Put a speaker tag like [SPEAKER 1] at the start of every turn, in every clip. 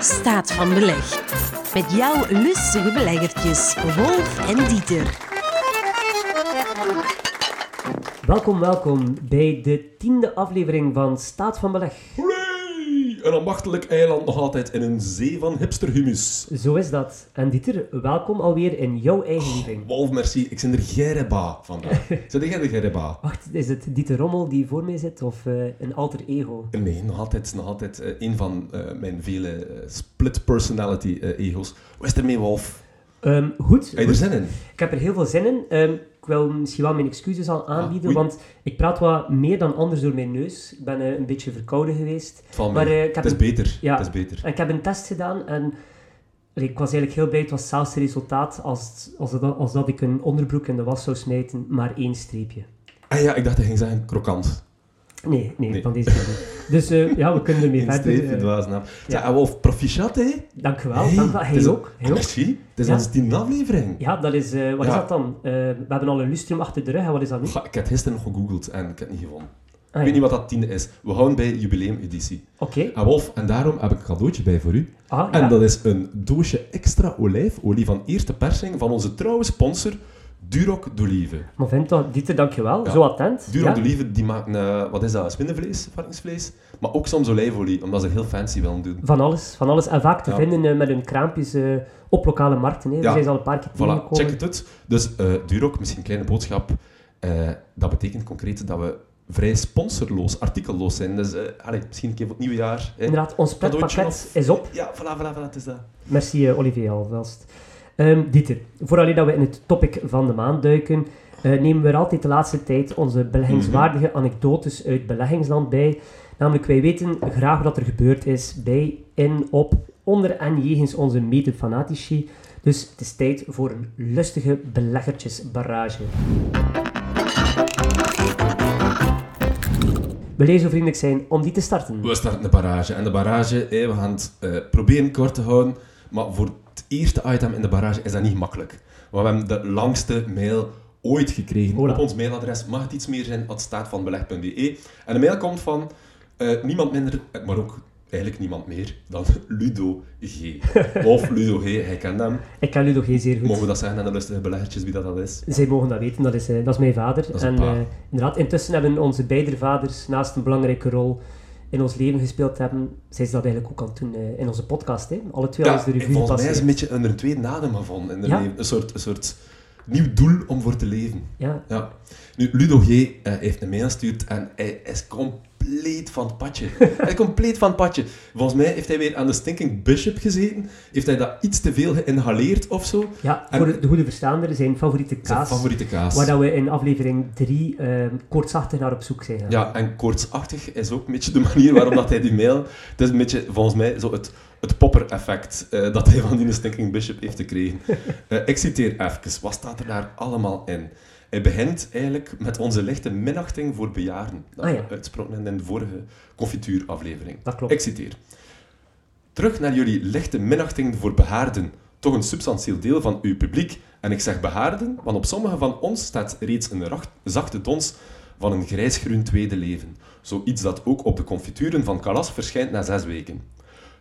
[SPEAKER 1] Staat van Beleg. Met jouw lustige beleggertjes, Wolf en Dieter.
[SPEAKER 2] Welkom, welkom bij de tiende aflevering van Staat van Beleg.
[SPEAKER 3] Hooray! Een ambachtelijk eiland nog altijd in een zee van hipsterhumus.
[SPEAKER 2] Zo is dat. En Dieter, welkom alweer in jouw eigen living.
[SPEAKER 3] Wolf, merci. Ik zit er gereba vandaag. Zit jij de gereba?
[SPEAKER 2] Wacht, is het Dieter Rommel die voor mij zit of eh, een alter ego?
[SPEAKER 3] Nee, nog altijd, nog altijd eh, een van eh, mijn vele eh, split personality eh, ego's. Hoe is het ermee, Wolf?
[SPEAKER 2] Ehm, goed,
[SPEAKER 3] Heb je er zin in?
[SPEAKER 2] ik heb er heel veel zin in. Ehm, ik wil misschien wel mijn excuses al aanbieden,
[SPEAKER 3] oei.
[SPEAKER 2] want ik praat wat meer dan anders door mijn neus. Ik ben eh, een beetje verkouden geweest.
[SPEAKER 3] Het valt
[SPEAKER 2] Maar,
[SPEAKER 3] mee.
[SPEAKER 2] eh, ik heb
[SPEAKER 3] het is
[SPEAKER 2] een-
[SPEAKER 3] beter.
[SPEAKER 2] ja.
[SPEAKER 3] Het is beter.
[SPEAKER 2] Ik heb een test gedaan en allee, ik was eigenlijk heel blij. Het was hetzelfde resultaat als, het- als, dat, als dat ik een onderbroek in de was zou smijten, maar één streepje.
[SPEAKER 3] Ah ja, ik dacht dat ging zeggen krokant.
[SPEAKER 2] Nee, nee,
[SPEAKER 3] Nee.
[SPEAKER 2] van deze keer niet. Dus eh, ja, we kunnen ermee
[SPEAKER 3] In
[SPEAKER 2] verder.
[SPEAKER 3] streep,
[SPEAKER 2] eh,
[SPEAKER 3] dwaas naam.
[SPEAKER 2] ja.
[SPEAKER 3] Ja, en Wolf, proficiat, hè?
[SPEAKER 2] dank u wel.
[SPEAKER 3] Hey,
[SPEAKER 2] dank u wel.
[SPEAKER 3] het
[SPEAKER 2] Hij
[SPEAKER 3] is een- Ah,
[SPEAKER 2] ook. Hij ook.
[SPEAKER 3] Merci. Het is
[SPEAKER 2] Ja.
[SPEAKER 3] onze tiende aflevering.
[SPEAKER 2] Ja, dat is... eh, wat
[SPEAKER 3] Ja.
[SPEAKER 2] is dat dan? Eh, we hebben al een lustrum achter de rug. En wat is dat nu?
[SPEAKER 3] Goh, ik heb het gisteren nog gegoogeld en ik heb het niet gevonden.
[SPEAKER 2] Ah,
[SPEAKER 3] Ik
[SPEAKER 2] ja.
[SPEAKER 3] weet niet wat dat tiende is. We houden bij jubileumeditie.
[SPEAKER 2] Oké.
[SPEAKER 3] En Wolf, en daarom heb ik een cadeautje bij voor u.
[SPEAKER 2] Ah,
[SPEAKER 3] En
[SPEAKER 2] ja.
[SPEAKER 3] dat is een doosje extra olijfolie van eerste persing van onze trouwe sponsor Duroc d'Olive.
[SPEAKER 2] Maar vindt dat... Dieter, dankjewel.
[SPEAKER 3] Ja.
[SPEAKER 2] Zo attent.
[SPEAKER 3] Duroc
[SPEAKER 2] ja?
[SPEAKER 3] d'Olive, die maken, eh, wat is dat, spinnenvlees, varkensvlees? Maar ook soms olijfolie, omdat ze heel fancy willen doen.
[SPEAKER 2] Van alles. Van alles. En vaak te
[SPEAKER 3] Ja.
[SPEAKER 2] vinden eh, met hun kraampjes eh, op lokale markten. Hè. We
[SPEAKER 3] Ja.
[SPEAKER 2] zijn ze al een paar keer
[SPEAKER 3] Voilà,
[SPEAKER 2] tegengekomen.
[SPEAKER 3] check het uit. Dus eh Duroc, misschien een kleine boodschap. Eh, dat betekent concreet dat we vrij sponsorloos, artikelloos zijn. Dus eh, allee, misschien een keer voor het nieuwe jaar. hè.
[SPEAKER 2] Inderdaad, ons
[SPEAKER 3] Cadeautje
[SPEAKER 2] pretpakket
[SPEAKER 3] of-
[SPEAKER 2] is op.
[SPEAKER 3] Ja, voilà, voilà, voilà, het is dat.
[SPEAKER 2] Merci eh, Olivier alvast. Ehm Dieter, vooraleer dat we in het topic van de maand duiken, eh, nemen we er altijd de laatste tijd onze beleggingswaardige anekdotes uit beleggingsland bij. Namelijk, wij weten graag wat er gebeurd is bij, in, op, onder en jegens onze mede-fanatici. Dus het is tijd voor een lustige beleggertjesbarrage. Wil jij zo vriendelijk zijn om die te starten?
[SPEAKER 3] We starten de barrage. En de barrage, eh, we gaan het eh, proberen kort te houden. Maar voor het eerste item in de barrage is dat niet makkelijk. Want we hebben de langste mail ooit gekregen
[SPEAKER 2] Hola.
[SPEAKER 3] op ons mailadres. Mag het iets meer zijn? Het staat van beleg.be. En de mail komt van eh, niemand minder, eh, maar ook eigenlijk niemand meer dan Ludo G. of Ludo G, hij kent hem.
[SPEAKER 2] Ik ken Ludo geen zeer goed.
[SPEAKER 3] Mogen we dat zeggen aan de lustige beleggertjes wie dat, dat is?
[SPEAKER 2] Zij mogen dat weten, dat is, eh, dat is mijn vader.
[SPEAKER 3] is
[SPEAKER 2] en
[SPEAKER 3] een pa.
[SPEAKER 2] eh, inderdaad, intussen hebben onze beide vaders naast een belangrijke rol in ons leven gespeeld te hebben, zijn ze dat eigenlijk ook aan het doen eh, in onze podcast. Hè? Alle twee al eens de
[SPEAKER 3] en
[SPEAKER 2] revue
[SPEAKER 3] volgens mij is
[SPEAKER 2] passeert.
[SPEAKER 3] een beetje onder een tweede nadem gevonden in de
[SPEAKER 2] Ja.
[SPEAKER 3] leven. Een soort, een soort nieuw doel om voor te leven.
[SPEAKER 2] Ja,
[SPEAKER 3] Ja. Nu, Ludo G eh, heeft een mail gestuurd en hij is compleet van het padje. hij is compleet van het padje. Volgens mij heeft hij weer aan de stinking bishop gezeten. Heeft hij dat iets te veel geïnhaleerd of zo?
[SPEAKER 2] ja
[SPEAKER 3] En-
[SPEAKER 2] voor de, de goede verstaander, zijn favoriete
[SPEAKER 3] Zijn
[SPEAKER 2] kaas,
[SPEAKER 3] favoriete kaas.
[SPEAKER 2] waar dat we in aflevering 3 kortzachtig naar op zoek zijn. gaan.
[SPEAKER 3] Ja, en koortsachtig is ook een beetje de manier waarop dat hij die mail... Het is een beetje, volgens mij, zo het, het popper-effect eh, dat hij van die stinking bishop heeft gekregen. Eh ik citeer even. Wat staat er daar allemaal in? Hij begint eigenlijk met onze lichte minachting voor bejaarden. Dat
[SPEAKER 2] Ah, ja.
[SPEAKER 3] we uitsproken hebben in de vorige confituuraflevering.
[SPEAKER 2] Dat klopt.
[SPEAKER 3] Ik citeer. Terug naar jullie lichte minachting voor behaarden. Toch een substantieel deel van uw publiek. En ik zeg behaarden, want op sommige van ons staat reeds een racht- zachte dons van een grijsgroen tweede leven. Zoiets dat ook op de confituren van Calas verschijnt na zes weken.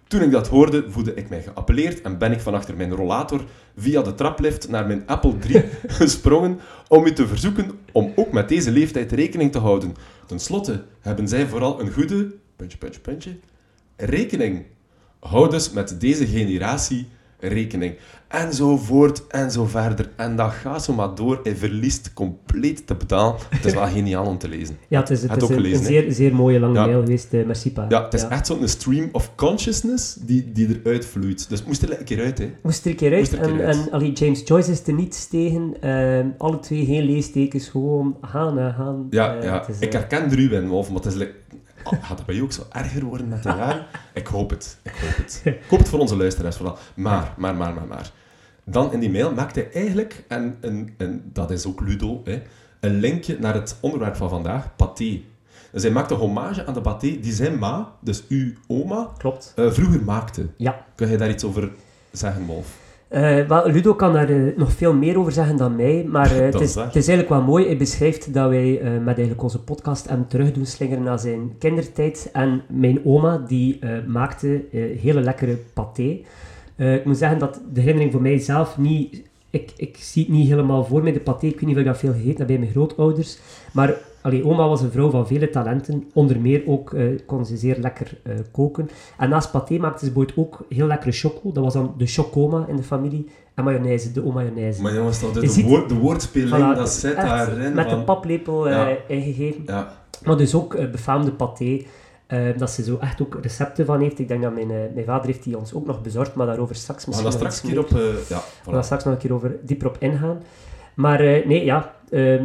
[SPEAKER 3] Toen ik dat hoorde, voelde ik mij geappelleerd en ben ik van achter mijn rollator via de traplift naar mijn Apple 3 gesprongen om u te verzoeken om ook met deze leeftijd rekening te houden. Ten slotte hebben zij vooral een goede, puntje, puntje, puntje, rekening. Hou dus met deze generatie rekening. Enzovoort en zo verder. En dat gaat zo maar door. Hij verliest compleet te betalen. Het is wel geniaal om te lezen.
[SPEAKER 2] Ja, het is, het
[SPEAKER 3] Had
[SPEAKER 2] is
[SPEAKER 3] ook
[SPEAKER 2] een,
[SPEAKER 3] gelezen,
[SPEAKER 2] een zeer, zeer mooie lange
[SPEAKER 3] Ja.
[SPEAKER 2] mail geweest, eh merci pa.
[SPEAKER 3] Ja, het is echt zo'n stream of consciousness die, die eruit vloeit. Dus het moest er een keer uit, hè.
[SPEAKER 2] Moest er een keer uit.
[SPEAKER 3] Moest er een
[SPEAKER 2] en
[SPEAKER 3] keer uit.
[SPEAKER 2] en allee, James Joyce is er niets tegen. Ehm, alle twee geen leestekens, gewoon gaan, eh, gaan.
[SPEAKER 3] Ja,
[SPEAKER 2] Eh,
[SPEAKER 3] ja.
[SPEAKER 2] het is,
[SPEAKER 3] ik
[SPEAKER 2] eh,
[SPEAKER 3] herken er u in, Wolf, maar het is... like- Oh, gaat dat bij jou ook zo erger worden met de jaren? Ik hoop het. Ik hoop het. Ik hoop het voor onze luisteraars vooral. Maar, maar, maar, maar, maar. Dan in die mail maakt hij eigenlijk, en, en, en dat is ook Ludo, hè, een linkje naar het onderwerp van vandaag, paté. Dus hij maakt een hommage aan de paté die zijn ma, dus uw oma,
[SPEAKER 2] Klopt.
[SPEAKER 3] eh, vroeger maakte.
[SPEAKER 2] Ja.
[SPEAKER 3] Kun jij daar iets over zeggen, Wolf?
[SPEAKER 2] Eh, wel, Ludo kan daar eh, nog veel meer over zeggen dan mij, maar eh, het,
[SPEAKER 3] Dat
[SPEAKER 2] is,
[SPEAKER 3] is waar.
[SPEAKER 2] het is eigenlijk wel mooi. Hij beschrijft dat wij eh, met eigenlijk onze podcast hem terug doen slingeren naar zijn kindertijd. En mijn oma, die eh, maakte eh, hele lekkere paté. Eh, ik moet zeggen dat de herinnering voor mijzelf niet... Ik, ik zie het niet helemaal voor mij, de paté. Ik weet niet of ik dat veel gegeten heb bij mijn grootouders. Maar allee, oma was een vrouw van vele talenten. Onder meer ook eh, kon ze zeer lekker eh, koken. En naast paté maakte ze bijvoorbeeld ook heel lekkere choco. Dat was dan de chocoma in de familie. En mayonaise, de oma-mayonaise.
[SPEAKER 3] Maar jongens, dat
[SPEAKER 2] Je
[SPEAKER 3] is de,
[SPEAKER 2] ziet-
[SPEAKER 3] woord, de woordspeling,
[SPEAKER 2] Voilà, dus
[SPEAKER 3] dat zit
[SPEAKER 2] echt
[SPEAKER 3] daarin.
[SPEAKER 2] Met
[SPEAKER 3] van-
[SPEAKER 2] een paplepel eh,
[SPEAKER 3] Ja.
[SPEAKER 2] ingegeven.
[SPEAKER 3] Ja,
[SPEAKER 2] Maar dus ook eh, befaamde paté. eh, dat ze zo echt ook recepten van heeft. Ik denk dat mijn, eh, mijn vader heeft die ons ook nog bezorgd, maar daarover straks
[SPEAKER 3] we gaan
[SPEAKER 2] misschien
[SPEAKER 3] daar
[SPEAKER 2] nog
[SPEAKER 3] straks
[SPEAKER 2] iets
[SPEAKER 3] een keer
[SPEAKER 2] meer.
[SPEAKER 3] op... eh, ja,
[SPEAKER 2] We gaan
[SPEAKER 3] voilà.
[SPEAKER 2] straks nog een keer over, dieper op ingaan. Maar eh, nee, ja. ehm,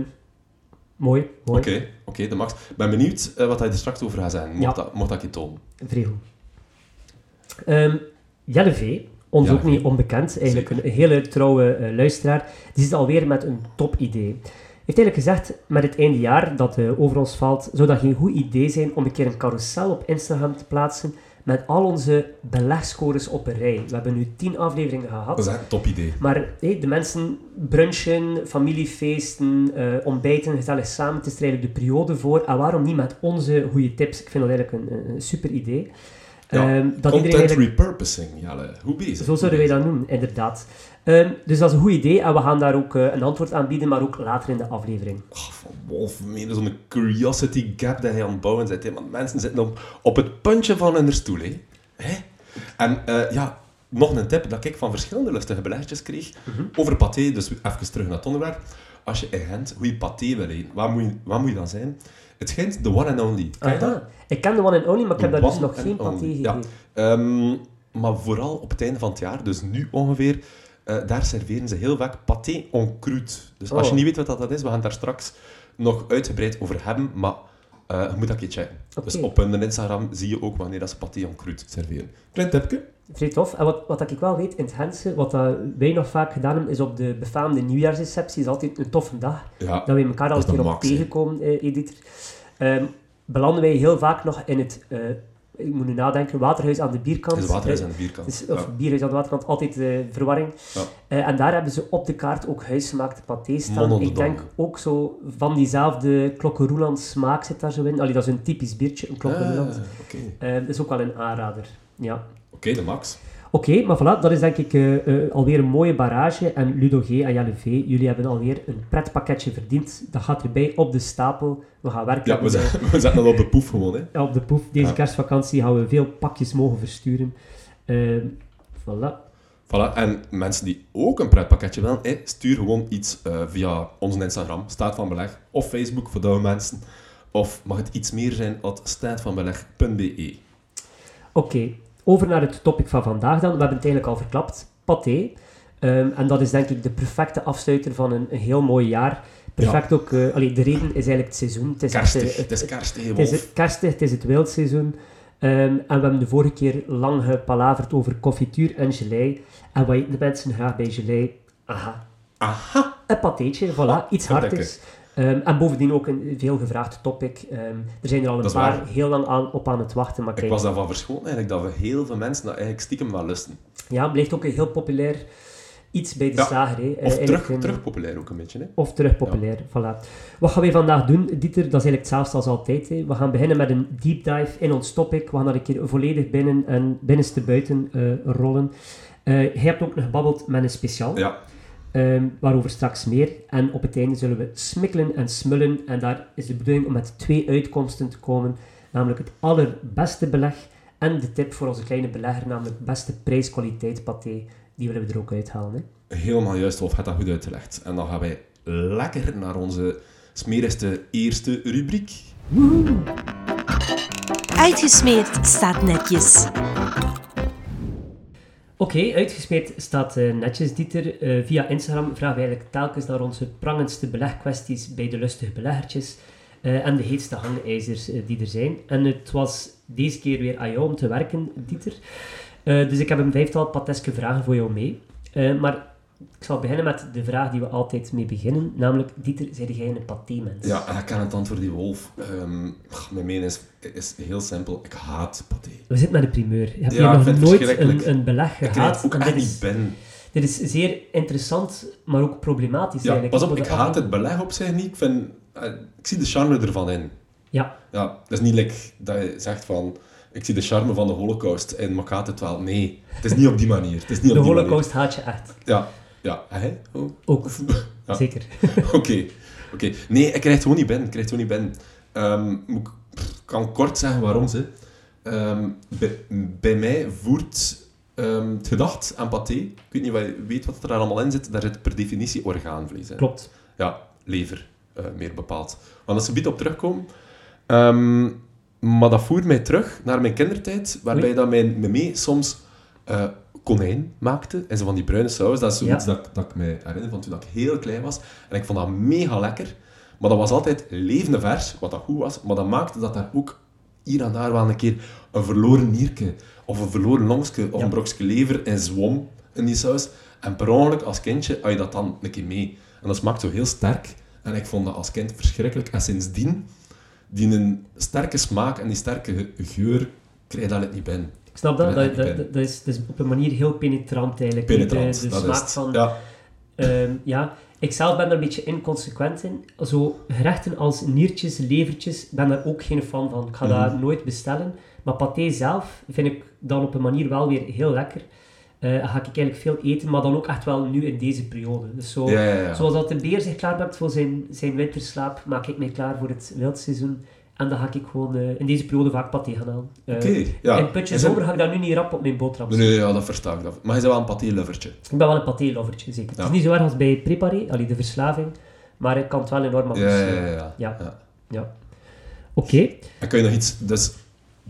[SPEAKER 2] mooi, mooi.
[SPEAKER 3] Oké, oké, de max. Ik ben benieuwd eh, wat hij er straks over gaat zijn. Mocht,
[SPEAKER 2] Ja.
[SPEAKER 3] dat, mocht dat je tonen.
[SPEAKER 2] Vrij goed. Ehm, Jelle V, ons
[SPEAKER 3] Jelle
[SPEAKER 2] ook
[SPEAKER 3] V.
[SPEAKER 2] niet onbekend, eigenlijk een hele trouwe eh, luisteraar, die zit alweer met een topidee. Heeft eigenlijk gezegd, met het einde jaar dat eh, over ons valt, zou dat geen goed idee zijn om een keer een carousel op Instagram te plaatsen met al onze belegscores op een rij. We hebben nu tien afleveringen gehad.
[SPEAKER 3] Dat is echt een top idee.
[SPEAKER 2] Maar hé, de mensen brunchen, familiefeesten, eh, ontbijten, gezellig samen. Het is er eigenlijk de periode voor. En waarom niet met onze goede tips? Ik vind dat eigenlijk een, een- een super idee.
[SPEAKER 3] Ja,
[SPEAKER 2] Ehm, dat iedereen
[SPEAKER 3] Content
[SPEAKER 2] eigenlijk,
[SPEAKER 3] repurposing, Jelle. Hoe bezig?
[SPEAKER 2] zo zouden wij dat noemen, inderdaad. Ehm, dus dat is een goed idee en we gaan daar ook eh, een antwoord aan bieden, maar ook later in de aflevering.
[SPEAKER 3] Ah, van Wolf, meer zo'n curiosity gap dat hij aan het bouwen zit. hè. Want mensen zitten op, op het puntje van hun stoel. Hè? Hè? En eh, ja, nog een tip dat ik van verschillende lustige beleggetjes kreeg
[SPEAKER 2] Mhm.
[SPEAKER 3] over paté. Dus even terug naar het onderwerp. Als je in Gent goede paté wil eten, waar moet, je, waar moet je dan zijn? Het schijnt de one and only. Ken je dat?
[SPEAKER 2] Aha. Ik ken de one and only, maar ik heb
[SPEAKER 3] De
[SPEAKER 2] daar dus
[SPEAKER 3] Ah, one
[SPEAKER 2] nog geen
[SPEAKER 3] and
[SPEAKER 2] paté
[SPEAKER 3] only,
[SPEAKER 2] gegeven.
[SPEAKER 3] ja. Ehm, maar vooral op het einde van het jaar, dus nu ongeveer, eh, daar serveren ze heel vaak paté en croûte. Dus als je
[SPEAKER 2] Oh.
[SPEAKER 3] niet weet wat dat is, we gaan daar straks nog uitgebreid over hebben, maar eh, je moet dat een keer checken.
[SPEAKER 2] Oké.
[SPEAKER 3] Dus op hun Instagram zie je ook wanneer dat ze paté en croûte serveren. Klein tipje.
[SPEAKER 2] Vrij tof. En wat, wat dat ik wel weet in het Gentse, wat dat wij nog vaak gedaan hebben, is op de befaamde nieuwjaarsreceptie, is altijd een toffe dag.
[SPEAKER 3] Ja,
[SPEAKER 2] dat we elkaar al
[SPEAKER 3] Dat
[SPEAKER 2] een
[SPEAKER 3] is
[SPEAKER 2] keer
[SPEAKER 3] de
[SPEAKER 2] op
[SPEAKER 3] max, hè.
[SPEAKER 2] tegenkomen, eh, Edith. Ehm, belanden wij heel vaak nog in het, eh, ik moet nu nadenken, waterhuis aan de bierkant.
[SPEAKER 3] het water is
[SPEAKER 2] Eh,
[SPEAKER 3] aan de bierkant.
[SPEAKER 2] dus- of
[SPEAKER 3] Ja.
[SPEAKER 2] bierhuis aan de waterkant, altijd eh, verwarring.
[SPEAKER 3] Ja.
[SPEAKER 2] Eh, en daar hebben ze op de kaart ook huisgemaakte paté staan.
[SPEAKER 3] Mannen de
[SPEAKER 2] Ik denk
[SPEAKER 3] dam.
[SPEAKER 2] ook zo van diezelfde klokkenroeland smaak zit daar zo in. Allee, dat is een typisch biertje, een
[SPEAKER 3] Ah,
[SPEAKER 2] klokkenroeland.
[SPEAKER 3] Oké,
[SPEAKER 2] Eh, dat is ook wel een aanrader. Ja.
[SPEAKER 3] Oké, de max.
[SPEAKER 2] Oké, maar voilà, dat is denk ik eh, eh, alweer een mooie barrage. En Ludo G en Jelle V, jullie hebben alweer een pretpakketje verdiend. Dat gaat erbij op de stapel. We gaan werken
[SPEAKER 3] Ja, we
[SPEAKER 2] op, de,
[SPEAKER 3] zetten, we zetten dat op de poef gewoon, hè.
[SPEAKER 2] ja, op de poef. Deze
[SPEAKER 3] Ja.
[SPEAKER 2] kerstvakantie gaan we veel pakjes mogen versturen. Ehm voilà.
[SPEAKER 3] Voilà, en mensen die ook een pretpakketje willen, hè, stuur gewoon iets eh, via onze Instagram, Staat van Beleg, of Facebook voor douwe mensen. Of mag het iets meer zijn, at staatvanbeleg.be.
[SPEAKER 2] Oké, over naar het topic van vandaag dan. We hebben het eigenlijk al verklapt. Paté. Ehm, en dat is denk ik de perfecte afsluiter van een, een heel mooi jaar. Perfect ook... eh, allee, de reden is eigenlijk het seizoen. Het is echt, eh,
[SPEAKER 3] Kerstig,
[SPEAKER 2] het-
[SPEAKER 3] het is kerstig, hè,
[SPEAKER 2] Het is
[SPEAKER 3] Wolf.
[SPEAKER 2] het kerstig, het is het wildseizoen. Ehm, en we hebben de vorige keer lang gepalaverd over confituur en gelei. En wat eten de mensen graag bij gelei? Aha,
[SPEAKER 3] Aha!
[SPEAKER 2] een patéetje, voilà,
[SPEAKER 3] Ah,
[SPEAKER 2] iets
[SPEAKER 3] dat denk
[SPEAKER 2] hartigs. Ehm, en bovendien ook een veel gevraagd topic. Ehm, er zijn er al een
[SPEAKER 3] Dat is
[SPEAKER 2] paar
[SPEAKER 3] waar.
[SPEAKER 2] heel lang aan, op aan het wachten, maar
[SPEAKER 3] Ik
[SPEAKER 2] kijk,
[SPEAKER 3] was daarvan verschoten eigenlijk, dat we heel veel mensen dat eigenlijk stiekem wel lusten.
[SPEAKER 2] ja, blijft ook een heel populair iets bij de
[SPEAKER 3] Ja,
[SPEAKER 2] slager. hè. Eh,
[SPEAKER 3] Of
[SPEAKER 2] eigenlijk
[SPEAKER 3] terug,
[SPEAKER 2] een-
[SPEAKER 3] terug populair ook een beetje, hè.
[SPEAKER 2] Of terug populair, voilà. Wat gaan we vandaag doen, Dieter? Dat is eigenlijk hetzelfde als altijd. hè. We gaan beginnen met een deep dive in ons topic. We gaan dat een keer volledig binnen en binnenste buiten eh, rollen. Eh jij hebt ook nog gebabbeld met een speciaal,
[SPEAKER 3] Ja,
[SPEAKER 2] ehm, waarover straks meer. En op het einde zullen we smikkelen en smullen. En daar is de bedoeling om met twee uitkomsten te komen. Namelijk het allerbeste beleg en de tip voor onze kleine belegger, namelijk beste prijs-kwaliteit paté. Die willen we er ook uithalen. Hè?
[SPEAKER 3] helemaal juist, Wolf, het dat goed uitgelegd. En dan gaan wij lekker naar onze smerigste eerste rubriek.
[SPEAKER 1] Uitgesmeerd staat netjes.
[SPEAKER 2] Oké, uitgesmeerd staat eh, netjes, Dieter. Eh, via Instagram vragen we eigenlijk telkens naar onze prangendste belegkwesties bij de lustige beleggertjes eh, en de heetste hangijzers eh, die er zijn. En het was deze keer weer aan jou om te werken, Dieter. Eh, dus ik heb een vijftal pateske vragen voor jou mee. Eh, maar ik zal beginnen met de vraag die we altijd mee beginnen, namelijk Dieter, zijn jij een patémens?
[SPEAKER 3] Ja, en ik kan het antwoord die wolf. Ehm, ach, mijn mening is, is heel simpel. Ik haat paté.
[SPEAKER 2] We zitten met de primeur. Je hebt
[SPEAKER 3] Ja,
[SPEAKER 2] hier
[SPEAKER 3] ik
[SPEAKER 2] nog
[SPEAKER 3] vind het
[SPEAKER 2] nooit
[SPEAKER 3] verschrikkelijk.
[SPEAKER 2] een, een beleg
[SPEAKER 3] Ik krijg het
[SPEAKER 2] gehaald.
[SPEAKER 3] ook
[SPEAKER 2] en
[SPEAKER 3] echt
[SPEAKER 2] dit
[SPEAKER 3] niet
[SPEAKER 2] is,
[SPEAKER 3] binnen.
[SPEAKER 2] Dit is zeer interessant, maar ook problematisch
[SPEAKER 3] Ja,
[SPEAKER 2] eigenlijk.
[SPEAKER 3] pas op,
[SPEAKER 2] Voor
[SPEAKER 3] ik
[SPEAKER 2] de
[SPEAKER 3] haat
[SPEAKER 2] afle-
[SPEAKER 3] het beleg op zich niet. Ik, vind, eh, ik zie de charme ervan in.
[SPEAKER 2] Ja,
[SPEAKER 3] Ja, dat is niet like dat je zegt van... Ik zie de charme van de holocaust in, maar ik haat het wel. Nee, het is niet op die manier. Het is niet
[SPEAKER 2] de
[SPEAKER 3] op die
[SPEAKER 2] holocaust haat je echt.
[SPEAKER 3] manier. Ja, ja. Hè? Oh,
[SPEAKER 2] Ook,
[SPEAKER 3] Ja.
[SPEAKER 2] zeker.
[SPEAKER 3] Oké. oké. Nee, ik krijg het gewoon niet binnen. Ik krijg het gewoon niet binnen. Ehm, moet ik pff, ik kan kort zeggen waarom ze. Ehm, bij, bij mij voert ehm, het gedacht aan paté. Ik weet niet wat je weet wat er daar allemaal in zit. Daar zit per definitie orgaanvlees in.
[SPEAKER 2] Klopt.
[SPEAKER 3] Ja, lever, eh, meer bepaald. Want als ze biedt op terugkomen. Ehm, maar dat voert mij terug naar mijn kindertijd, waarbij
[SPEAKER 2] Oei.
[SPEAKER 3] dat mijn meme soms eh, konijn maakte. En zo van die bruine saus. Dat is zoiets dat, ik- dat ik me herinner van toen ik heel klein was. En ik vond dat mega lekker. Maar dat was altijd levende vers, wat dat goed was. Maar dat maakte dat daar ook hier en daar wel een keer een verloren nierke, of een verloren longske, of
[SPEAKER 2] Ja.
[SPEAKER 3] een brokske lever en zwom in die saus. En per ongeluk als kindje had je dat dan een keer mee. En dat smaakt zo heel sterk. En ik vond dat als kind verschrikkelijk. En sindsdien, die een sterke smaak en die sterke ge- geur, krijg je dat niet binnen.
[SPEAKER 2] Ik snap dat.
[SPEAKER 3] Ja,
[SPEAKER 2] Dat,
[SPEAKER 3] ik
[SPEAKER 2] dat,
[SPEAKER 3] ben-
[SPEAKER 2] dat- dat is, dat is op een manier heel penetrant eigenlijk.
[SPEAKER 3] Penetrant,
[SPEAKER 2] De, de
[SPEAKER 3] dat
[SPEAKER 2] smaak
[SPEAKER 3] is het.
[SPEAKER 2] van...
[SPEAKER 3] Ja,
[SPEAKER 2] Ehm, ja, ik zelf ben daar een beetje inconsequent in. Zo gerechten als niertjes, levertjes, ben daar ook geen fan van. Ik ga
[SPEAKER 3] Mhm.
[SPEAKER 2] dat nooit bestellen. Maar paté zelf vind ik dan op een manier wel weer heel lekker. Eh, ga ik eigenlijk veel eten, maar dan ook echt wel nu in deze periode. Dus zo,
[SPEAKER 3] ja, ja. ja.
[SPEAKER 2] zoals dat de beer zich klaarmaakt voor zijn, zijn winterslaap, maak ik mij klaar voor het wildseizoen. En dan ga ik gewoon eh, in deze periode vaak paté gaan halen. Eh,
[SPEAKER 3] Oké, ja.
[SPEAKER 2] In putjes
[SPEAKER 3] En zijn-
[SPEAKER 2] zomer ga ik dat nu niet rap op mijn boterham
[SPEAKER 3] Nee, nee, ja, dat versta ik. Dat. Maar je bent wel een paté-lovertje.
[SPEAKER 2] ik ben wel een paté-lovertje, zeker. Het
[SPEAKER 3] Ja.
[SPEAKER 2] is niet zo erg als bij Preparé, allee, de verslaving. Maar ik kan het wel enorm
[SPEAKER 3] Ja, ja,
[SPEAKER 2] appreciëren.
[SPEAKER 3] ja. ja.
[SPEAKER 2] dus, eh, Ja.
[SPEAKER 3] Ja.
[SPEAKER 2] Ja. Oké.
[SPEAKER 3] En kun je nog iets... Dus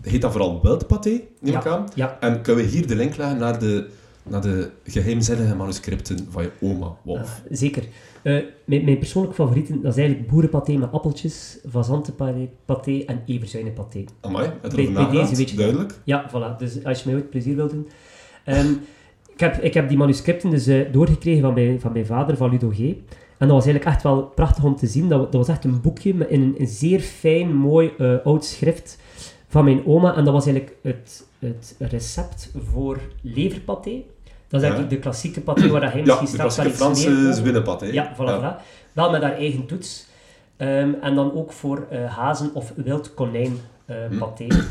[SPEAKER 3] heet dat vooral wild paté, neem ik
[SPEAKER 2] Ja.
[SPEAKER 3] aan?
[SPEAKER 2] ja.
[SPEAKER 3] En kunnen we hier de link leggen naar de, naar de geheimzinnige manuscripten van je oma,
[SPEAKER 2] Ah,
[SPEAKER 3] Wolf?
[SPEAKER 2] zeker. Eh, mijn, mijn persoonlijke favorieten, dat is eigenlijk boerenpaté met appeltjes, fazantenpaté en everzuinenpaté.
[SPEAKER 3] Amai, heb je
[SPEAKER 2] Eh, Bij-
[SPEAKER 3] erover
[SPEAKER 2] bij
[SPEAKER 3] nagedacht?
[SPEAKER 2] deze weet je-
[SPEAKER 3] Duidelijk.
[SPEAKER 2] Ja, voilà. Dus als je mij ooit plezier wilt doen. Ehm, ik, heb, ik heb die manuscripten dus eh, doorgekregen van mijn, van mijn vader, van Ludo G. En dat was eigenlijk echt wel prachtig om te zien. Dat, wa- dat was echt een boekje met in een, een zeer fijn, mooi eh, oud schrift van mijn oma. En dat was eigenlijk het, het recept voor leverpaté. Dat is
[SPEAKER 3] Ja.
[SPEAKER 2] eigenlijk de klassieke paté waar dat hij
[SPEAKER 3] Ja,
[SPEAKER 2] misschien
[SPEAKER 3] de
[SPEAKER 2] straks wel
[SPEAKER 3] klassieke
[SPEAKER 2] iets meer
[SPEAKER 3] Franse
[SPEAKER 2] over-
[SPEAKER 3] winnenpaté.
[SPEAKER 2] ja, voilà, voilà. Wel met haar eigen toets. Ehm, en dan ook voor eh, hazen of wild konijn eh
[SPEAKER 3] Hm.
[SPEAKER 2] paté. Ehm,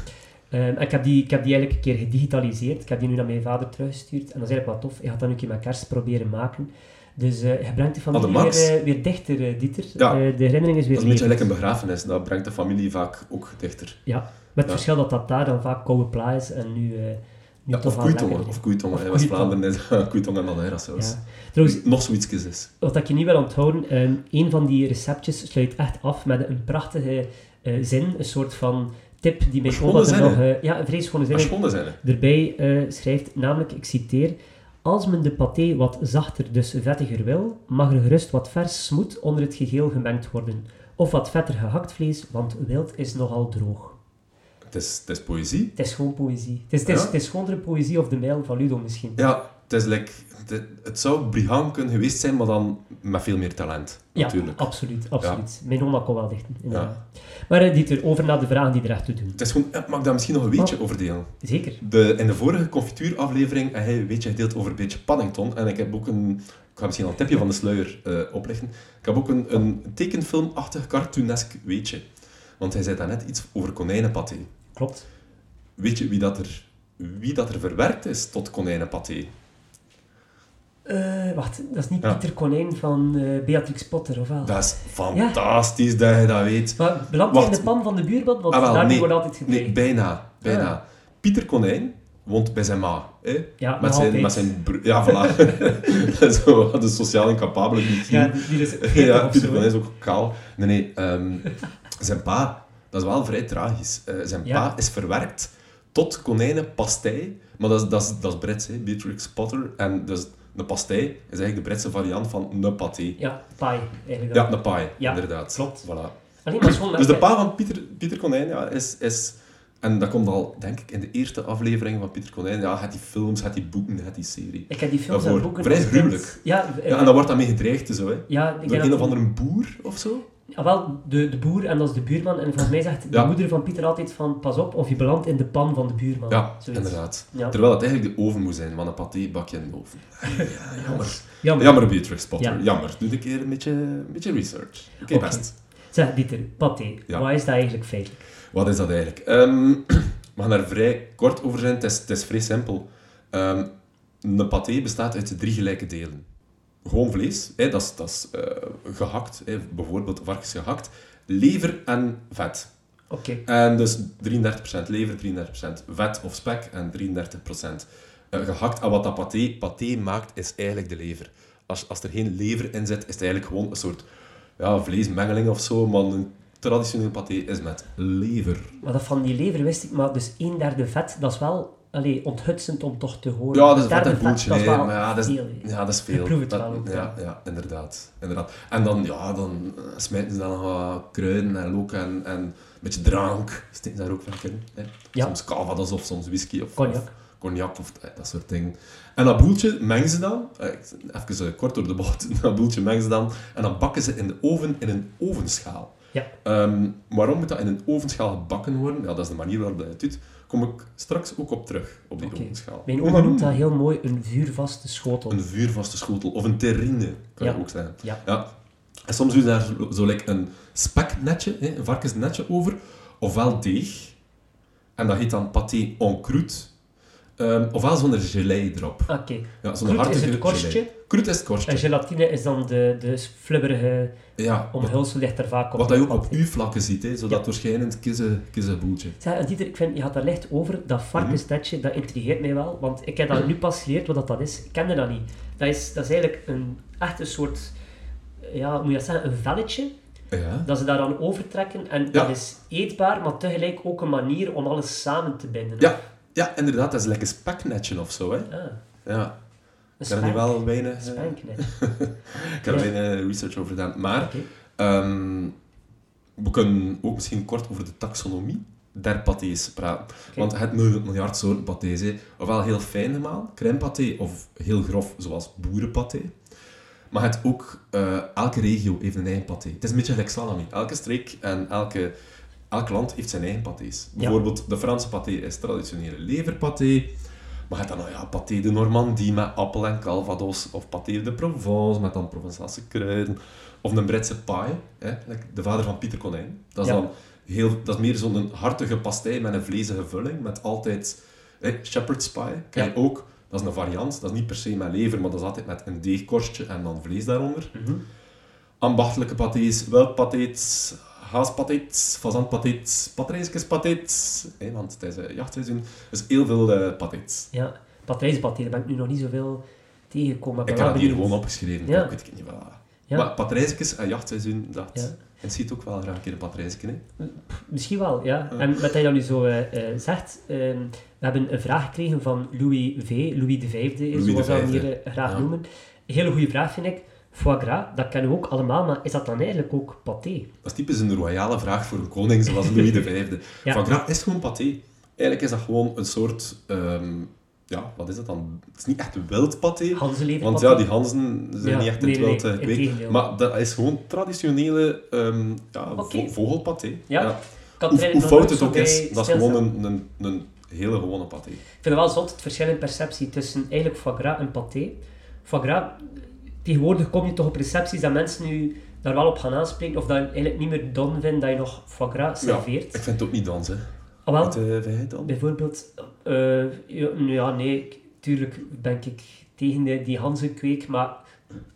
[SPEAKER 2] en ik, heb die, ik heb die eigenlijk een keer gedigitaliseerd. Ik heb die nu naar mijn vader teruggestuurd. En dat is eigenlijk wel tof. Ik had dat nu een keer met kerst proberen maken. Dus eh je brengt de familie
[SPEAKER 3] de max.
[SPEAKER 2] weer, eh, weer dichter, eh, Dieter.
[SPEAKER 3] Ja.
[SPEAKER 2] Eh, de herinnering is weer
[SPEAKER 3] Dat is een beetje
[SPEAKER 2] levend.
[SPEAKER 3] gelijk een begrafenis. Dat brengt de familie vaak ook dichter.
[SPEAKER 2] Ja, met het
[SPEAKER 3] Ja.
[SPEAKER 2] verschil dat dat daar dan vaak koude pla is en nu, eh nu
[SPEAKER 3] Ja,
[SPEAKER 2] toch
[SPEAKER 3] of
[SPEAKER 2] wel
[SPEAKER 3] koeitongen.
[SPEAKER 2] lekker is.
[SPEAKER 3] Of koeitongen. In
[SPEAKER 2] koeitongen.
[SPEAKER 3] West-Vlaanderen is dat koeitongen en Madeira zelfs. Dus-
[SPEAKER 2] Ja. Trouwens,
[SPEAKER 3] Nog zoiets is.
[SPEAKER 2] Wat ik je niet wil onthouden, ehm, een van die receptjes sluit echt af met een prachtige eh, zin, een soort van tip die mijn
[SPEAKER 3] Schone
[SPEAKER 2] oma er
[SPEAKER 3] zinnen.
[SPEAKER 2] nog... eh, ja, een vrees schone
[SPEAKER 3] Maar
[SPEAKER 2] zin
[SPEAKER 3] schoon zijn. hè.
[SPEAKER 2] erbij eh, schrijft, namelijk, ik citeer... Als men de paté wat zachter, dus vettiger wil, mag er gerust wat vers smoet onder het geheel gemengd worden. Of wat vetter gehakt vlees, want wild is nogal droog.
[SPEAKER 3] Het is, het is poëzie.
[SPEAKER 2] Het is gewoon poëzie. Het is, het is,
[SPEAKER 3] Ja?
[SPEAKER 2] het is gewoon de poëzie of de mijl van Ludo misschien.
[SPEAKER 3] Ja, het is like... Het, het zou Briham kunnen geweest zijn, maar dan met veel meer talent.
[SPEAKER 2] Ja,
[SPEAKER 3] Natuurlijk.
[SPEAKER 2] absoluut. absoluut. Mijn oma kon wel dichten. inderdaad. Maar eh, Dieter, over naar de vragen die er echt toe doen.
[SPEAKER 3] Het is gewoon... eh, Mag ik daar misschien nog een
[SPEAKER 2] Oh.
[SPEAKER 3] weetje over delen?
[SPEAKER 2] Zeker.
[SPEAKER 3] De, in de vorige confituuraflevering heb hij een beetje gedeeld over een beetje Paddington. En ik heb ook een... Ik ga misschien al een tipje van de sluier eh, oplichten. Ik heb ook een, een tekenfilmachtig, cartoonesk weetje. Want hij zei daarnet iets over konijnenpaté.
[SPEAKER 2] Klopt.
[SPEAKER 3] Weet je wie dat er, wie dat er verwerkt is tot konijnenpaté?
[SPEAKER 2] Eh, wacht, dat is niet
[SPEAKER 3] Ja.
[SPEAKER 2] Pieter Konijn van eh, Beatrix Potter, of wel?
[SPEAKER 3] Dat is fantastisch dat je dat weet.
[SPEAKER 2] Maar belandt hij in
[SPEAKER 3] Wacht.
[SPEAKER 2] de pan van de buurman? Want
[SPEAKER 3] Ah, wel,
[SPEAKER 2] daar
[SPEAKER 3] nee.
[SPEAKER 2] wordt altijd gebleven.
[SPEAKER 3] Nee, bijna. bijna. Pieter Konijn woont bij zijn ma. Hè?
[SPEAKER 2] Ja, nog
[SPEAKER 3] met, zijn,
[SPEAKER 2] altijd.
[SPEAKER 3] met zijn broer. Ja, voilà. Zo, de sociaal incapabele die ik
[SPEAKER 2] Ja,
[SPEAKER 3] hier-
[SPEAKER 2] die is veertig
[SPEAKER 3] ja,
[SPEAKER 2] of zo,
[SPEAKER 3] Pieter
[SPEAKER 2] hè.
[SPEAKER 3] Konijn is ook kaal. Nee, nee. ehm, zijn pa, dat is wel vrij tragisch. Eh, zijn
[SPEAKER 2] Ja.
[SPEAKER 3] pa is verwerkt tot konijnenpastei. Maar dat is, dat is, dat is Brits, hè? Beatrix Potter. En dus de pastei is eigenlijk de Britse variant van de paté.
[SPEAKER 2] Ja, paai, eigenlijk.
[SPEAKER 3] Ja,
[SPEAKER 2] wel.
[SPEAKER 3] de paai,
[SPEAKER 2] Ja,
[SPEAKER 3] inderdaad.
[SPEAKER 2] klopt.
[SPEAKER 3] Voilà.
[SPEAKER 2] Alleen maar schoon
[SPEAKER 3] Dus de pa van Pieter, Pieter Konijn ja, is, is... En dat komt al, denk ik, in de eerste aflevering van Pieter Konijn. Ja, het die films, het die boeken, het die serie.
[SPEAKER 2] Ik heb die films en
[SPEAKER 3] Daarvoor.
[SPEAKER 2] boeken...
[SPEAKER 3] Vrij
[SPEAKER 2] als kind-
[SPEAKER 3] gruwelijk.
[SPEAKER 2] Ja, eh,
[SPEAKER 3] Ja, en dan wordt daarmee gedreigd, zo, hè.
[SPEAKER 2] ja, ik
[SPEAKER 3] Door
[SPEAKER 2] denk
[SPEAKER 3] een
[SPEAKER 2] dat
[SPEAKER 3] of
[SPEAKER 2] die-
[SPEAKER 3] andere boer of zo.
[SPEAKER 2] Ah, wel, de, de boer en dat is de buurman. En volgens mij zegt
[SPEAKER 3] Ja.
[SPEAKER 2] de moeder van Pieter altijd van pas op of je belandt in de pan van de buurman.
[SPEAKER 3] Ja,
[SPEAKER 2] Zoiets.
[SPEAKER 3] inderdaad.
[SPEAKER 2] Ja.
[SPEAKER 3] Terwijl het eigenlijk de oven moet zijn, want een paté bak je in de oven. Ja, jammer.
[SPEAKER 2] Jammer.
[SPEAKER 3] Jammer, Beatrix Potter.
[SPEAKER 2] Ja.
[SPEAKER 3] Jammer. Doe een keer een beetje, een beetje research. Oké,
[SPEAKER 2] Oké.
[SPEAKER 3] best.
[SPEAKER 2] Zeg, Dieter, paté,
[SPEAKER 3] Ja.
[SPEAKER 2] wat is dat eigenlijk feitelijk?
[SPEAKER 3] Wat is dat eigenlijk? Ehm we gaan daar vrij kort over zijn. Het is, het is vrij simpel. Ehm, een paté bestaat uit drie gelijke delen. Gewoon vlees, hè, dat is, dat is eh, gehakt, hè, bijvoorbeeld varkens gehakt. Lever en vet.
[SPEAKER 2] Oké,
[SPEAKER 3] En dus 33% lever, 33% vet of spek en 33% eh, gehakt. En wat dat paté, paté maakt, is eigenlijk de lever. Als, als er geen lever in zit, is het eigenlijk gewoon een soort ja, vleesmengeling of zo. Maar een traditioneel paté is met lever.
[SPEAKER 2] maar dat van die lever wist ik, maar dus een derde vet, dat is wel allee, onthutsend om toch te horen.
[SPEAKER 3] Ja, dat is
[SPEAKER 2] Een
[SPEAKER 3] wat
[SPEAKER 2] derde
[SPEAKER 3] een boeltje.
[SPEAKER 2] dat is
[SPEAKER 3] hè.
[SPEAKER 2] wel
[SPEAKER 3] Maar ja, dat is,
[SPEAKER 2] veel, hè.
[SPEAKER 3] ja, dat is veel.
[SPEAKER 2] Je proeft het
[SPEAKER 3] Dat-
[SPEAKER 2] wel ook,
[SPEAKER 3] Ja, ja inderdaad, inderdaad. En dan, ja, dan eh, smijten ze dan nog wat kruiden en look en, en een beetje drank. Steken ze daar ook vaak in. Hè.
[SPEAKER 2] Ja.
[SPEAKER 3] Soms calvados of soms whisky of
[SPEAKER 2] Cognac.
[SPEAKER 3] of cognac of eh, dat soort dingen. En dat boeltje mengen ze dan, eh, ik- even eh, kort door de bocht, dat boeltje mengen ze dan en dan bakken ze in de oven in een ovenschaal.
[SPEAKER 2] Ja.
[SPEAKER 3] Ehm, waarom moet dat in een ovenschaal gebakken worden? Ja, dat is de manier waarop dat je het doet. Kom ik straks ook op terug, op die
[SPEAKER 2] Oké.
[SPEAKER 3] ovenschaal.
[SPEAKER 2] Mijn oma noemt dat heel mooi een vuurvaste schotel.
[SPEAKER 3] Een vuurvaste schotel of een terrine, kan
[SPEAKER 2] Ja.
[SPEAKER 3] je ook zeggen.
[SPEAKER 2] Ja.
[SPEAKER 3] En soms doe je daar zo, zo like een speknetje, hè, een varkensnetje over, ofwel deeg, en dat heet dan pâté en croûte, Ehm, ofwel zo'n gelei erop.
[SPEAKER 2] Oké,
[SPEAKER 3] Ja, zo'n
[SPEAKER 2] Croûte
[SPEAKER 3] hartige
[SPEAKER 2] is het
[SPEAKER 3] gelei.
[SPEAKER 2] korstje?
[SPEAKER 3] Croûte is het korstje.
[SPEAKER 2] en gelatine is dan de, de flubberige
[SPEAKER 3] ja, wat,
[SPEAKER 2] omhulsel die er vaak op.
[SPEAKER 3] wat dat je ook op
[SPEAKER 2] paté.
[SPEAKER 3] uw vlakken ziet, hè, zo dat
[SPEAKER 2] Ja.
[SPEAKER 3] doorschijnend kisse, kisse boeltje.
[SPEAKER 2] Zeg, en Dieter, ik vind, je had daar licht over,
[SPEAKER 3] Mhm.
[SPEAKER 2] dat varkensnetje, dat intrigeert mij wel, want ik heb dat nu pas geleerd wat dat, dat is. Ik kende dat niet. Dat is, dat is eigenlijk een, echt een soort, ja, hoe moet je dat zeggen, een velletje,
[SPEAKER 3] Ja.
[SPEAKER 2] dat ze daar aan overtrekken. En dat is eetbaar, maar tegelijk ook een manier om alles samen te binden.
[SPEAKER 3] Ja, ja, inderdaad, dat is lekker een speknetje of zo. Hè.
[SPEAKER 2] Ah,
[SPEAKER 3] Ja.
[SPEAKER 2] een
[SPEAKER 3] Ik heb er nu
[SPEAKER 2] spank,
[SPEAKER 3] wel weinig, eh,
[SPEAKER 2] spanknet.
[SPEAKER 3] ik heb er
[SPEAKER 2] Ja.
[SPEAKER 3] weinig research over gedaan. Maar
[SPEAKER 2] Oké.
[SPEAKER 3] Ehm, we kunnen ook misschien kort over de taxonomie der pâtés praten. Want het miljard, miljard soorten pâtés, hè. ofwel heel fijn gemaal, crème pâté, of heel grof, zoals boerenpâté. Maar het ook, eh, elke regio heeft een eigen paté. Het is een beetje gelijk salami. Elke streek en elke, elk land heeft zijn eigen patés. Bijvoorbeeld, de Franse paté is traditionele leverpaté. Maar je hebt dan, nou ja, paté de Normandie met appel en calvados. Of paté de Provence met dan Provençaalse kruiden. Of een Britse paai, hè, like de vader van Pieter Konijn. Dat is,
[SPEAKER 2] Ja.
[SPEAKER 3] dan heel, dat is meer zo'n hartige pastei met een vlezige vulling. Met altijd hè, shepherd's pie. Ken je
[SPEAKER 2] Ja.
[SPEAKER 3] ook. Dat is een variant. Dat is niet per se met lever, maar dat is altijd met een deegkorstje en dan vlees daaronder.
[SPEAKER 2] Mhm.
[SPEAKER 3] Ambachtelijke patés, welpatés, haaspatés, fazantpatés, patrijskespatés. Hè, want het is eh, jachtseizoen. Dus heel veel eh patés.
[SPEAKER 2] Ja, patrijsbad, daar ben ik nu nog niet zoveel tegengekomen. maar
[SPEAKER 3] Ik
[SPEAKER 2] ben wel
[SPEAKER 3] heb dat hier
[SPEAKER 2] benieuwd.
[SPEAKER 3] gewoon opgeschreven,
[SPEAKER 2] Ja.
[SPEAKER 3] ik weet het niet wel.
[SPEAKER 2] Ja.
[SPEAKER 3] Maar patrijsjes en jachtseizoen, dat.
[SPEAKER 2] Ja.
[SPEAKER 3] En ziet ook wel graag een keer een patrijsje, hè?
[SPEAKER 2] Misschien wel, ja. En wat hij dan nu zo eh, eh, zegt, ehm, we hebben een vraag gekregen van Louis V, Louis de Vijfde,
[SPEAKER 3] Louis
[SPEAKER 2] zoals
[SPEAKER 3] de
[SPEAKER 2] we hem
[SPEAKER 3] Vijfde,
[SPEAKER 2] hier eh, graag
[SPEAKER 3] ja.
[SPEAKER 2] noemen. Hele goede vraag vind ik. Foie gras, dat kennen we ook allemaal, maar is dat dan eigenlijk ook paté?
[SPEAKER 3] Dat is typisch een royale vraag voor een koning, zoals Louis V.
[SPEAKER 2] Ja.
[SPEAKER 3] Foie gras is gewoon paté. Eigenlijk is dat gewoon een soort... ehm, ja, wat is dat dan? Het is niet echt wild paté.
[SPEAKER 2] Hanselever
[SPEAKER 3] Want
[SPEAKER 2] paté?
[SPEAKER 3] ja, die Hansen zijn
[SPEAKER 2] Ja,
[SPEAKER 3] niet echt in
[SPEAKER 2] nee,
[SPEAKER 3] het
[SPEAKER 2] nee,
[SPEAKER 3] wild eh,
[SPEAKER 2] nee,
[SPEAKER 3] gekweekt.
[SPEAKER 2] integendeel.
[SPEAKER 3] Maar dat is gewoon traditionele ehm ja, vo-
[SPEAKER 2] Oké.
[SPEAKER 3] vogelpaté.
[SPEAKER 2] Ja. Ik had er
[SPEAKER 3] Hoe,
[SPEAKER 2] eigenlijk
[SPEAKER 3] hoe
[SPEAKER 2] nog
[SPEAKER 3] fout
[SPEAKER 2] nooit
[SPEAKER 3] het
[SPEAKER 2] zo
[SPEAKER 3] ook
[SPEAKER 2] bij
[SPEAKER 3] is, dat is
[SPEAKER 2] stilstaan.
[SPEAKER 3] gewoon een, een, een hele gewone paté.
[SPEAKER 2] Ik vind het wel zot, het verschil in perceptie tussen eigenlijk foie gras en paté. Foie gras, tegenwoordig kom je toch op recepties dat mensen nu daar wel op gaan aanspreken, of dat je eigenlijk niet meer don vindt dat je nog foie gras
[SPEAKER 3] Ja,
[SPEAKER 2] serveert.
[SPEAKER 3] ik vind het ook niet dansen.
[SPEAKER 2] Ah, wel,
[SPEAKER 3] Wat eh, vind jij dan?
[SPEAKER 2] Bijvoorbeeld, eh, ja, nou ja, nee, ik- tuurlijk ben ik tegen de, die hanzenkweek, maar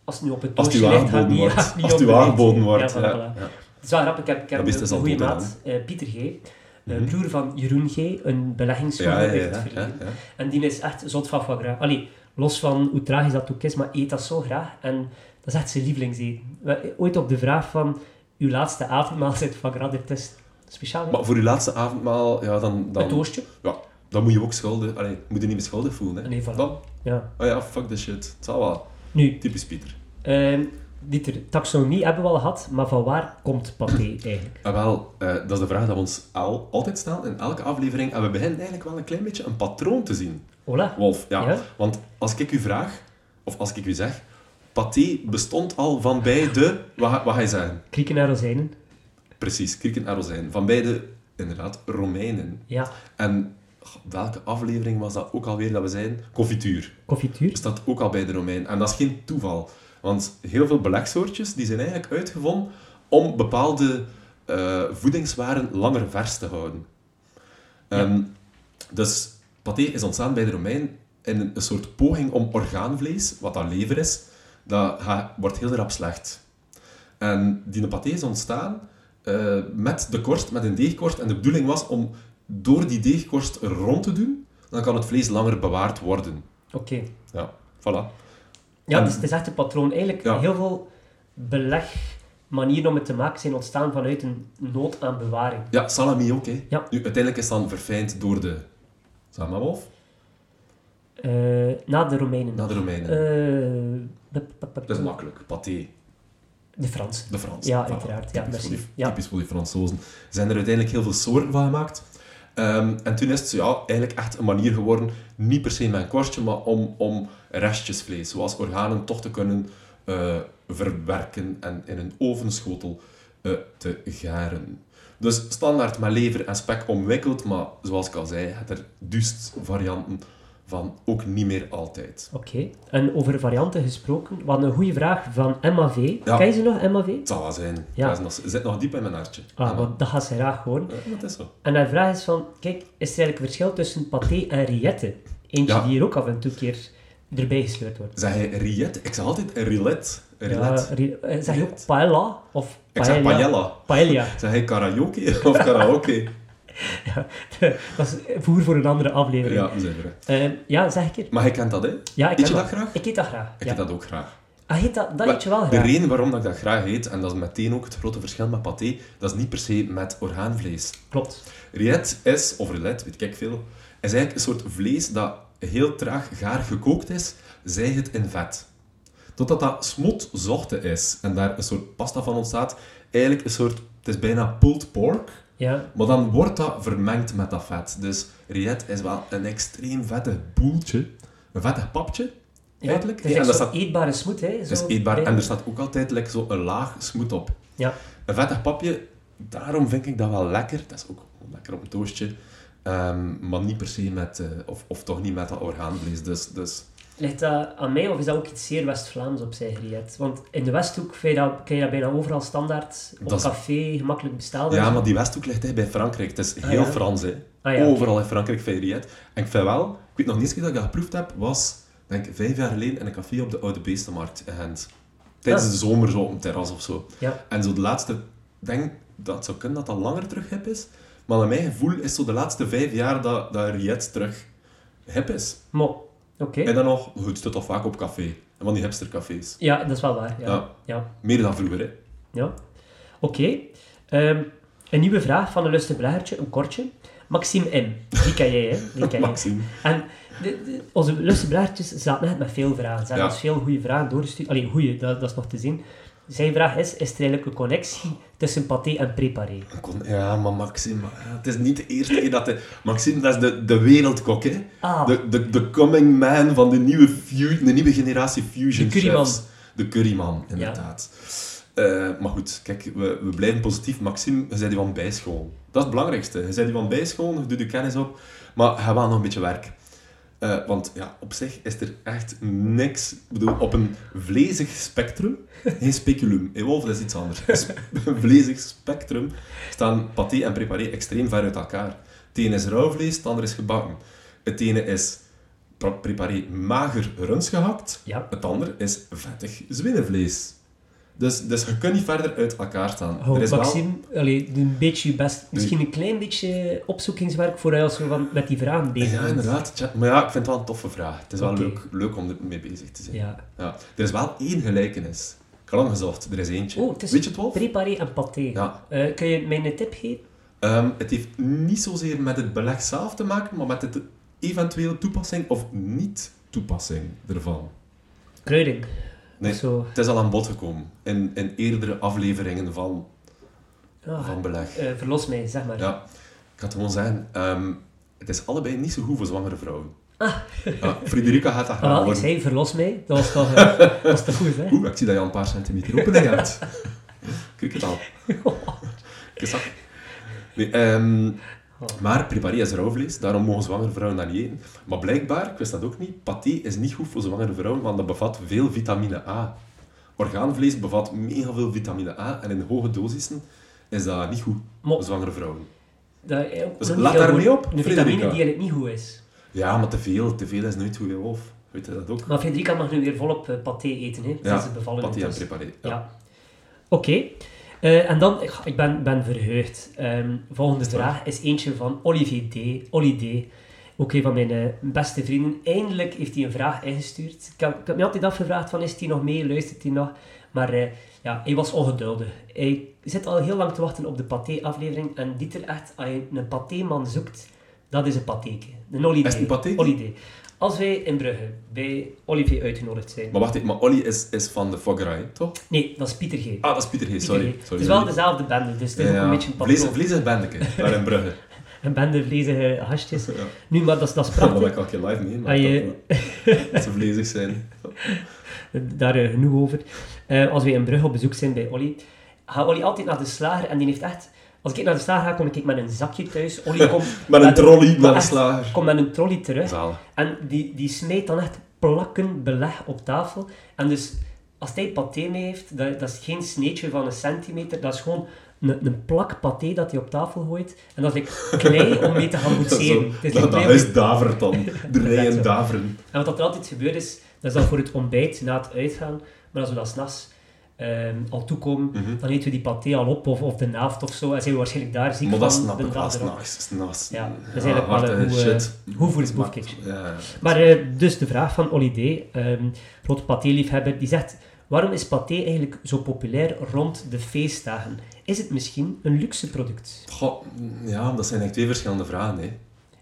[SPEAKER 2] als het nu op het
[SPEAKER 3] Als het u
[SPEAKER 2] doosje ligt, gaat
[SPEAKER 3] aangeboden
[SPEAKER 2] niet,
[SPEAKER 3] wordt.
[SPEAKER 2] gaat niet
[SPEAKER 3] Als het
[SPEAKER 2] op
[SPEAKER 3] u
[SPEAKER 2] de lijst.
[SPEAKER 3] aangeboden wordt.
[SPEAKER 2] Ja,
[SPEAKER 3] ja.
[SPEAKER 2] voilà, voilà. Het is wel grappig, ik heb, ik heb
[SPEAKER 3] Dat is
[SPEAKER 2] een
[SPEAKER 3] dus al
[SPEAKER 2] goede
[SPEAKER 3] goed
[SPEAKER 2] maat, eh, Pieter G., eh, broer van Jeroen G., een
[SPEAKER 3] Ja,
[SPEAKER 2] beleggingsjongen
[SPEAKER 3] Mhm. ja, ja,
[SPEAKER 2] uit het
[SPEAKER 3] ja,
[SPEAKER 2] verleden.
[SPEAKER 3] ja.
[SPEAKER 2] En die is echt zot van foie gras. Allee, los van hoe tragisch dat ook is, maar eet dat zo graag. En dat is echt zijn lievelingseten. We- Ooit op de vraag van, uw laatste avondmaal zit foie gras ertussen. Speciaal, hè?
[SPEAKER 3] Maar voor je laatste avondmaal, ja, dan... dan
[SPEAKER 2] een toastje.
[SPEAKER 3] Ja, dan moet je ook schuldig... Allee, moet je niet meer schuldig voelen, hè.
[SPEAKER 2] Nee, voilà.
[SPEAKER 3] Dan,
[SPEAKER 2] Ja.
[SPEAKER 3] oh ja, fuck the shit. Het zal wel.
[SPEAKER 2] Nu,
[SPEAKER 3] Typisch Pieter.
[SPEAKER 2] Ehm, Dieter, taxonomie hebben we al gehad, maar van waar komt paté eigenlijk?
[SPEAKER 3] Ah, wel, eh, dat is de vraag die we ons al, altijd stellen in elke aflevering. En we beginnen eigenlijk wel een klein beetje een patroon te zien.
[SPEAKER 2] Ola?
[SPEAKER 3] Wolf, ja.
[SPEAKER 2] Ja?
[SPEAKER 3] Want als ik u vraag, of als ik u zeg, Paté bestond al van bij de... Wat, ga- wat ga je zeggen?
[SPEAKER 2] Krieken en rozijnen.
[SPEAKER 3] Precies, krieken en rozijnen. Van bij de, inderdaad, Romeinen.
[SPEAKER 2] Ja.
[SPEAKER 3] En goh, welke aflevering was dat ook alweer dat we zijn? Confituur.
[SPEAKER 2] Confituur.
[SPEAKER 3] staat ook al bij de Romein. En dat is geen toeval. Want heel veel beleksoortjes die zijn eigenlijk uitgevonden om bepaalde eh, voedingswaren langer vers te houden. Ehm, Dus paté is ontstaan bij de Romein in een, een soort poging om orgaanvlees, wat dat lever is, dat ga- wordt heel rap slecht. En die paté is ontstaan eh, met de korst, met een deegkorst. En de bedoeling was om door die deegkorst rond te doen, dan kan het vlees langer bewaard worden.
[SPEAKER 2] Oké.
[SPEAKER 3] Ja, voilà.
[SPEAKER 2] Ja,
[SPEAKER 3] En-
[SPEAKER 2] dus het is echt een patroon. Eigenlijk
[SPEAKER 3] Ja.
[SPEAKER 2] heel veel beleg manieren om het te maken zijn ontstaan vanuit een nood aan bewaring.
[SPEAKER 3] Ja, salami ook, hè.
[SPEAKER 2] Ja.
[SPEAKER 3] Nu, uiteindelijk is dan verfijnd door de... Zeg maar, Wolf?
[SPEAKER 2] Eh, na de Romeinen.
[SPEAKER 3] Naar de Romeinen.
[SPEAKER 2] Eh, de,
[SPEAKER 3] Dat is makkelijk. Paté,
[SPEAKER 2] de Fransen.
[SPEAKER 3] de Frans.
[SPEAKER 2] Ja, uiteraard. Ja,
[SPEAKER 3] typisch, voor die,
[SPEAKER 2] merci. Ja.
[SPEAKER 3] typisch voor die Fransozen. Zijn er uiteindelijk heel veel soorten van gemaakt. Ehm, en toen is het ja, eigenlijk echt een manier geworden, niet per se met een korstje, maar om, om restjes vlees, zoals organen, toch te kunnen eh, verwerken en in een ovenschotel eh, te garen. Dus standaard met lever en spek omwikkeld, maar zoals ik al zei, het er duist varianten van ook niet meer altijd.
[SPEAKER 2] Oké. En over varianten gesproken, wat een goede vraag van MAV.
[SPEAKER 3] Ja.
[SPEAKER 2] Ken je ze nog, MAV?
[SPEAKER 3] Het zal wel zijn.
[SPEAKER 2] Ja.
[SPEAKER 3] Dat is nog, zit nog diep in mijn hartje.
[SPEAKER 2] Ah,
[SPEAKER 3] Ja,
[SPEAKER 2] want dat gaat ze graag horen.
[SPEAKER 3] eh, dat is zo.
[SPEAKER 2] En haar vraag is van, kijk, is er eigenlijk verschil tussen paté en rillette? Eentje
[SPEAKER 3] Ja.
[SPEAKER 2] die hier ook af en toe een keer erbij gesleurd wordt.
[SPEAKER 3] Zeg hij riet? Ik zeg altijd rillet. Rillet.
[SPEAKER 2] Ja, ri- eh, zeg je ook
[SPEAKER 3] Rillet.
[SPEAKER 2] paella of
[SPEAKER 3] ik zeg paella.
[SPEAKER 2] Paella.
[SPEAKER 3] Zeg hij karaoke of karaoke?
[SPEAKER 2] dat is voer voor een andere aflevering.
[SPEAKER 3] ja, zeker.
[SPEAKER 2] Eh, ja, zeg een keer.
[SPEAKER 3] Maar jij kent dat, hè?
[SPEAKER 2] Ja, ik
[SPEAKER 3] Eet
[SPEAKER 2] ken
[SPEAKER 3] je dat graag?
[SPEAKER 2] Ik eet dat graag.
[SPEAKER 3] Ik
[SPEAKER 2] ja.
[SPEAKER 3] eet dat ook graag.
[SPEAKER 2] Ah, eet dat, dat
[SPEAKER 3] Maar
[SPEAKER 2] eet je wel
[SPEAKER 3] De
[SPEAKER 2] graag.
[SPEAKER 3] reden waarom dat ik dat graag eet, en dat is meteen ook het grote verschil met paté, dat is niet per se met orgaanvlees.
[SPEAKER 2] Klopt.
[SPEAKER 3] Riet is, of rillet, weet ik veel, is eigenlijk een soort vlees dat heel traag gaar gekookt is, zij het in vet. Totdat dat smotzochte is en daar een soort pasta van ontstaat. Eigenlijk een soort, het is bijna pulled pork,
[SPEAKER 2] Ja.
[SPEAKER 3] maar dan wordt dat vermengd met dat vet. Dus riet is wel een extreem vette boeltje, een vettig papje,
[SPEAKER 2] Ja,
[SPEAKER 3] feitelijk.
[SPEAKER 2] Het is
[SPEAKER 3] en
[SPEAKER 2] echt
[SPEAKER 3] dat
[SPEAKER 2] zo'n
[SPEAKER 3] staat,
[SPEAKER 2] eetbare smoed, hè?
[SPEAKER 3] het is
[SPEAKER 2] zo
[SPEAKER 3] eetbaar
[SPEAKER 2] bij-
[SPEAKER 3] en dus- er staat ook altijd like, zo een laag smoet op.
[SPEAKER 2] Ja.
[SPEAKER 3] Een vettig papje, daarom vind ik dat wel lekker. Dat is ook lekker op een toastje. Ehm, maar niet per se met, eh, of, of toch niet met dat orgaanvlees. Dus, dus
[SPEAKER 2] Ligt dat aan mij of is dat ook iets zeer West-Vlaams op zijn grillet? Want in de Westhoek vind je dat, kan je dat bijna overal standaard op
[SPEAKER 3] Dat is-
[SPEAKER 2] café gemakkelijk bestellen.
[SPEAKER 3] ja, maar die Westhoek ligt hè, bij Frankrijk. Het is heel
[SPEAKER 2] Ah, ja.
[SPEAKER 3] Frans, hè.
[SPEAKER 2] Ah, ja.
[SPEAKER 3] Overal in Frankrijk vind je riet. En ik vind wel, ik weet nog niet eens dat ik dat geproefd heb, was, denk ik, vijf jaar geleden in een café op de Oude Beestenmarkt in Gent. Tijdens
[SPEAKER 2] Ah.
[SPEAKER 3] de zomer, zo op een terras of zo.
[SPEAKER 2] Ja.
[SPEAKER 3] En zo de laatste, ik denk dat het zou kunnen dat dat langer terug hip is, maar naar mijn gevoel is zo de laatste vijf jaar dat, dat riet terug hip is.
[SPEAKER 2] Mo. Oké.
[SPEAKER 3] En dan nog, goed, het staat toch vaak op café. En van die hipstercafés.
[SPEAKER 2] Ja, dat is wel waar. Ja. Ja.
[SPEAKER 3] Ja.
[SPEAKER 2] ja.
[SPEAKER 3] Meer dan vroeger, hè.
[SPEAKER 2] Oké. Ehm, een nieuwe vraag van een lustig beleggertje, een kortje. Maxime M. Die ken jij, hè? Die ken jij.
[SPEAKER 3] Maxime.
[SPEAKER 2] En de- de- onze lustige beleggertjes zaten net met veel vragen. Ze hebben
[SPEAKER 3] Ja.
[SPEAKER 2] ons veel goede vragen doorgestuurd. Allee, goede, dat, dat is nog te zien. Zijn vraag is, is er eigenlijk een connectie tussen paté en préparé?
[SPEAKER 3] Kon- Ja, maar Maxime, ja, het is niet de eerste keer dat hij... Maxime, dat is de, de wereldkok, hè.
[SPEAKER 2] Ah.
[SPEAKER 3] De, de, de coming man van de nieuwe, fu- de nieuwe generatie fusion
[SPEAKER 2] De curryman.
[SPEAKER 3] chefs. De curryman, inderdaad. Eh, maar goed, kijk, we, we blijven positief. Maxime, je bent die van bijschool. Dat is het belangrijkste. Je bent die van bijschool, je doet de kennis op. Maar je wel nog een beetje werk. Eh, want ja, op zich is er echt niks. Ik bedoel, op een vlezig spectrum, geen speculum. Hey, Wolf, dat is iets anders. Een sp- Een vlezig spectrum staan paté en préparé extreem ver uit elkaar. Het ene is rauw vlees, het andere is gebakken. Het ene is pra- préparé mager runs gehakt,
[SPEAKER 2] Ja.
[SPEAKER 3] het andere is vettig zwinnenvlees. Dus, dus je kunt niet verder uit elkaar staan.
[SPEAKER 2] Oh,
[SPEAKER 3] er is wel...
[SPEAKER 2] Maxime, allee, doe een beetje je best. Misschien een klein beetje opzoekingswerk voor als we van, met die vragen bezig
[SPEAKER 3] Ja,
[SPEAKER 2] bent.
[SPEAKER 3] inderdaad. Tja, Maar ja, ik vind het wel een toffe vraag. Het is wel
[SPEAKER 2] Oké.
[SPEAKER 3] leuk, leuk om ermee bezig te zijn.
[SPEAKER 2] Ja.
[SPEAKER 3] Ja. Er is wel één gelijkenis. Ik had lang gezocht, er is eentje.
[SPEAKER 2] Oh, het is
[SPEAKER 3] Weet je het wel?
[SPEAKER 2] Préparé en paté.
[SPEAKER 3] Ja.
[SPEAKER 2] Eh, kun je mij een tip geven?
[SPEAKER 3] Ehm, het heeft niet zozeer met het beleg zelf te maken, maar met de eventuele toepassing of niet-toepassing ervan.
[SPEAKER 2] Kruiding.
[SPEAKER 3] Nee,
[SPEAKER 2] Zo.
[SPEAKER 3] het is al aan bod gekomen in, in eerdere afleveringen van,
[SPEAKER 2] Ah,
[SPEAKER 3] van beleg.
[SPEAKER 2] eh, verlos mij, zeg maar.
[SPEAKER 3] Ja, ik ga het gewoon zeggen. ehm, het is allebei niet zo goed voor zwangere vrouwen. Ja, Frederica gaat dat
[SPEAKER 2] Ah,
[SPEAKER 3] graag
[SPEAKER 2] wel, Ah. ik
[SPEAKER 3] worden.
[SPEAKER 2] zei, verlos mij. Dat was toch, eh, dat was toch goed, hè?
[SPEAKER 3] Oeh, ik zie dat je al een paar centimeter opening hebt. Kijk het al. Ik zag. Nee, ehm, maar preparé is rauwvlees, daarom mogen zwangere vrouwen dat niet eten. Maar blijkbaar, ik wist dat ook niet, paté is niet goed voor zwangere vrouwen, want dat bevat veel vitamine A. Orgaanvlees bevat mega veel vitamine A en in hoge dosissen is dat niet goed
[SPEAKER 2] Mo-
[SPEAKER 3] voor zwangere vrouwen.
[SPEAKER 2] Dat, eh, ook
[SPEAKER 3] Dus
[SPEAKER 2] nog
[SPEAKER 3] laat
[SPEAKER 2] heel
[SPEAKER 3] daar
[SPEAKER 2] goed.
[SPEAKER 3] mee op,
[SPEAKER 2] Een vitamine
[SPEAKER 3] Frederica.
[SPEAKER 2] die eigenlijk niet goed is.
[SPEAKER 3] Ja, maar te veel, te veel is nooit goed, hè, Wolf. Weet je dat ook?
[SPEAKER 2] Maar Federica mag nu weer volop eh, paté eten, hè?
[SPEAKER 3] Ja,
[SPEAKER 2] Sinds het bevallen
[SPEAKER 3] paté en
[SPEAKER 2] intussen.
[SPEAKER 3] preparé.
[SPEAKER 2] Ja. Oké. Eh, en dan, ik- ik ben, ben verheugd. Ehm, volgende vraag is eentje van Olivier D. Olly D. Ook een van mijn eh, beste vrienden. Eindelijk heeft hij een vraag ingestuurd. Ik heb, ik heb me altijd afgevraagd van, is hij nog mee? Luistert hij nog? Maar eh, ja, hij was ongeduldig. Hij zit al heel lang te wachten op de paté-aflevering. En Dieter echt, als je een paté-man zoekt, dat is een patéke. Een Olly D.
[SPEAKER 3] Is het een patéke?
[SPEAKER 2] Olly D. Als wij in Brugge bij Olivier uitgenodigd zijn...
[SPEAKER 3] Maar wacht even, maar Olly is, is van de Fogra, hè, toch?
[SPEAKER 2] Nee, dat is Pieter G.
[SPEAKER 3] Ah, dat is Pieter G,
[SPEAKER 2] Pieter
[SPEAKER 3] sorry.
[SPEAKER 2] G.
[SPEAKER 3] sorry.
[SPEAKER 2] Het is wel dezelfde bende, dus het is ook een beetje een
[SPEAKER 3] Vlees,
[SPEAKER 2] patroon.
[SPEAKER 3] vlees en bendeke, daar in Brugge.
[SPEAKER 2] Een bende vleesige hasjes.
[SPEAKER 3] Ja.
[SPEAKER 2] Nu, maar dat is, dat is
[SPEAKER 3] Dat wil
[SPEAKER 2] prachtig.
[SPEAKER 3] ik elke keer live mee, maar
[SPEAKER 2] Ah, je-
[SPEAKER 3] dat- dat ze vlezig zijn.
[SPEAKER 2] Daar eh, genoeg over. Eh, als we in Brugge op bezoek zijn bij Olly, gaat Olly altijd naar de slager en die heeft echt... Als ik naar de slager ga, kom ik met een zakje thuis. Olly komt...
[SPEAKER 3] Met een trolley naar de
[SPEAKER 2] echt-
[SPEAKER 3] slager.
[SPEAKER 2] Komt met een trolley terug.
[SPEAKER 3] Zalig.
[SPEAKER 2] En die, die smijt dan echt plakken beleg op tafel. En dus, als hij paté mee heeft, dat, dat is geen sneetje van een centimeter. Dat is gewoon een, een plak paté dat hij op tafel gooit. En dat is like klei om mee te gaan
[SPEAKER 3] Dat, is
[SPEAKER 2] boetseren.
[SPEAKER 3] zo,
[SPEAKER 2] Het is like
[SPEAKER 3] dat, dat
[SPEAKER 2] klei om-
[SPEAKER 3] huis davert dan. De rijen
[SPEAKER 2] zo.
[SPEAKER 3] daveren.
[SPEAKER 2] En wat er altijd gebeurt is, dat is dan voor het ontbijt, na het uitgaan, maar als we dan s'nachts ehm al toekomen,
[SPEAKER 3] Mhm.
[SPEAKER 2] dan eten we die paté al op, of, of de naft of zo, en zijn we waarschijnlijk daar ziek
[SPEAKER 3] Maar dat
[SPEAKER 2] van
[SPEAKER 3] snap
[SPEAKER 2] de
[SPEAKER 3] ik wel,
[SPEAKER 2] dag erop.
[SPEAKER 3] s'nachts. s'nachts.
[SPEAKER 2] Ja, dat is eigenlijk wel
[SPEAKER 3] harde
[SPEAKER 2] een hoe,
[SPEAKER 3] shit.
[SPEAKER 2] eh, hoe voor het boekje.
[SPEAKER 3] Ja,
[SPEAKER 2] Maar eh, dus de vraag van Olly D, ehm, grote paté-liefhebber, die zegt, waarom is paté eigenlijk zo populair rond de feestdagen? Is het misschien een luxe product?
[SPEAKER 3] Goh, ja, dat zijn eigenlijk twee verschillende vragen. Hè.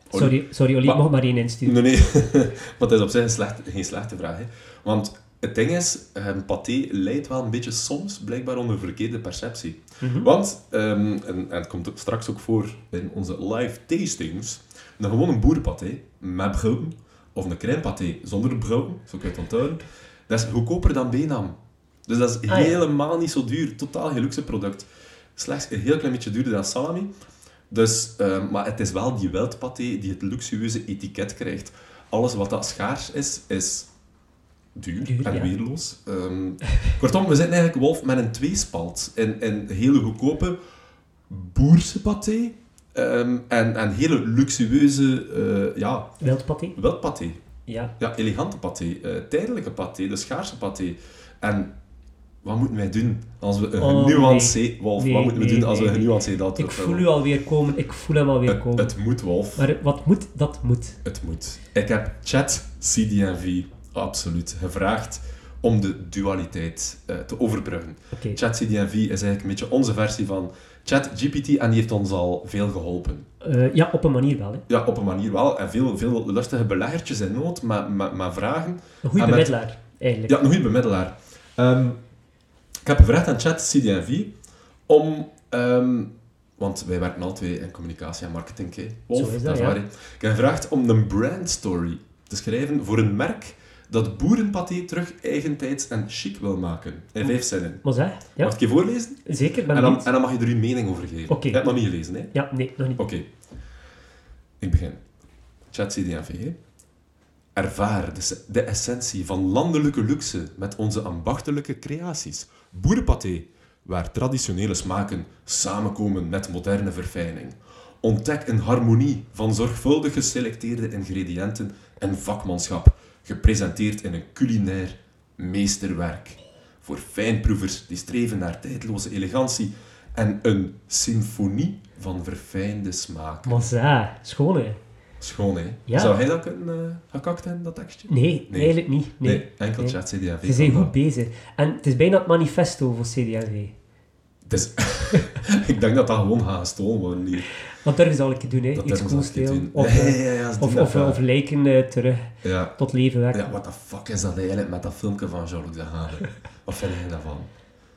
[SPEAKER 3] Olly-
[SPEAKER 2] Sorry, sorry Olly,
[SPEAKER 3] Maar-
[SPEAKER 2] ik mag maar één insturen.
[SPEAKER 3] Nee, nee. maar dat is op zich een slecht, geen slechte vraag. Hè. Want het ding is, ehm paté leidt wel een beetje soms blijkbaar onder verkeerde perceptie.
[SPEAKER 2] Mhm.
[SPEAKER 3] Want, ehm, en, en het komt ook straks ook voor in onze live tastings, een gewone boerenpaté met broden, of een crème paté zonder broden, zo kun je het onthouden, dat is goedkoper dan Benam. Dus dat is
[SPEAKER 2] Ah, ja.
[SPEAKER 3] helemaal niet zo duur. Totaal geen luxe product. Slechts een heel klein beetje duurder dan salami. Dus, eh, maar het is wel die wildpaté die het luxueuze etiket krijgt. Alles wat dat schaars is, is duur,
[SPEAKER 2] Duur,
[SPEAKER 3] en
[SPEAKER 2] ja.
[SPEAKER 3] weerloos. Ehm, kortom, we zitten eigenlijk wolf met een tweespalt. Een, een hele goedkope boerse paté ehm, en en hele luxueuze eh ja,
[SPEAKER 2] Wild paté?
[SPEAKER 3] wildpaté.
[SPEAKER 2] Ja.
[SPEAKER 3] Ja, elegante paté, eh, tijdelijke paté, de schaarse paté. En wat moeten wij doen als we een
[SPEAKER 2] Oh,
[SPEAKER 3] genuanceerd... Wolf,
[SPEAKER 2] Nee,
[SPEAKER 3] wat moeten we
[SPEAKER 2] nee,
[SPEAKER 3] doen als we
[SPEAKER 2] nee,
[SPEAKER 3] een genuanceerd dat
[SPEAKER 2] Ik voel u alweer komen, ik voel hem alweer
[SPEAKER 3] het,
[SPEAKER 2] komen.
[SPEAKER 3] het moet, Wolf.
[SPEAKER 2] Maar wat moet, dat moet.
[SPEAKER 3] Het moet. Ik heb chat CDNV absoluut gevraagd om de dualiteit eh, te overbruggen.
[SPEAKER 2] Oké.
[SPEAKER 3] Chat CDNV is eigenlijk een beetje onze versie van chat GPT en die heeft ons al veel geholpen.
[SPEAKER 2] Eh, ja, op een manier wel. Hè.
[SPEAKER 3] Ja, op een manier wel. En veel, veel lustige beleggertjes in nood, maar, maar, maar vragen.
[SPEAKER 2] Een goede
[SPEAKER 3] En met-
[SPEAKER 2] bemiddelaar, eigenlijk.
[SPEAKER 3] Ja, een goede bemiddelaar. Ehm, ik heb gevraagd aan chat CDNV om... ehm, want wij werken al twee in communicatie en marketing, hè. Wolf,
[SPEAKER 2] Zo is dat,
[SPEAKER 3] dat is
[SPEAKER 2] ja.
[SPEAKER 3] waar, hè. Ik heb gevraagd om een brandstory te schrijven voor een merk dat boerenpaté terug eigentijds en chic wil maken. In vijf zinnen.
[SPEAKER 2] Maar zeg, ja,
[SPEAKER 3] Mag ik je voorlezen?
[SPEAKER 2] zeker, ben
[SPEAKER 3] En dan,
[SPEAKER 2] benieuwd.
[SPEAKER 3] en dan mag je er je mening over geven.
[SPEAKER 2] Oké.
[SPEAKER 3] Je hebt het nog niet gelezen, hè?
[SPEAKER 2] Ja, nee, nog niet.
[SPEAKER 3] Oké. Ik begin. Chat CDNV. Ervaar de, s- de essentie van landelijke luxe met onze ambachtelijke creaties. Boerenpaté, waar traditionele smaken samenkomen met moderne verfijning. Ontdek een harmonie van zorgvuldig geselecteerde ingrediënten en vakmanschap, gepresenteerd in een culinair meesterwerk voor fijnproevers die streven naar tijdloze elegantie en een symfonie van verfijnde smaak.
[SPEAKER 2] Maar zeg, schoon hè?
[SPEAKER 3] Schoon, hè?
[SPEAKER 2] Ja.
[SPEAKER 3] Zou hij dat kunnen eh, gekakt hebben, dat tekstje?
[SPEAKER 2] Nee,
[SPEAKER 3] Nee.
[SPEAKER 2] eigenlijk niet. Nee.
[SPEAKER 3] enkel
[SPEAKER 2] Nee.
[SPEAKER 3] chat CDV.
[SPEAKER 2] Ze zijn goed bezig. En het is bijna het manifesto voor CD&V.
[SPEAKER 3] Dus, ik denk dat dat gewoon gaat gestolen worden hier.
[SPEAKER 2] Wat durven ze al een keer doen, hè?
[SPEAKER 3] Dat
[SPEAKER 2] Iets
[SPEAKER 3] durven ze al
[SPEAKER 2] cools
[SPEAKER 3] een keer
[SPEAKER 2] delen.
[SPEAKER 3] doen.
[SPEAKER 2] Of,
[SPEAKER 3] Ja,
[SPEAKER 2] eh,
[SPEAKER 3] ja, ja, ze
[SPEAKER 2] of,
[SPEAKER 3] doen
[SPEAKER 2] of,
[SPEAKER 3] dat wel.
[SPEAKER 2] of lijken eh, terug
[SPEAKER 3] Ja.
[SPEAKER 2] tot leven wekken.
[SPEAKER 3] Ja, what the fuck is dat eigenlijk met dat filmpje van Jean-Luc Dehane? Wat vind jij daarvan?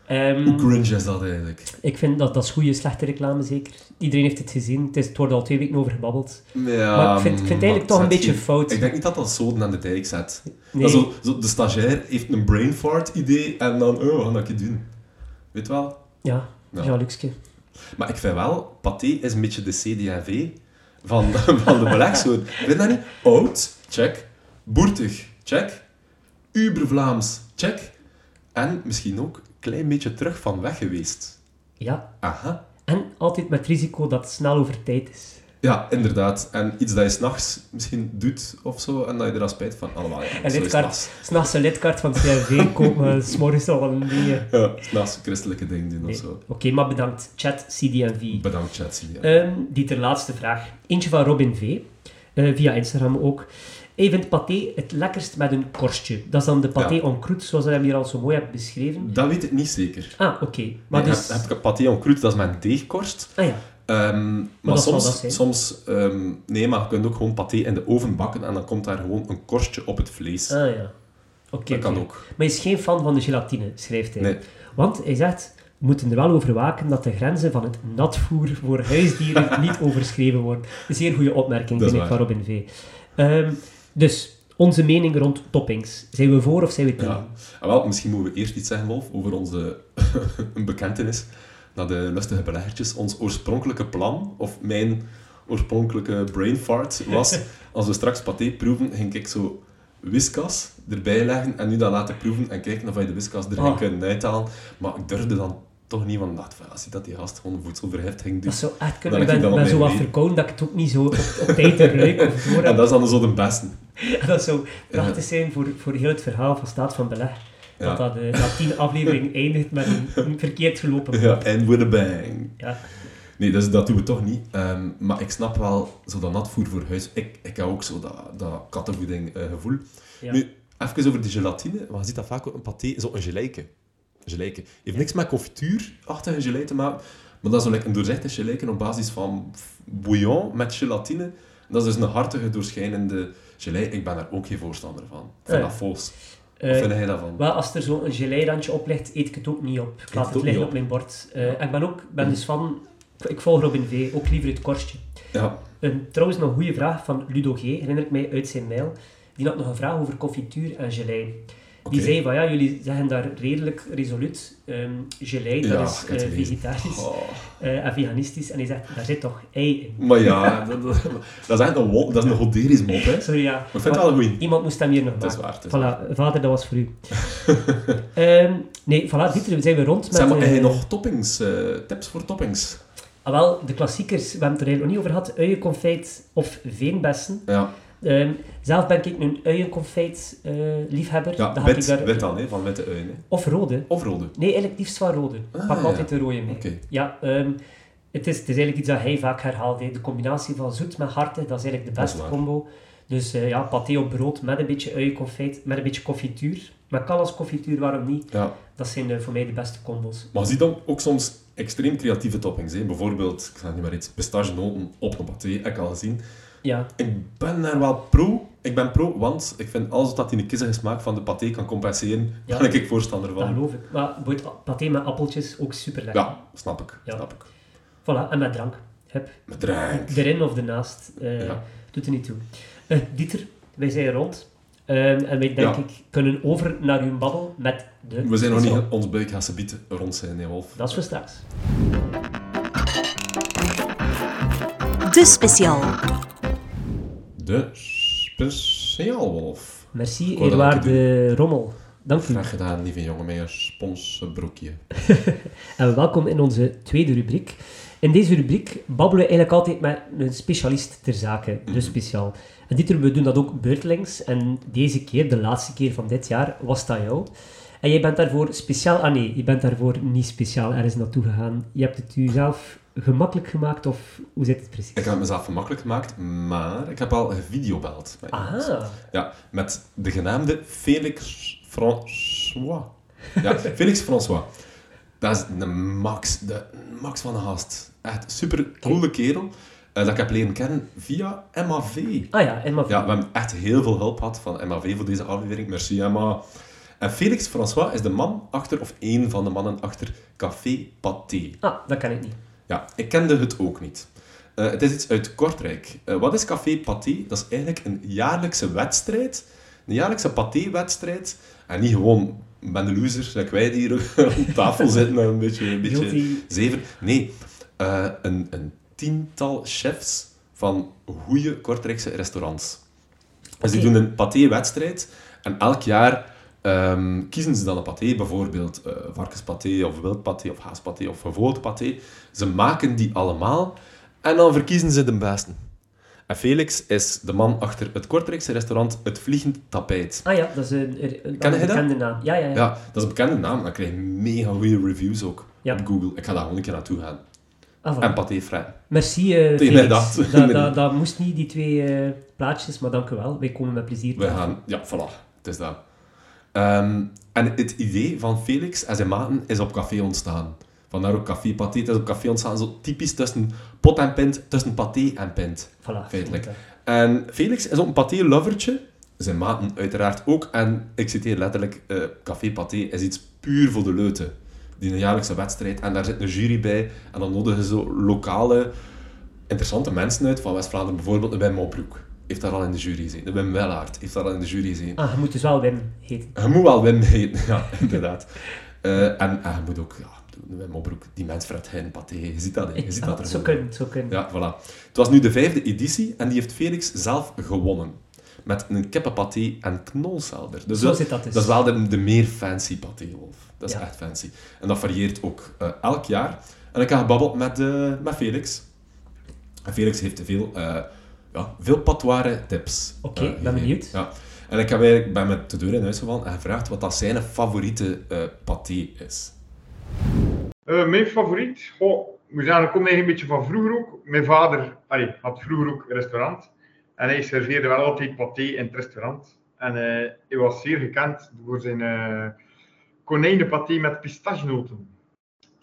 [SPEAKER 2] Ehm,
[SPEAKER 3] Hoe cringe is dat eigenlijk?
[SPEAKER 2] ik vind dat dat is goede, slechte reclame zeker. Iedereen heeft het gezien. Het, is, het wordt al twee weken over gebabbeld.
[SPEAKER 3] Ja,
[SPEAKER 2] Maar ik vind- ik vind het eigenlijk
[SPEAKER 3] maar
[SPEAKER 2] toch een
[SPEAKER 3] zet
[SPEAKER 2] beetje
[SPEAKER 3] geen-
[SPEAKER 2] fout.
[SPEAKER 3] Ik denk niet dat dat zoden aan de dijk zet.
[SPEAKER 2] Nee.
[SPEAKER 3] Dat is zo, zo, de stagiair heeft een brain fart idee en dan, oh, we gaan dat een keer doen. Weet wel?
[SPEAKER 2] Ja,
[SPEAKER 3] Ja.
[SPEAKER 2] ja. Jean-Luxke.
[SPEAKER 3] Maar ik vind wel, Pathé is een beetje de CD&V van, van de belegsoort. Vind je dat niet? Oud, check. Boertig, check. Uber-Vlaams, check. En misschien ook een klein beetje terug van weg geweest.
[SPEAKER 2] Ja,
[SPEAKER 3] Aha.
[SPEAKER 2] en altijd met het risico dat het snel over tijd is.
[SPEAKER 3] Ja, inderdaad. En iets dat je s'nachts misschien doet of zo, en dat je er dan spijt van. Allemaal, ja,
[SPEAKER 2] Een
[SPEAKER 3] zo is het
[SPEAKER 2] lidkaart,
[SPEAKER 3] nachts.
[SPEAKER 2] s'nachts een lidkaart van CRV kopen, s'morgens al wel een ding. eh.
[SPEAKER 3] Ja, naast christelijke dingen doen of
[SPEAKER 2] Nee.
[SPEAKER 3] zo.
[SPEAKER 2] Oké, maar bedankt. Chat, CDV.
[SPEAKER 3] Bedankt, Chatsie. Ja.
[SPEAKER 2] Ehm Dieter, laatste vraag. Eentje van Robin V. eh, via Instagram ook. Hij vindt paté het lekkerst met een korstje. Dat is dan de paté
[SPEAKER 3] Ja.
[SPEAKER 2] en croûte, zoals hij hem hier al zo mooi hebt beschreven.
[SPEAKER 3] Dat weet ik niet zeker.
[SPEAKER 2] Ah, oké. Maar
[SPEAKER 3] Nee,
[SPEAKER 2] dus...
[SPEAKER 3] heb, heb ik paté en croûte, dat is mijn deegkorst.
[SPEAKER 2] Ah ja,
[SPEAKER 3] Ehm, maar
[SPEAKER 2] dat zal dat
[SPEAKER 3] soms,
[SPEAKER 2] zijn.
[SPEAKER 3] soms ehm, nee, maar je kunt ook gewoon paté in de oven bakken en dan komt daar gewoon een korstje op het vlees.
[SPEAKER 2] ah ja. Oké.
[SPEAKER 3] dat kan
[SPEAKER 2] oké.
[SPEAKER 3] ook.
[SPEAKER 2] Maar hij is geen fan van de gelatine, schrijft hij.
[SPEAKER 3] Nee.
[SPEAKER 2] Want hij zegt, we moeten er wel over waken dat de grenzen van het natvoer voor huisdieren niet overschreven worden. Een zeer goede opmerking,
[SPEAKER 3] Dat is
[SPEAKER 2] vind ik, van
[SPEAKER 3] waar.
[SPEAKER 2] Robin V. Ehm, dus, onze mening rond toppings. Zijn we voor of zijn we tegen?
[SPEAKER 3] Ja. En wel, misschien moeten we eerst iets zeggen, Wolf, over onze een bekentenis. Dat de lustige beleggertjes ons oorspronkelijke plan, of mijn oorspronkelijke brain fart, was... Als we straks paté proeven, ging ik zo whiskas erbij leggen en nu dat laten proeven en kijken of je de whiskas er ging
[SPEAKER 2] Ah.
[SPEAKER 3] kunnen uithalen. Maar ik durfde dan toch niet, want ik dacht van, als je dat die gast gewoon voedselverheft ging doen...
[SPEAKER 2] Dat zou echt kunnen. Ik
[SPEAKER 3] Dan heb
[SPEAKER 2] ben,
[SPEAKER 3] je
[SPEAKER 2] ben
[SPEAKER 3] dan
[SPEAKER 2] zo
[SPEAKER 3] op mijn
[SPEAKER 2] wat
[SPEAKER 3] leven.
[SPEAKER 2] verkouden dat ik het ook niet zo op, op tijd ruik of door
[SPEAKER 3] En
[SPEAKER 2] heb.
[SPEAKER 3] dat is dan zo de beste.
[SPEAKER 2] Dat zou prachtig zijn voor, voor heel het verhaal van staat van beleg.
[SPEAKER 3] Ja.
[SPEAKER 2] Dat dat eh, na tien afleveringen eindigt met een, een verkeerd gelopen plan.
[SPEAKER 3] Ja, and with a bang.
[SPEAKER 2] Ja.
[SPEAKER 3] Nee, dus dat doen we toch niet. Ehm, maar ik snap wel, zo dat natvoer voor huis. Ik, ik heb ook zo dat, dat kattenvoeding eh, gevoel.
[SPEAKER 2] Ja.
[SPEAKER 3] Nu, even over die gelatine. Want je ziet dat vaak ook een paté, zo een gelijke. gelijke. Heeft niks met confituurachtige gelei te maken. Maar dat is zo like een doorzichtig gelijke op basis van f- bouillon met gelatine. Dat is dus een hartige, doorschijnende gelei. Ik ben daar ook geen voorstander van. Ik vind
[SPEAKER 2] Ja.
[SPEAKER 3] dat fals.
[SPEAKER 2] Eh,
[SPEAKER 3] Wat vind jij daarvan?
[SPEAKER 2] wel, als er zo'n geleirandje op ligt, eet ik het ook niet op. Ik
[SPEAKER 3] het
[SPEAKER 2] laat het,
[SPEAKER 3] ook
[SPEAKER 2] liggen
[SPEAKER 3] niet
[SPEAKER 2] op.
[SPEAKER 3] op.
[SPEAKER 2] mijn bord. Eh, en ik ben ook ben dus van... Ik, ik volg Robin V, ook liever het korstje.
[SPEAKER 3] Ja,
[SPEAKER 2] Een, trouwens, nog een goede vraag van Ludo G. Herinner ik mij uit zijn mail. Die had nog een vraag over confituur en gelei. Die
[SPEAKER 3] Oké.
[SPEAKER 2] zei van ja, jullie zeggen daar redelijk resoluut. ehm gelei, dat
[SPEAKER 3] Ja,
[SPEAKER 2] is
[SPEAKER 3] ik heb
[SPEAKER 2] eh,
[SPEAKER 3] het gelezen.
[SPEAKER 2] vegetarisch
[SPEAKER 3] Oh.
[SPEAKER 2] eh, en veganistisch. En hij zegt, daar zit toch ei in.
[SPEAKER 3] Maar ja, dat, dat, dat is echt een, wo- dat is een goderisch mop, hè.
[SPEAKER 2] Sorry, ja.
[SPEAKER 3] Maar ik vind het wel een goeie.
[SPEAKER 2] Iemand moest hem hier nog maken.
[SPEAKER 3] Dat is waar. dus. het is waar.
[SPEAKER 2] Voilà, vader, dat was voor u. Ehm, nee, voilà, Dieter, zijn we rond met...
[SPEAKER 3] Zeg maar,
[SPEAKER 2] eh,
[SPEAKER 3] heb je nog toppings, eh, tips voor toppings?
[SPEAKER 2] ah, wel, de klassiekers, we hebben het er eigenlijk nog niet over gehad. Uienconfijt of veenbessen.
[SPEAKER 3] Ja,
[SPEAKER 2] Ehm, zelf ben ik eh, een uienconfijt-liefhebber.
[SPEAKER 3] ja wit, wit dan, hè, van witte uien. Hè.
[SPEAKER 2] Of rode.
[SPEAKER 3] Of rode.
[SPEAKER 2] Nee, eigenlijk liefst van rode. Ik
[SPEAKER 3] Ah,
[SPEAKER 2] pak
[SPEAKER 3] ja.
[SPEAKER 2] altijd de rode mee.
[SPEAKER 3] Oké.
[SPEAKER 2] Ja, ehm, het, is, het is eigenlijk iets dat hij vaak herhaalt. hè. De combinatie van zoet met hartig, dat is eigenlijk de
[SPEAKER 3] Dat is
[SPEAKER 2] beste
[SPEAKER 3] waar.
[SPEAKER 2] combo. Dus eh, ja, paté op brood met een beetje uienconfijt, met een beetje confituur. Maar kan als confituur, waarom niet?
[SPEAKER 3] Ja.
[SPEAKER 2] Dat zijn eh, voor mij de beste combos.
[SPEAKER 3] Maar je ziet dan ook soms extreem creatieve toppings. Hè. Bijvoorbeeld, ik zeg niet maar iets, pistachenoten op een paté, heb ik al gezien.
[SPEAKER 2] Ja,
[SPEAKER 3] Ik ben daar wel pro. Ik ben pro, want ik vind alles wat dat in de kiezige smaak van de paté kan compenseren,
[SPEAKER 2] Ja.
[SPEAKER 3] ben ik voorstander
[SPEAKER 2] dat
[SPEAKER 3] van.
[SPEAKER 2] geloof ik. Maar boeit, paté met appeltjes, ook super lekker.
[SPEAKER 3] Ja, snap ik.
[SPEAKER 2] Ja.
[SPEAKER 3] Snap ik.
[SPEAKER 2] Voilà, en met drank. Hup.
[SPEAKER 3] Met drank.
[SPEAKER 2] Erin of ernaast. eh
[SPEAKER 3] Ja.
[SPEAKER 2] Doet er niet toe. Eh, Dieter, wij zijn rond. Ehm, en wij, denk
[SPEAKER 3] Ja.
[SPEAKER 2] ik, kunnen over naar uw babbel met de...
[SPEAKER 3] We zijn nog niet ons buik gaan ze bieten rond zijn, hè, Wolf.
[SPEAKER 2] Dat is voor straks.
[SPEAKER 1] De speciaal.
[SPEAKER 3] De speciaalwolf.
[SPEAKER 2] Merci,
[SPEAKER 3] wou dat ook
[SPEAKER 2] eerwaarde Rommel. Dank u.
[SPEAKER 3] Graag gedaan, lieve jongen, met je sponsbroekje.
[SPEAKER 2] En welkom in onze tweede rubriek. In deze rubriek babbelen we eigenlijk altijd met een specialist ter zake,
[SPEAKER 3] Mhm.
[SPEAKER 2] dus speciaal. En Dieter, we doen dat ook beurtelings. En deze keer, de laatste keer van dit jaar, was dat jou. En jij bent daarvoor speciaal... Ah nee, je bent daarvoor niet speciaal ergens naartoe gegaan. Je hebt het jezelf gemakkelijk gemaakt, of hoe zit het precies?
[SPEAKER 3] Ik heb het mezelf gemakkelijk gemaakt, maar ik heb al gevideobeld. met iemand.
[SPEAKER 2] Ah,
[SPEAKER 3] Ja, met de genaamde Felix François. Ja, Felix François. Dat is de max, de max van de gast. Echt super coole kerel. eh, dat ik heb leren kennen via MAV.
[SPEAKER 2] ah ja, en maar...
[SPEAKER 3] Ja, we hebben echt heel veel hulp gehad van MAV voor deze aflevering. Merci, Emma. En Felix François is de man achter, of één van de mannen achter, Café Pathé.
[SPEAKER 2] Ah, dat kan ik niet.
[SPEAKER 3] Ja, ik kende het ook niet. Eh, het is iets uit Kortrijk. Eh, wat is Café Pathé? Dat is eigenlijk een jaarlijkse wedstrijd. Een jaarlijkse pathé-wedstrijd. En niet gewoon ben de loser, zoals wij die hier op tafel zitten en een beetje, een beetje
[SPEAKER 2] Guilty.
[SPEAKER 3] zeven. Nee, eh, een, een tiental chefs van goede Kortrijkse restaurants. Dus die
[SPEAKER 1] Oké.
[SPEAKER 3] doen een paté-wedstrijd. En elk jaar ehm, kiezen ze dan een paté, bijvoorbeeld eh varkenspaté of wildpaté of haaspaté of gevoerd paté. Ze maken die allemaal en dan verkiezen ze de beste. En Felix is de man achter het Kortrijkse restaurant Het Vliegend Tapijt.
[SPEAKER 2] Ah ja, dat is een, een, een
[SPEAKER 3] Ken je dat?
[SPEAKER 2] bekende naam. Ja, ja, ja.
[SPEAKER 3] Ja, dat is een bekende naam. Dat krijgt mega goede reviews ook
[SPEAKER 2] Ja.
[SPEAKER 3] op Google. Ik ga daar gewoon een keer naartoe gaan.
[SPEAKER 2] Ah, voilà.
[SPEAKER 3] En paté vrij.
[SPEAKER 2] Merci, eh
[SPEAKER 3] Tegen
[SPEAKER 2] Felix.
[SPEAKER 3] dat.
[SPEAKER 2] Dat, dat, dat moest niet, die twee eh, plaatjes, maar dank u wel. Wij komen met plezier.
[SPEAKER 3] We gaan, ja, voilà, het is dat. Ehm, en het idee van Felix en zijn maten is op café ontstaan. Vandaar ook café paté. Het is op café ontstaan, zo typisch tussen pot en pint, tussen paté en pint,
[SPEAKER 2] Voilà,
[SPEAKER 3] feitelijk.
[SPEAKER 2] goed,
[SPEAKER 3] En Felix is ook een paté-lovertje. Zijn maten uiteraard ook. En ik citeer letterlijk, eh, café paté is iets puur voor de leuten. Die een jaarlijkse wedstrijd. En daar zit een jury bij. En dan nodigen ze zo lokale, interessante mensen uit. Van West-Vlaanderen bijvoorbeeld, Wim Opbroek. Heeft daar al in de jury gezien. Wim Wellaert heeft daar al in de jury gezien.
[SPEAKER 2] Ah, je moet dus wel winnen heten.
[SPEAKER 3] Je moet wel winnen heten, ja, inderdaad. Eh, en, en je moet ook, ja, Wim Opbroek, die mens Fred Hein, Pathé, je ziet dat, hè. je ziet dat er
[SPEAKER 2] Ah, zo
[SPEAKER 3] gewoon.
[SPEAKER 2] kunnen, zo kunnen.
[SPEAKER 3] Ja, voilà. Het was nu de vijfde editie en die heeft Felix zelf gewonnen. Met een kippenpaté en knolselder. Dus
[SPEAKER 2] Zo
[SPEAKER 3] dat,
[SPEAKER 2] zit dat dus.
[SPEAKER 3] Dat is wel de, de meer fancy paté, Wolf. Dat is
[SPEAKER 2] Ja.
[SPEAKER 3] echt fancy. En dat varieert ook eh, elk jaar. En ik heb gebabbeld met, eh, met Felix. En Felix heeft veel, eh ja, veel patoire tips.
[SPEAKER 2] Oké,
[SPEAKER 3] eh,
[SPEAKER 2] ben
[SPEAKER 3] gegeven.
[SPEAKER 2] benieuwd.
[SPEAKER 3] Ja. En ik heb eigenlijk, ben met de deur in huis gevallen en gevraagd wat dat zijn favoriete eh paté is.
[SPEAKER 4] Eh, mijn favoriet, goh, ik moet zeggen, dat komt eigenlijk een beetje van vroeger ook. Mijn vader allee, had vroeger ook een restaurant. En hij serveerde wel altijd paté in het restaurant. En eh, hij was zeer gekend voor zijn eh konijnenpaté met pistachenoten.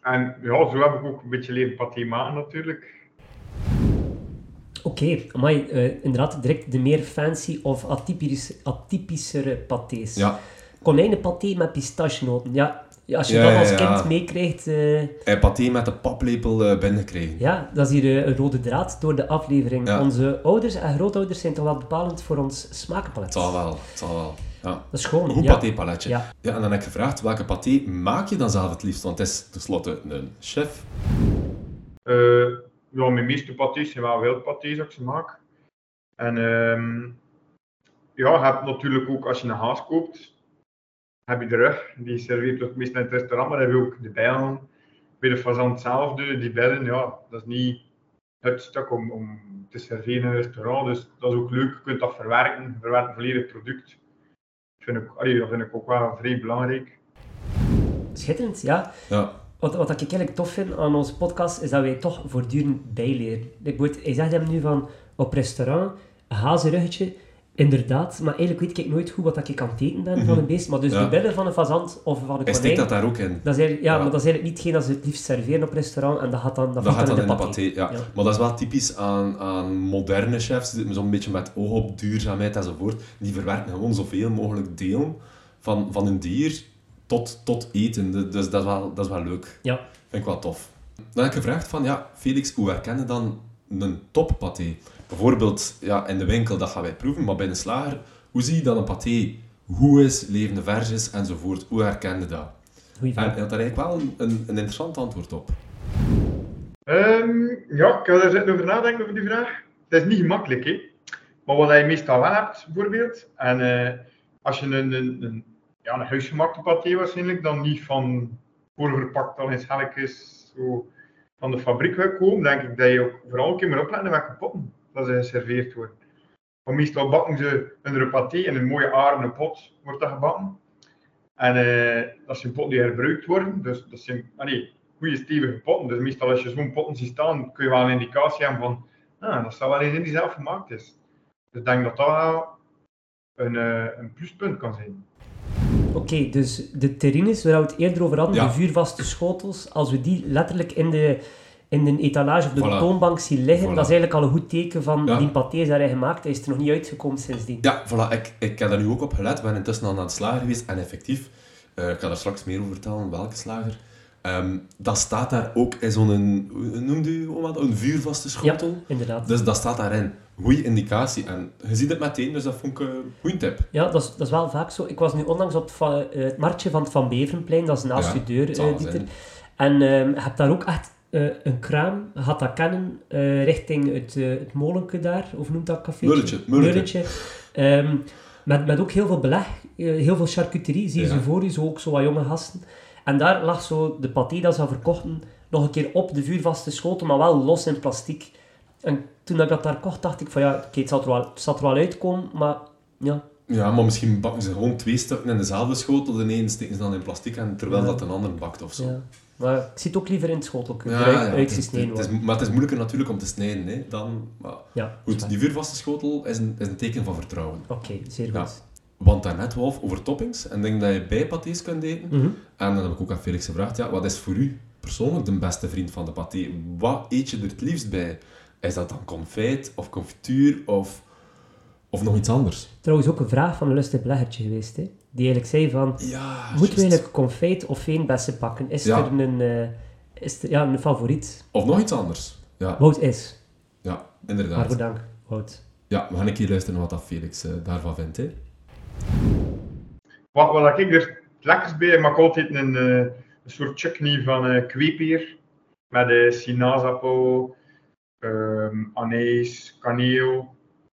[SPEAKER 4] En ja, zo heb ik ook een beetje leren paté maken natuurlijk.
[SPEAKER 2] Oké, maar inderdaad direct de meer fancy of atypisch, atypischere patés.
[SPEAKER 3] Ja,
[SPEAKER 2] Konijnenpaté met pistachenoten. Ja, ja, als je
[SPEAKER 3] Ja,
[SPEAKER 2] dat
[SPEAKER 3] ja,
[SPEAKER 2] als
[SPEAKER 3] ja.
[SPEAKER 2] kind meekrijgt, eh,
[SPEAKER 3] en paté met de paplepel eh, binnengekregen.
[SPEAKER 2] ja, dat is hier eh, een rode draad door de aflevering.
[SPEAKER 3] Ja.
[SPEAKER 2] Onze ouders en grootouders zijn toch wel bepalend voor ons smaakpalet.
[SPEAKER 3] Het zal wel, het zal wel. Ja.
[SPEAKER 2] Dat is gewoon,
[SPEAKER 3] Een goed
[SPEAKER 2] ja.
[SPEAKER 3] patépaletje.
[SPEAKER 2] Ja.
[SPEAKER 3] Ja. en dan heb ik gevraagd, welke paté maak je dan zelf het liefst? Want het is tenslotte een chef.
[SPEAKER 4] Eh, ja, mijn meeste patés zijn wel wildpatés dat ik ze maak. En ehm, ja, je hebt natuurlijk ook als je een haas koopt, heb je de rug. Die serveert het meestal in het restaurant, maar dan heb je ook de bijlen. Bij de fazant zelf, de, die bijlen, ja, dat is niet het stuk om, om te serveren in een restaurant. Dus dat is ook leuk, je kunt dat verwerken. Je verwerkt volledig het product. Dat vind ik, allee, dat vind ik ook wel vrij belangrijk.
[SPEAKER 2] Schitterend, ja.
[SPEAKER 3] Ja,
[SPEAKER 2] Wat, wat ik eigenlijk tof vind aan onze podcast, is dat wij toch voortdurend bijleren. Ik moet, hij zegt hem nu van, op restaurant, hazenruggetje, inderdaad, maar eigenlijk weet ik nooit goed wat dat ik aan het eten ben van een beest. Maar dus
[SPEAKER 3] Mhm. Ja.
[SPEAKER 2] de billen van een fazant of van een
[SPEAKER 3] hij
[SPEAKER 2] konijn,
[SPEAKER 3] steekt dat daar ook in.
[SPEAKER 2] dat is eigenlijk- ja,
[SPEAKER 3] Ja.
[SPEAKER 2] maar dat is eigenlijk niet hetgeen dat ze het liefst serveren op restaurant en dat gaat dan, dat
[SPEAKER 3] Dat
[SPEAKER 2] vliegt
[SPEAKER 3] gaat dan in de
[SPEAKER 2] paté.
[SPEAKER 3] paté, ja.
[SPEAKER 2] Ja.
[SPEAKER 3] Maar dat is wel typisch aan, aan moderne chefs, die zo'n beetje met oog op duurzaamheid enzovoort. Die verwerken gewoon zoveel mogelijk delen van, van een dier tot, tot eten. Dus dat is, wel, dat is wel leuk.
[SPEAKER 2] Ja.
[SPEAKER 3] Vind ik wel tof. Dan heb ik gevraagd van, ja, Felix, hoe herken je dan een toppaté? Bijvoorbeeld, ja, in de winkel, dat gaan wij proeven, maar bij een slager, hoe zie je dat een paté goed is, levende vers is, enzovoort? Hoe herken je dat?
[SPEAKER 2] Goeie
[SPEAKER 3] En
[SPEAKER 2] vraag.
[SPEAKER 3] hij had daar eigenlijk wel een, een, een interessant antwoord op.
[SPEAKER 4] Ehm, ja, ik ga er zitten over nadenken over die vraag. Het is niet gemakkelijk, hè. Maar wat je meestal wel hebt, bijvoorbeeld, en eh, als je een, een, een, ja, een huisgemaakte paté waarschijnlijk, dan niet van voorverpakt al in schelletjes, zo van de fabriek gaat komen, denk ik dat je ook vooral een keer moet opletten welke potten dat ze geserveerd worden. Want meestal bakken ze een paté in een mooie aarden pot, wordt dat gebakken. En eh, dat zijn potten die herbruikt worden, dus dat zijn, allee, goede stevige potten. Dus meestal als je zo'n potten ziet staan, kun je wel een indicatie hebben van, ah, dat zou wel eens in die zelf gemaakt is. Dus ik denk dat dat wel een, eh, een pluspunt kan zijn.
[SPEAKER 2] Oké, dus de terrines waar we het eerder over hadden,
[SPEAKER 3] Ja.
[SPEAKER 2] de vuurvaste schotels, als we die letterlijk in de, in een etalage op de
[SPEAKER 3] Voilà.
[SPEAKER 2] toonbank zie liggen,
[SPEAKER 3] Voilà.
[SPEAKER 2] dat is eigenlijk al een goed teken van
[SPEAKER 3] Ja.
[SPEAKER 2] die paté is daarin gemaakt. Hij is er nog niet uitgekomen sindsdien.
[SPEAKER 3] Ja, voilà, ik, ik heb daar nu ook op gelet. We zijn intussen al aan het slager geweest. En effectief, eh, ik ga daar straks meer over vertellen, welke slager. Ehm, dat staat daar ook in zo'n, hoe noemde u oma dat? Een vuurvaste schotel.
[SPEAKER 2] Inderdaad.
[SPEAKER 3] Dus dat staat daarin. Goeie indicatie. En je ziet het meteen, dus dat vond ik een goede tip.
[SPEAKER 2] Ja, dat is, dat is wel vaak zo. Ik was nu onlangs op het, va- eh, het marktje van het Van Beverenplein, dat is naast
[SPEAKER 3] Ja,
[SPEAKER 2] je deur,
[SPEAKER 3] het
[SPEAKER 2] eh,
[SPEAKER 3] zal wel
[SPEAKER 2] Dieter.
[SPEAKER 3] zijn.
[SPEAKER 2] En ehm, je hebt daar ook echt eh, een kraam, je gaat dat kennen, eh, richting het, eh, het molenke daar, of noemt dat café?
[SPEAKER 3] Mulletje, mulletje.
[SPEAKER 2] Ehm, met, met ook heel veel beleg, eh, heel veel charcuterie, zie je
[SPEAKER 3] Ja.
[SPEAKER 2] ze voor je, zo ook zo wat jonge gasten. En daar lag zo de paté dat ze al verkochten, nog een keer op de vuurvaste schotel, maar wel los in plastic. En toen ik dat daar kocht, dacht ik van ja, oké, het, zal er wel- het zal er wel uitkomen, maar ja,
[SPEAKER 3] Ja, maar misschien bakken ze gewoon twee stukken in dezelfde schotel. De ene steken ze dan in plastic, en terwijl
[SPEAKER 2] Ja.
[SPEAKER 3] dat een ander bakt of zo.
[SPEAKER 2] Ja. Maar ik zit ook liever in het schotelke,
[SPEAKER 3] Ja,
[SPEAKER 2] eruit,
[SPEAKER 3] ja,
[SPEAKER 2] uitgesneden
[SPEAKER 3] het is-
[SPEAKER 2] worden.
[SPEAKER 3] Maar het is moeilijker natuurlijk om te snijden. Hè, dan, maar
[SPEAKER 2] Ja, dat is
[SPEAKER 3] Goed,
[SPEAKER 2] waar.
[SPEAKER 3] die vuurvaste schotel is een, is een teken van vertrouwen.
[SPEAKER 2] Oké, zeer
[SPEAKER 3] Ja.
[SPEAKER 2] goed.
[SPEAKER 3] Want daarnet, Wolf, over toppings. En ik denk dat je bij patés kunt eten.
[SPEAKER 2] Mhm.
[SPEAKER 3] En dan heb ik ook aan Felix gevraagd, ja, wat is voor u persoonlijk de beste vriend van de paté? Wat eet je er het liefst bij? Is dat dan confit of confituur of, of nog iets anders?
[SPEAKER 2] Trouwens ook een vraag van een lustig beleggertje geweest, hè? die eigenlijk zei van,
[SPEAKER 3] Ja,
[SPEAKER 2] moeten we
[SPEAKER 3] juist.
[SPEAKER 2] eigenlijk confijt of veenbessen pakken? Is
[SPEAKER 3] Ja.
[SPEAKER 2] er een, eh, is er, ja, een favoriet?
[SPEAKER 3] Of nog iets anders. Ja,
[SPEAKER 2] Wout is.
[SPEAKER 3] ja
[SPEAKER 2] Waarvoor
[SPEAKER 3] inderdaad.
[SPEAKER 2] dank, Wout.
[SPEAKER 3] Ja, we gaan een keer luisteren wat dat Felix eh, daarvan vindt. Hè.
[SPEAKER 4] Wat, wat ik er het lekkerst bij maak altijd een, eh, een soort chutney van eh kweepier. Met eh sinaasappel, ehm anees, kaneel,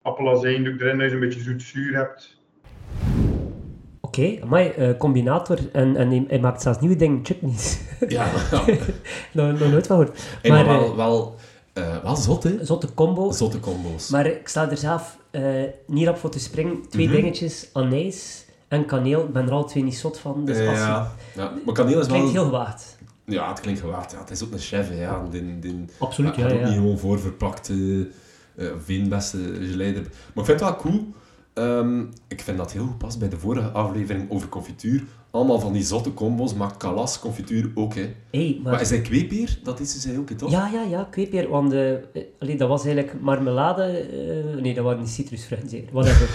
[SPEAKER 4] appelazijn doe ik erin, dat je een beetje zoet-zuur hebt.
[SPEAKER 2] Oké, amai, eh, combinator. En, en hij, hij maakt zelfs nieuwe dingen, chutneys.
[SPEAKER 3] Ja,
[SPEAKER 2] Nog nog nooit van gehoord.
[SPEAKER 3] En maar,
[SPEAKER 2] Maar
[SPEAKER 3] wel, wel, eh, wel zot, hè?
[SPEAKER 2] eh, zotte combo.
[SPEAKER 3] Zotte combo's.
[SPEAKER 2] Maar ik sta er zelf eh, niet op voor te springen. Twee
[SPEAKER 3] Mhm.
[SPEAKER 2] dingetjes, anijs en kaneel. Ik ben er al twee niet zot van, dus als je-
[SPEAKER 3] ja, ja, maar kaneel is wel...
[SPEAKER 2] Klinkt heel gewaagd.
[SPEAKER 3] Ja, het klinkt gewaagd. Ja, het is ook een chef, hè, ja. Die, die,
[SPEAKER 2] Absoluut,
[SPEAKER 3] ja,
[SPEAKER 2] ja.
[SPEAKER 3] ook niet
[SPEAKER 2] ja.
[SPEAKER 3] gewoon voorverpakte eh veenbessen geleider. Maar ik vind het wel cool. Ehm, ik vind dat heel goed past bij de vorige aflevering over confituur. Allemaal van die zotte combos, maar kalas confituur ook, hè.
[SPEAKER 2] Hey, maar...
[SPEAKER 3] Maar is hij kweepier? Dat is dus hij ook, hè, toch?
[SPEAKER 2] Ja, ja, ja, kweepeer, want de, allee, dat was eigenlijk marmelade... eh, nee, dat waren niet citrusvruchten, zeker. Whatever.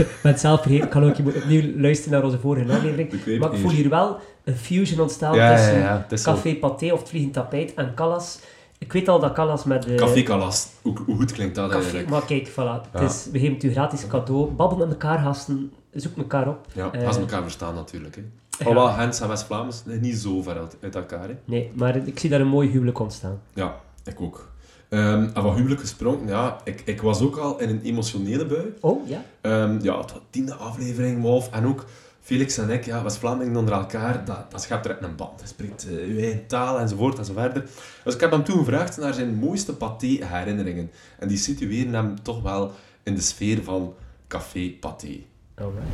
[SPEAKER 2] Ik ben het zelf vergeten. Ik kan ook je moet opnieuw luisteren naar onze vorige aflevering.
[SPEAKER 3] De kweepeer.
[SPEAKER 2] Maar ik voel hier wel een fusion ontstaan
[SPEAKER 3] Ja, ja,
[SPEAKER 2] tussen
[SPEAKER 3] ja, het is zo.
[SPEAKER 2] café paté of het vliegend tapijt en kalas. Ik weet al dat kalas met... eh,
[SPEAKER 3] Café kalas. Hoe, hoe goed klinkt dat
[SPEAKER 2] Café-
[SPEAKER 3] eigenlijk?
[SPEAKER 2] maar kijk, voilà.
[SPEAKER 3] Ja.
[SPEAKER 2] Het is, we geven het u gratis cadeau. Babbel met elkaar, gasten. Zoek elkaar op.
[SPEAKER 3] Ja,
[SPEAKER 2] Eh,
[SPEAKER 3] als ze elkaar verstaan natuurlijk, hè. Alhoewel, Gens en West-Vlaams, nee, niet zo ver uit, uit elkaar, hè.
[SPEAKER 2] Nee, maar ik zie daar een mooi huwelijk ontstaan.
[SPEAKER 3] Ja, ik ook. Ehm, en van huwelijk gesproken, ja, ik, ik was ook al in een emotionele bui.
[SPEAKER 2] Oh, ja?
[SPEAKER 3] Ehm, ja, het was tiende aflevering, Wolf. En ook Felix en ik, ja, was Vlamingen onder elkaar, dat, dat schept direct een band. Hij spreekt eh, uw eigen taal enzovoort enzoverder. Dus ik heb hem toen gevraagd naar zijn mooiste paté-herinneringen. En die situeren hem toch wel in de sfeer van café paté.
[SPEAKER 2] Alright.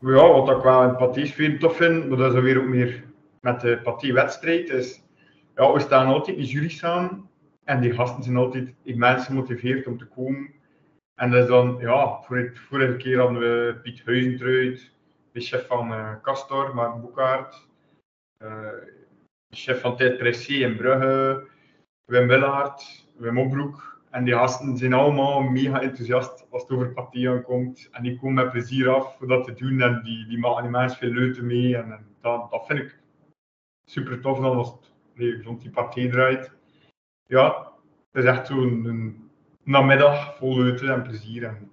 [SPEAKER 4] Ja, wat ik wel in paté-sfeer tof vind, maar dat is dan weer ook meer met de paté-wedstrijd, is ja, we staan altijd in jury samen en die gasten zijn altijd immens gemotiveerd om te komen. En dat is dan, ja, vorige, vorige keer hadden we Piet Huizentruid, de chef van eh Castor, Maarten Boekhaert, eh, de chef van Tijd Pressé in Brugge, Wim Willaert, Wim Opbroek. En die gasten zijn allemaal mega enthousiast als het over paté aankomt. En die komen met plezier af om dat te doen en die, die maken immens veel leuten mee. En, en dat, dat vind ik super tof dan als het nee, gezond die paté draait. Ja, het is echt zo'n een namiddag vol leuten en plezier. En,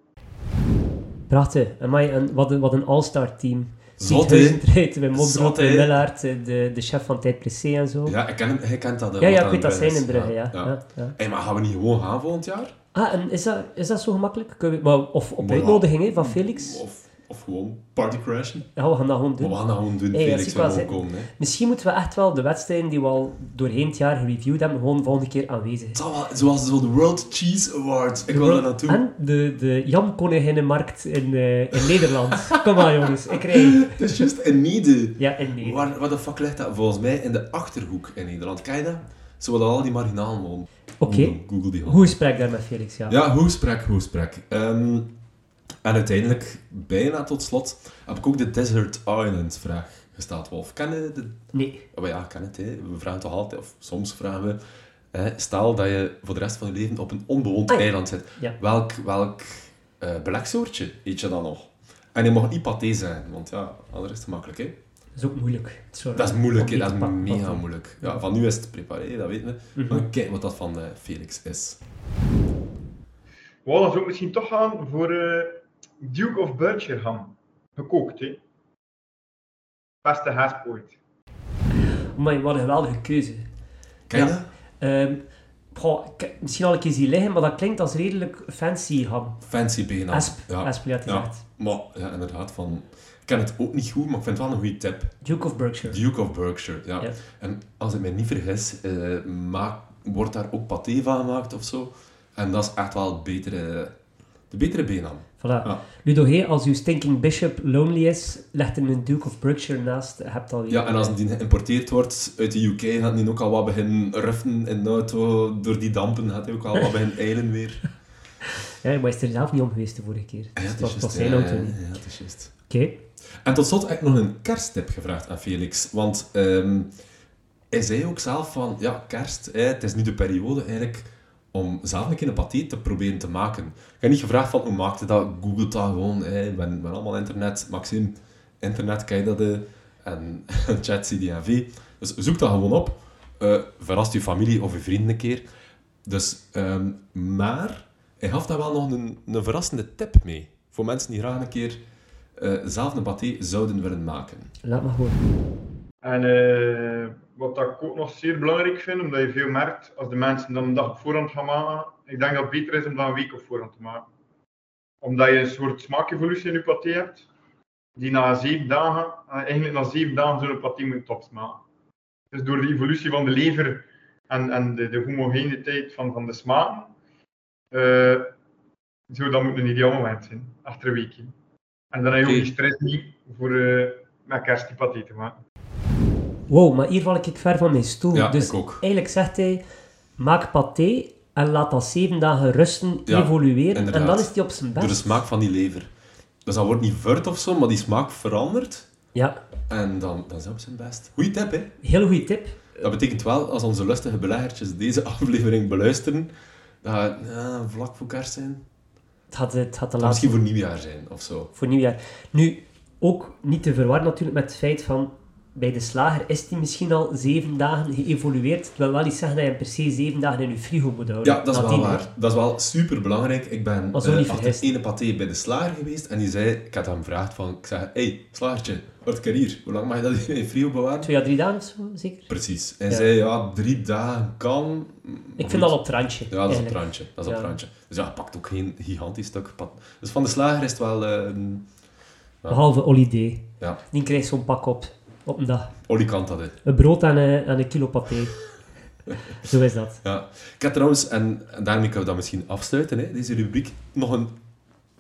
[SPEAKER 2] Prachtig. Amai, en wat een, wat een all-star team.
[SPEAKER 3] Zot, hè?
[SPEAKER 2] Huizentreed, Wim Mobdrop,
[SPEAKER 3] Zot, hè?
[SPEAKER 2] Wim Willaert, eh, de, de chef van Tijd Pressé en zo. Ja,
[SPEAKER 3] Ja, eh, ik ken hem, hij kent dat. hè,
[SPEAKER 2] ja,
[SPEAKER 3] wat
[SPEAKER 2] ik weet dat
[SPEAKER 3] aan de
[SPEAKER 2] zijn in
[SPEAKER 3] Brugge
[SPEAKER 2] Brugge,
[SPEAKER 3] is.
[SPEAKER 2] ja. ja. ja,
[SPEAKER 3] Hey, maar gaan we niet gewoon gaan volgend jaar?
[SPEAKER 2] Ah, en is dat, is dat zo gemakkelijk? Kunnen we, maar, of op
[SPEAKER 3] Maar-
[SPEAKER 2] uitnodiging hè, van Felix?
[SPEAKER 3] Of, of gewoon party crashen?
[SPEAKER 2] Ja, we gaan dat gewoon
[SPEAKER 3] Maar
[SPEAKER 2] doen.
[SPEAKER 3] we gaan dat gewoon doen,
[SPEAKER 2] Hey, dat zie
[SPEAKER 3] Felix,
[SPEAKER 2] ik
[SPEAKER 3] we
[SPEAKER 2] wel
[SPEAKER 3] gewoon
[SPEAKER 2] zitten.
[SPEAKER 3] komen. Hè.
[SPEAKER 2] Misschien moeten we echt wel de wedstrijden die we al doorheen het jaar gereviewd hebben, gewoon volgende keer aanwezig
[SPEAKER 3] Het zal wel, zoals zo de World Cheese Awards. Ik wil
[SPEAKER 2] zijn.
[SPEAKER 3] daar naartoe.
[SPEAKER 2] En de, de Jan Koninginnenmarkt in, eh, in Nederland. Kom maar jongens, ik rij.
[SPEAKER 3] Het Eh, is juist in Niede.
[SPEAKER 2] Ja, in Nederland.
[SPEAKER 3] Waar, wat de fuck ligt dat? Volgens mij in de Achterhoek in Nederland. Kijk dat? Zo dat al die marginalen wonen.
[SPEAKER 2] Oké.
[SPEAKER 3] Google, Google die gewoon.
[SPEAKER 2] Hoe gesprek daar met Felix, ja.
[SPEAKER 3] Ja, hoe sprak, hoe sprak. Ehm, en uiteindelijk, bijna tot slot, heb ik ook de Desert Island vraag gesteld, Wolf. Ken je de...
[SPEAKER 2] Nee.
[SPEAKER 3] Oh ja, ik ken het, hè. We vragen toch altijd, of soms vragen we... Hè, stel dat je voor de rest van je leven op een onbewoond
[SPEAKER 2] Ah, ja.
[SPEAKER 3] eiland zit.
[SPEAKER 2] Ja.
[SPEAKER 3] Welk, welk eh beleksoortje eet je dan nog? En je mag niet paté zijn, want ja, anders is het makkelijk. Hè?
[SPEAKER 2] Dat is ook moeilijk. Sorry.
[SPEAKER 3] Dat is moeilijk, hè?
[SPEAKER 2] Om
[SPEAKER 3] dat
[SPEAKER 2] die
[SPEAKER 3] is
[SPEAKER 2] te pakken.
[SPEAKER 3] mega moeilijk. Ja, van nu is het preparé, dat weten we.
[SPEAKER 2] Mhm.
[SPEAKER 3] Maar kijk wat dat van eh, Felix is.
[SPEAKER 4] Wow, dan zou ik misschien toch gaan voor eh, Duke of Burcherham. Gekookt, hè. Beste haast ooit.
[SPEAKER 2] Amai, wat een geweldige keuze.
[SPEAKER 3] Ken je
[SPEAKER 2] Ja.
[SPEAKER 3] dat?
[SPEAKER 2] Ehm, goh, ik- misschien al een keer zien liggen, maar dat klinkt als redelijk fancy ham.
[SPEAKER 3] Fancy bijna.
[SPEAKER 2] Asp,
[SPEAKER 3] ja.
[SPEAKER 2] Asp, ja, het is
[SPEAKER 3] Ja.
[SPEAKER 2] echt.
[SPEAKER 3] Maar ja, inderdaad, van... ik ken het ook niet goed, maar ik vind het wel een goede tip.
[SPEAKER 2] Duke of Berkshire.
[SPEAKER 3] Duke of Berkshire, ja.
[SPEAKER 2] Ja.
[SPEAKER 3] En als ik mij niet vergis, eh, maak, wordt daar ook paté van gemaakt of zo. En dat is echt wel het betere, de betere bijnaam.
[SPEAKER 2] Voilà.
[SPEAKER 3] Ja.
[SPEAKER 2] Ludo Hey, als uw stinking bishop lonely is, legt hem een Duke of Berkshire naast. Je hebt al
[SPEAKER 3] Ja, en als die geïmporteerd wordt uit de UK, gaat die ook al wat beginnen ruffen in de auto. Door die dampen gaat hij ook al wat beginnen eilen weer.
[SPEAKER 2] Ja,
[SPEAKER 3] Ah
[SPEAKER 2] maar hij is er zelf niet om geweest de vorige keer.
[SPEAKER 3] Ja,
[SPEAKER 2] Dus
[SPEAKER 3] het
[SPEAKER 2] het
[SPEAKER 3] is
[SPEAKER 2] was, het was
[SPEAKER 3] juist, eh,
[SPEAKER 2] zijn
[SPEAKER 3] ja,
[SPEAKER 2] auto
[SPEAKER 3] ja,
[SPEAKER 2] niet.
[SPEAKER 3] ja, het is juist.
[SPEAKER 2] Oké.
[SPEAKER 3] En tot slot heb ik nog een kersttip gevraagd aan Felix. Want ehm, hij zei ook zelf van, ja, kerst, hè, het is nu de periode eigenlijk om zelf een keer een paté te proberen te maken. Ik heb niet gevraagd van, hoe maak je dat? Google dat gewoon. Hè. Ik ben, ik ben allemaal internet. Maxime, internet, kan je dat? eh, en chat CDV. Dus zoek dat gewoon op. Eh verrast je familie of je vrienden een keer. Dus, ehm, maar hij gaf daar wel nog een, een verrassende tip mee. Voor mensen die graag een keer eh, zelf een paté zouden willen maken.
[SPEAKER 2] Laat maar gewoon.
[SPEAKER 4] En eh, wat dat ik ook nog zeer belangrijk vind, omdat je veel merkt, als de mensen dan een dag op voorhand gaan maken, ik denk dat het beter is om dat een week op voorhand te maken. Omdat je een soort smaakevolutie in je paté hebt, die na zeven dagen, eh, eigenlijk na zeven dagen zo'n paté moet topsmaken. Dus door de evolutie van de lever en, en de, de homogeniteit van, van de smaak, eh zou dat moet een ideaal moment zijn, achter een weekje. En dan heb je ook
[SPEAKER 3] Oké.
[SPEAKER 4] die stress niet voor eh, met kerst die paté te maken.
[SPEAKER 2] Wow, maar hier val ik ver van mijn stoel.
[SPEAKER 3] Ja,
[SPEAKER 2] dus
[SPEAKER 3] ik ook.
[SPEAKER 2] eigenlijk zegt hij, maak paté en laat dat zeven dagen rusten,
[SPEAKER 3] Ja,
[SPEAKER 2] evolueren. En
[SPEAKER 3] inderdaad.
[SPEAKER 2] dan is hij op zijn best.
[SPEAKER 3] Door de smaak van die lever. Dus dat wordt niet verd of zo, maar die smaak verandert.
[SPEAKER 2] Ja,
[SPEAKER 3] En dan, dan is dat op zijn best. Goeie tip, hè?
[SPEAKER 2] heel goede tip.
[SPEAKER 3] Dat betekent wel, als onze lustige beleggertjes deze aflevering beluisteren, dat gaat ja, vlak voor kerst zijn.
[SPEAKER 2] Het had, het had de
[SPEAKER 3] Of
[SPEAKER 2] laatste
[SPEAKER 3] misschien voor nieuwjaar zijn, of zo.
[SPEAKER 2] voor nieuwjaar. Nu, ook niet te verwarren natuurlijk met het feit van... Bij de slager is die misschien al zeven dagen geëvolueerd. Het wil wel niet zeggen dat je hem per se zeven dagen in je frigo moet houden.
[SPEAKER 3] Ja, dat is wel
[SPEAKER 2] Nadien,
[SPEAKER 3] waar. Dat is wel super belangrijk. Ik ben
[SPEAKER 2] Maar zo
[SPEAKER 3] eh,
[SPEAKER 2] niet
[SPEAKER 3] achter
[SPEAKER 2] vergist.
[SPEAKER 3] ene paté bij de slager geweest en die zei, ik had hem gevraagd van, ik zeg, hey, slagertje, wat kan hier? Hoe lang mag je dat hier in je frigo bewaren?
[SPEAKER 2] Twee à drie dagen of zo, zeker?
[SPEAKER 3] Precies. Hij
[SPEAKER 2] Ja.
[SPEAKER 3] zei, ja, drie dagen kan.
[SPEAKER 2] Ik vind dat op het randje.
[SPEAKER 3] Ja, dat is op
[SPEAKER 2] eigenlijk.
[SPEAKER 3] het randje. Dat is op
[SPEAKER 2] Ja.
[SPEAKER 3] het randje. Dus ja, pakt ook geen gigantisch stuk pad. Dus van de slager is het wel... eh,
[SPEAKER 2] Behalve Holiday.
[SPEAKER 3] ja,
[SPEAKER 2] Die krijgt zo'n pak op. Op een dag.
[SPEAKER 3] olikant dat, hè.
[SPEAKER 2] Een brood en een, en een kilo paté. Zo is dat.
[SPEAKER 3] Ja. Ik heb trouwens, en en daarmee kunnen we dat misschien afsluiten, hè, deze rubriek, nog een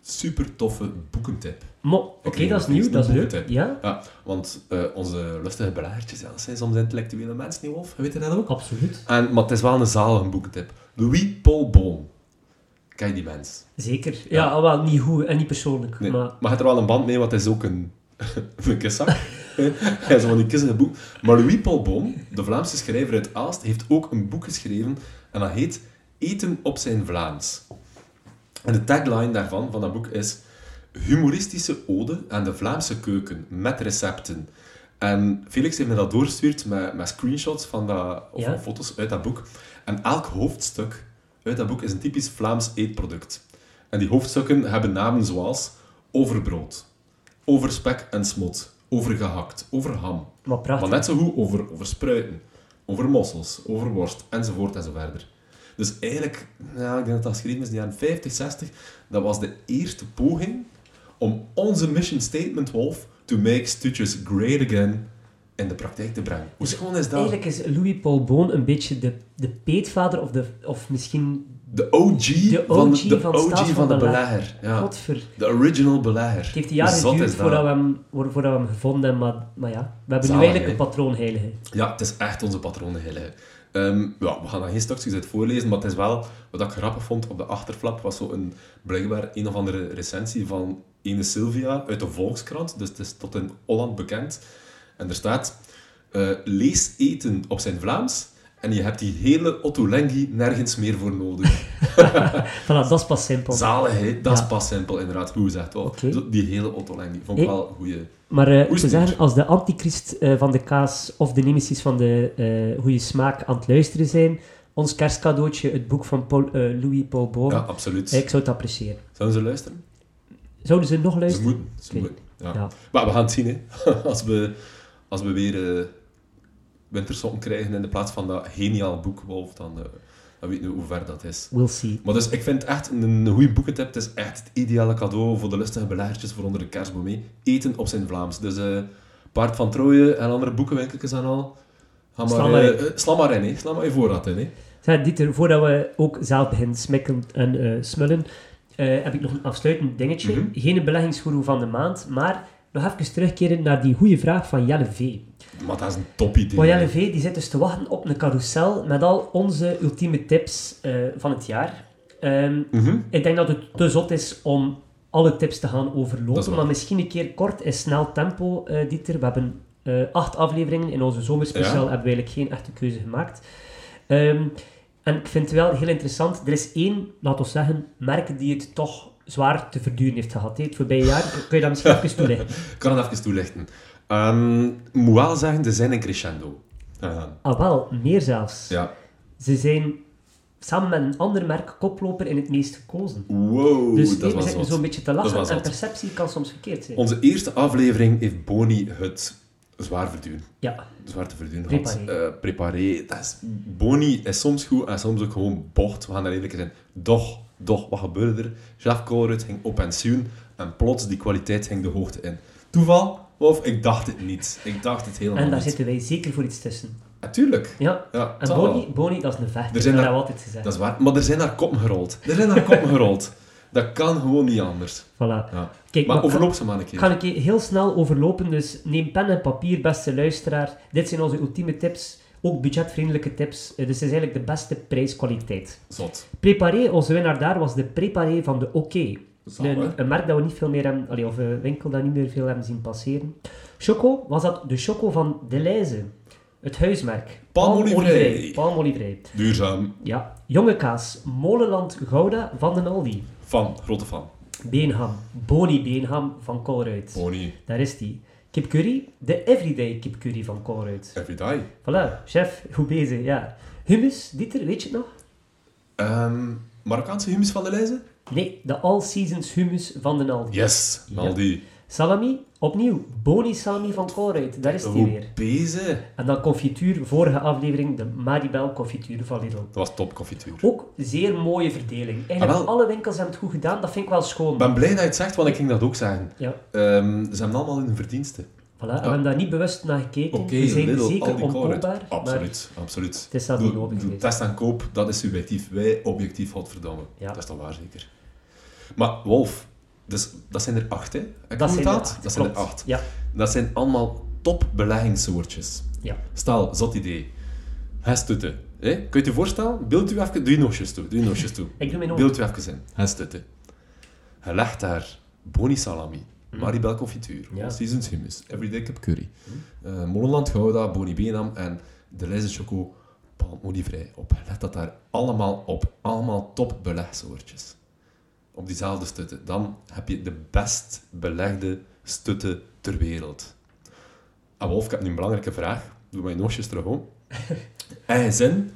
[SPEAKER 3] super toffe boekentip.
[SPEAKER 2] Mo, oké,
[SPEAKER 3] Ik kreeg
[SPEAKER 2] dat is
[SPEAKER 3] nog
[SPEAKER 2] nieuw,
[SPEAKER 3] eens
[SPEAKER 2] dat
[SPEAKER 3] een
[SPEAKER 2] is leuk.
[SPEAKER 3] boekentip.
[SPEAKER 2] Ja,
[SPEAKER 3] Ja, want eh, onze lustige belagertjes, ja, dat zijn soms intellectuele mensen, niet Wolf? Weet je dat ook?
[SPEAKER 2] absoluut.
[SPEAKER 3] En, maar het is wel een zalige boekentip. Louis Paul Boon. Kijk die mens.
[SPEAKER 2] Zeker. Ja, wel niet goed en niet persoonlijk.
[SPEAKER 3] Nee.
[SPEAKER 2] Maar
[SPEAKER 3] Maar je hebt er wel een band mee, want hij is ook een, een kissak. hij is van die kissige boek. Maar Louis Paul Boom, de Vlaamse schrijver uit Aalst, heeft ook een boek geschreven. En dat heet Eten op zijn Vlaams. En de tagline daarvan, van dat boek, is... Humoristische ode aan de Vlaamse keuken, met recepten. En Felix heeft me dat doorgestuurd met, met screenshots van dat, of
[SPEAKER 2] Ja.
[SPEAKER 3] foto's uit dat boek. En elk hoofdstuk uit dat boek is een typisch Vlaams eetproduct. En die hoofdstukken hebben namen zoals over brood, over spek en smot, over gehakt, over ham.
[SPEAKER 2] Maar prachtig.
[SPEAKER 3] net zo goed over, over spruiten, over mossels, over worst, enzovoort enzoverder. Dus eigenlijk, nou, ik denk dat dat geschreven is in de jaren 50, 60, dat was de eerste poging om onze mission statement, Wolf, to make stutjes great again, in de praktijk te brengen. Hoe schoon is dat?
[SPEAKER 2] Eigenlijk is Louis Paul Boon een beetje de, de peetvader of, de, of misschien...
[SPEAKER 3] De OG,
[SPEAKER 2] De
[SPEAKER 3] van,
[SPEAKER 2] OG
[SPEAKER 3] de,
[SPEAKER 2] van
[SPEAKER 3] OG
[SPEAKER 2] Staat
[SPEAKER 3] van,
[SPEAKER 2] van
[SPEAKER 3] de
[SPEAKER 2] Belegger.
[SPEAKER 3] belegger. Ja.
[SPEAKER 2] Godver...
[SPEAKER 3] De original belegger.
[SPEAKER 2] Het heeft jaren
[SPEAKER 3] Zot is
[SPEAKER 2] geduurd
[SPEAKER 3] dat.
[SPEAKER 2] voordat we, hem, voor- voordat we hem gevonden hebben, maar, maar ja. We hebben
[SPEAKER 3] Zalig,
[SPEAKER 2] nu eigenlijk
[SPEAKER 3] hè?
[SPEAKER 2] een patroonheilige.
[SPEAKER 3] Ja, het is echt onze patronenheilige. Ehm ja, we gaan daar geen stukjes uit voorlezen, maar het is wel... Wat ik grappig vond op de achterflap was zo een, blijkbaar een of andere recensie van ene Sylvia uit de Volkskrant. Dus het is tot in Holland bekend. En er staat... eh, lees eten op zijn Vlaams En je hebt die hele Ottolenghi nergens meer voor nodig.
[SPEAKER 2] Voilà, dat is pas simpel.
[SPEAKER 3] Zalig, hè? Dat is
[SPEAKER 2] Oh. Ja.
[SPEAKER 3] pas simpel, inderdaad. Goed gezegd, wel.
[SPEAKER 2] Oké.
[SPEAKER 3] Zo- Die hele Ottolenghi. Vond ik
[SPEAKER 2] Ik-
[SPEAKER 3] wel een goeie...
[SPEAKER 2] Maar eh, ik
[SPEAKER 3] Oester.
[SPEAKER 2] zou zeggen, als de antichrist eh, van de kaas of de nemesis van de eh goede smaak aan het luisteren zijn, ons kerstcadeautje, het boek van Paul, eh, Louis Paul Boom, eh,
[SPEAKER 3] Ja, absoluut.
[SPEAKER 2] ik zou het appreciëren.
[SPEAKER 3] Zouden ze luisteren?
[SPEAKER 2] Zouden ze nog
[SPEAKER 3] Ze
[SPEAKER 2] luisteren?
[SPEAKER 3] moeten. Ze
[SPEAKER 2] Oké.
[SPEAKER 3] moeten. Ja.
[SPEAKER 2] Ja.
[SPEAKER 3] Maar we gaan het zien, hè. Als we, als we weer eh, wintersokken krijgen in de plaats van dat geniaal boek Wolf, dan, eh, dan weten we hoe ver dat is.
[SPEAKER 2] We'll see.
[SPEAKER 3] Maar dus, ik vind het echt een goede boekentip. Het is echt het ideale cadeau voor de lustige beleggertjes voor onder de kerstboom. mee. Eten op zijn Vlaams. Dus eh, Paard van Trooien en andere boekenwinkeltjes en al. Ga maar,
[SPEAKER 2] Sla maar
[SPEAKER 3] eh,
[SPEAKER 2] in.
[SPEAKER 3] eh, sla maar in, hè. Sla maar je voorraad in, hè.
[SPEAKER 2] Zeg, Dieter, voordat we ook zelf beginnen smikken en eh, smullen, eh, heb ik nog een afsluitend dingetje.
[SPEAKER 3] Mhm.
[SPEAKER 2] Geen beleggingsgoeroe van de maand, maar nog even terugkeren naar die goede vraag van Jelle V.
[SPEAKER 3] Maar dat is een topidee.
[SPEAKER 2] Maar
[SPEAKER 3] idee.
[SPEAKER 2] Jelle V die zit dus te wachten op een carousel met al onze ultieme tips eh, van het jaar. Ehm,
[SPEAKER 3] Mhm.
[SPEAKER 2] ik denk dat het te zot is om alle tips te gaan
[SPEAKER 3] Dat is
[SPEAKER 2] overlopen,
[SPEAKER 3] waar.
[SPEAKER 2] maar misschien een keer kort in snel tempo, eh, Dieter. We hebben eh, acht afleveringen. In onze zomerspecial
[SPEAKER 3] Ja.
[SPEAKER 2] hebben we eigenlijk geen echte keuze gemaakt. Ehm, en ik vind het wel heel interessant. Er is één, laten we zeggen, merk die het toch zwaar te verduren heeft gehad. hè, Het voorbije jaar. Kun je dat misschien even toelichten?
[SPEAKER 3] Ik kan het even toelichten. Ehm, Ik moet wel zeggen, ze zijn een crescendo. gegaan.
[SPEAKER 2] Ah wel, meer zelfs.
[SPEAKER 3] ja.
[SPEAKER 2] Ze zijn samen met een ander merk koploper in het meest gekozen.
[SPEAKER 3] Wow,
[SPEAKER 2] Dus
[SPEAKER 3] dat
[SPEAKER 2] we
[SPEAKER 3] was
[SPEAKER 2] zitten
[SPEAKER 3] wat.
[SPEAKER 2] zo'n beetje te
[SPEAKER 3] Dat
[SPEAKER 2] lachen
[SPEAKER 3] was
[SPEAKER 2] en
[SPEAKER 3] wat.
[SPEAKER 2] perceptie kan soms verkeerd zijn.
[SPEAKER 3] Onze eerste aflevering heeft Boni het zwaar verduren.
[SPEAKER 2] Ja,
[SPEAKER 3] Zwaar te verduren.
[SPEAKER 2] Préparé.
[SPEAKER 3] eh preparé. Dat is, Boni is soms goed en soms ook gewoon bocht. We gaan daar eerlijk in zijn. Doch, doch, wat gebeurde er? Jeff Colruyt ging op pensioen en plots die kwaliteit ging de hoogte in. Toeval? Of ik dacht het niet. Ik dacht het helemaal
[SPEAKER 2] en daar
[SPEAKER 3] niet.
[SPEAKER 2] zitten wij zeker voor iets tussen.
[SPEAKER 3] Natuurlijk.
[SPEAKER 2] Ja,
[SPEAKER 3] Ja,
[SPEAKER 2] en
[SPEAKER 3] zal
[SPEAKER 2] Boni, Boni, dat is een vechter,
[SPEAKER 3] Er zijn
[SPEAKER 2] dat hebben
[SPEAKER 3] daar-
[SPEAKER 2] we altijd gezegd.
[SPEAKER 3] Dat is waar. Maar er zijn haar koppen gerold. Er zijn haar koppen gerold. Dat kan gewoon niet anders.
[SPEAKER 2] Voilà.
[SPEAKER 3] Ja.
[SPEAKER 2] Kijk,
[SPEAKER 3] maar
[SPEAKER 2] maar
[SPEAKER 3] overloop ze maar een
[SPEAKER 2] Ik
[SPEAKER 3] keer.
[SPEAKER 2] ga een keer heel snel overlopen, dus neem pen en papier, beste luisteraar. Dit zijn onze ultieme tips, ook budgetvriendelijke tips. Eh, Dus het is eigenlijk de beste prijskwaliteit.
[SPEAKER 3] Zot.
[SPEAKER 2] Preparé, onze winnaar daar was de Preparé van de OK.
[SPEAKER 3] Zalig.
[SPEAKER 2] Een, een merk dat we niet veel meer hebben, allee, of een winkel dat we niet meer veel hebben zien passeren. Choco was dat de Choco van Deleuze, het huismerk.
[SPEAKER 3] Palmolivrij.
[SPEAKER 2] Palmolivrij. Palmolivrij.
[SPEAKER 3] Duurzaam.
[SPEAKER 2] Ja. Jonge kaas, Molenland Gouda van den Aldi.
[SPEAKER 3] Fan. Grote fan.
[SPEAKER 2] Beenham, Boni Beenham van Colruyt.
[SPEAKER 3] Boni.
[SPEAKER 2] Daar is die. Kipcurry, de everyday kipcurry van Colruyt.
[SPEAKER 3] Everyday.
[SPEAKER 2] Voilà, chef, goed bezig, ja. Hummus, Dieter, weet je het nog?
[SPEAKER 3] Ehm Marokkaanse humus van de lijzen?
[SPEAKER 2] Nee, de All Seasons hummus van den Aldi.
[SPEAKER 3] Yes. Maldi.
[SPEAKER 2] Salami, opnieuw, Boni Salami van Colruyt, daar is die
[SPEAKER 3] Hoe
[SPEAKER 2] weer.
[SPEAKER 3] bezig.
[SPEAKER 2] En dan confituur, vorige aflevering, de Maribel confituur van Lidl.
[SPEAKER 3] Dat was top confituur.
[SPEAKER 2] Ook zeer mooie verdeling. Eigenlijk
[SPEAKER 3] Ah, wel.
[SPEAKER 2] alle winkels hebben het goed gedaan, dat vind ik wel schoon.
[SPEAKER 3] Ik ben blij dat je het zegt, want ik ging dat ook zeggen.
[SPEAKER 2] Ja,
[SPEAKER 3] Ehm, ze hebben allemaal hun verdiensten.
[SPEAKER 2] voilà. En we hebben daar niet bewust naar gekeken.
[SPEAKER 3] Oké,
[SPEAKER 2] we zijn
[SPEAKER 3] Lidl,
[SPEAKER 2] zeker
[SPEAKER 3] Aldi, Colruyt.
[SPEAKER 2] onkoopbaar. maar
[SPEAKER 3] Absoluut, absoluut.
[SPEAKER 2] Het is zelfs
[SPEAKER 3] Doe-
[SPEAKER 2] niet nodig
[SPEAKER 3] doe
[SPEAKER 2] geweest.
[SPEAKER 3] Test en koop, dat is subjectief. Wij objectief, godverdomme.
[SPEAKER 2] Ja.
[SPEAKER 3] Dat is dan waar, zeker. Maar Wolf, dus, dat zijn er acht, hè? Ik
[SPEAKER 2] Dat
[SPEAKER 3] noem
[SPEAKER 2] zijn
[SPEAKER 3] dat?
[SPEAKER 2] er acht,
[SPEAKER 3] Dat zijn er
[SPEAKER 2] klopt.
[SPEAKER 3] acht.
[SPEAKER 2] Ja.
[SPEAKER 3] Dat zijn allemaal top beleggingssoortjes.
[SPEAKER 2] Ja.
[SPEAKER 3] Stel, zot idee. Hestutten. hè? Kun je het je voorstellen? Beeld u even... Doe je noosjes toe. Doe je noosjes toe.
[SPEAKER 2] Ik doe mijn ogen.
[SPEAKER 3] Beeld u even in. Hestutten. Je legt daar boni salami, Maribel confituur,
[SPEAKER 2] Ja.
[SPEAKER 3] Seasons hummus, Everyday Cup curry, eh, Molenland Gouda, Boni Benam en de Leize Choco palmolievrij op. Let dat daar allemaal op. Allemaal top belegsoortjes. Op diezelfde stutten. Dan heb je de best belegde stutten ter wereld. Ah, Wolf, ik heb nu een belangrijke vraag. Doe mijn noosjes terug om. Heb je zin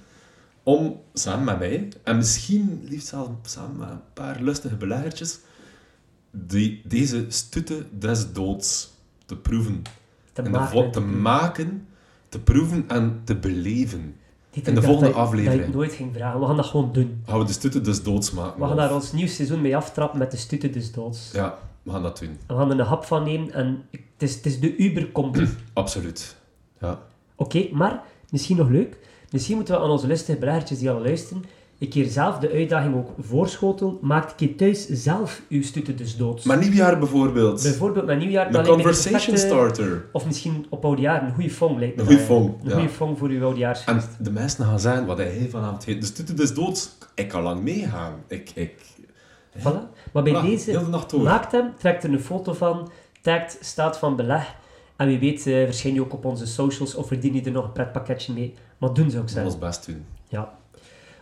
[SPEAKER 3] om samen met mij, en misschien liefst zelfs samen met een paar lustige beleggertjes, die, deze stutten des doods te proeven.
[SPEAKER 2] Te
[SPEAKER 3] en de
[SPEAKER 2] maken.
[SPEAKER 3] vlot te maken, te proeven en te beleven.
[SPEAKER 2] Dieter,
[SPEAKER 3] in de
[SPEAKER 2] ik dacht
[SPEAKER 3] volgende
[SPEAKER 2] dat je- Dat
[SPEAKER 3] aflevering.
[SPEAKER 2] je het nooit ging vragen. We gaan dat gewoon doen.
[SPEAKER 3] Gaan we de stutten dus doods
[SPEAKER 2] We
[SPEAKER 3] maken?
[SPEAKER 2] gaan
[SPEAKER 3] Wolf?
[SPEAKER 2] daar ons nieuw seizoen mee aftrappen met de stuten dus doods.
[SPEAKER 3] Ja, we gaan dat doen.
[SPEAKER 2] We gaan er een hap van nemen en ik- het is, het is de uber combi. Oké,
[SPEAKER 3] Absoluut. Ja.
[SPEAKER 2] Dus- maar misschien nog leuk. Misschien moeten we aan onze lustige beleggertjes die al luisteren, een keer zelf de uitdaging ook voorschotelen. Maak een keer thuis zelf uw stuten dus doods.
[SPEAKER 3] Maar nieuwjaar bijvoorbeeld.
[SPEAKER 2] Bijvoorbeeld met nieuwjaar.
[SPEAKER 3] Een
[SPEAKER 2] dan lijkt me
[SPEAKER 3] conversation
[SPEAKER 2] perfecte-
[SPEAKER 3] starter.
[SPEAKER 2] Of misschien op oudejaar, een goede fong lijkt me.
[SPEAKER 3] Een goeie
[SPEAKER 2] dat,
[SPEAKER 3] fong,
[SPEAKER 2] Een
[SPEAKER 3] ja.
[SPEAKER 2] goede fong voor uw oudejaarsfeest.
[SPEAKER 3] En de mensen gaan zeggen wat hij vanavond heeft. Dus dit is doods. Ik kan lang meegaan. Ik, ik.
[SPEAKER 2] Voilà. Maar bij
[SPEAKER 3] Voilà,
[SPEAKER 2] deze,
[SPEAKER 3] heel de nacht door.
[SPEAKER 2] maakt hem, trekt er een foto van, tagt staat van beleg. En wie weet eh, verschijn je ook op onze socials of verdien je er nog een pretpakketje mee. Maar doen ze ook
[SPEAKER 3] Dat
[SPEAKER 2] zelf.
[SPEAKER 3] was best doen.
[SPEAKER 2] Ja.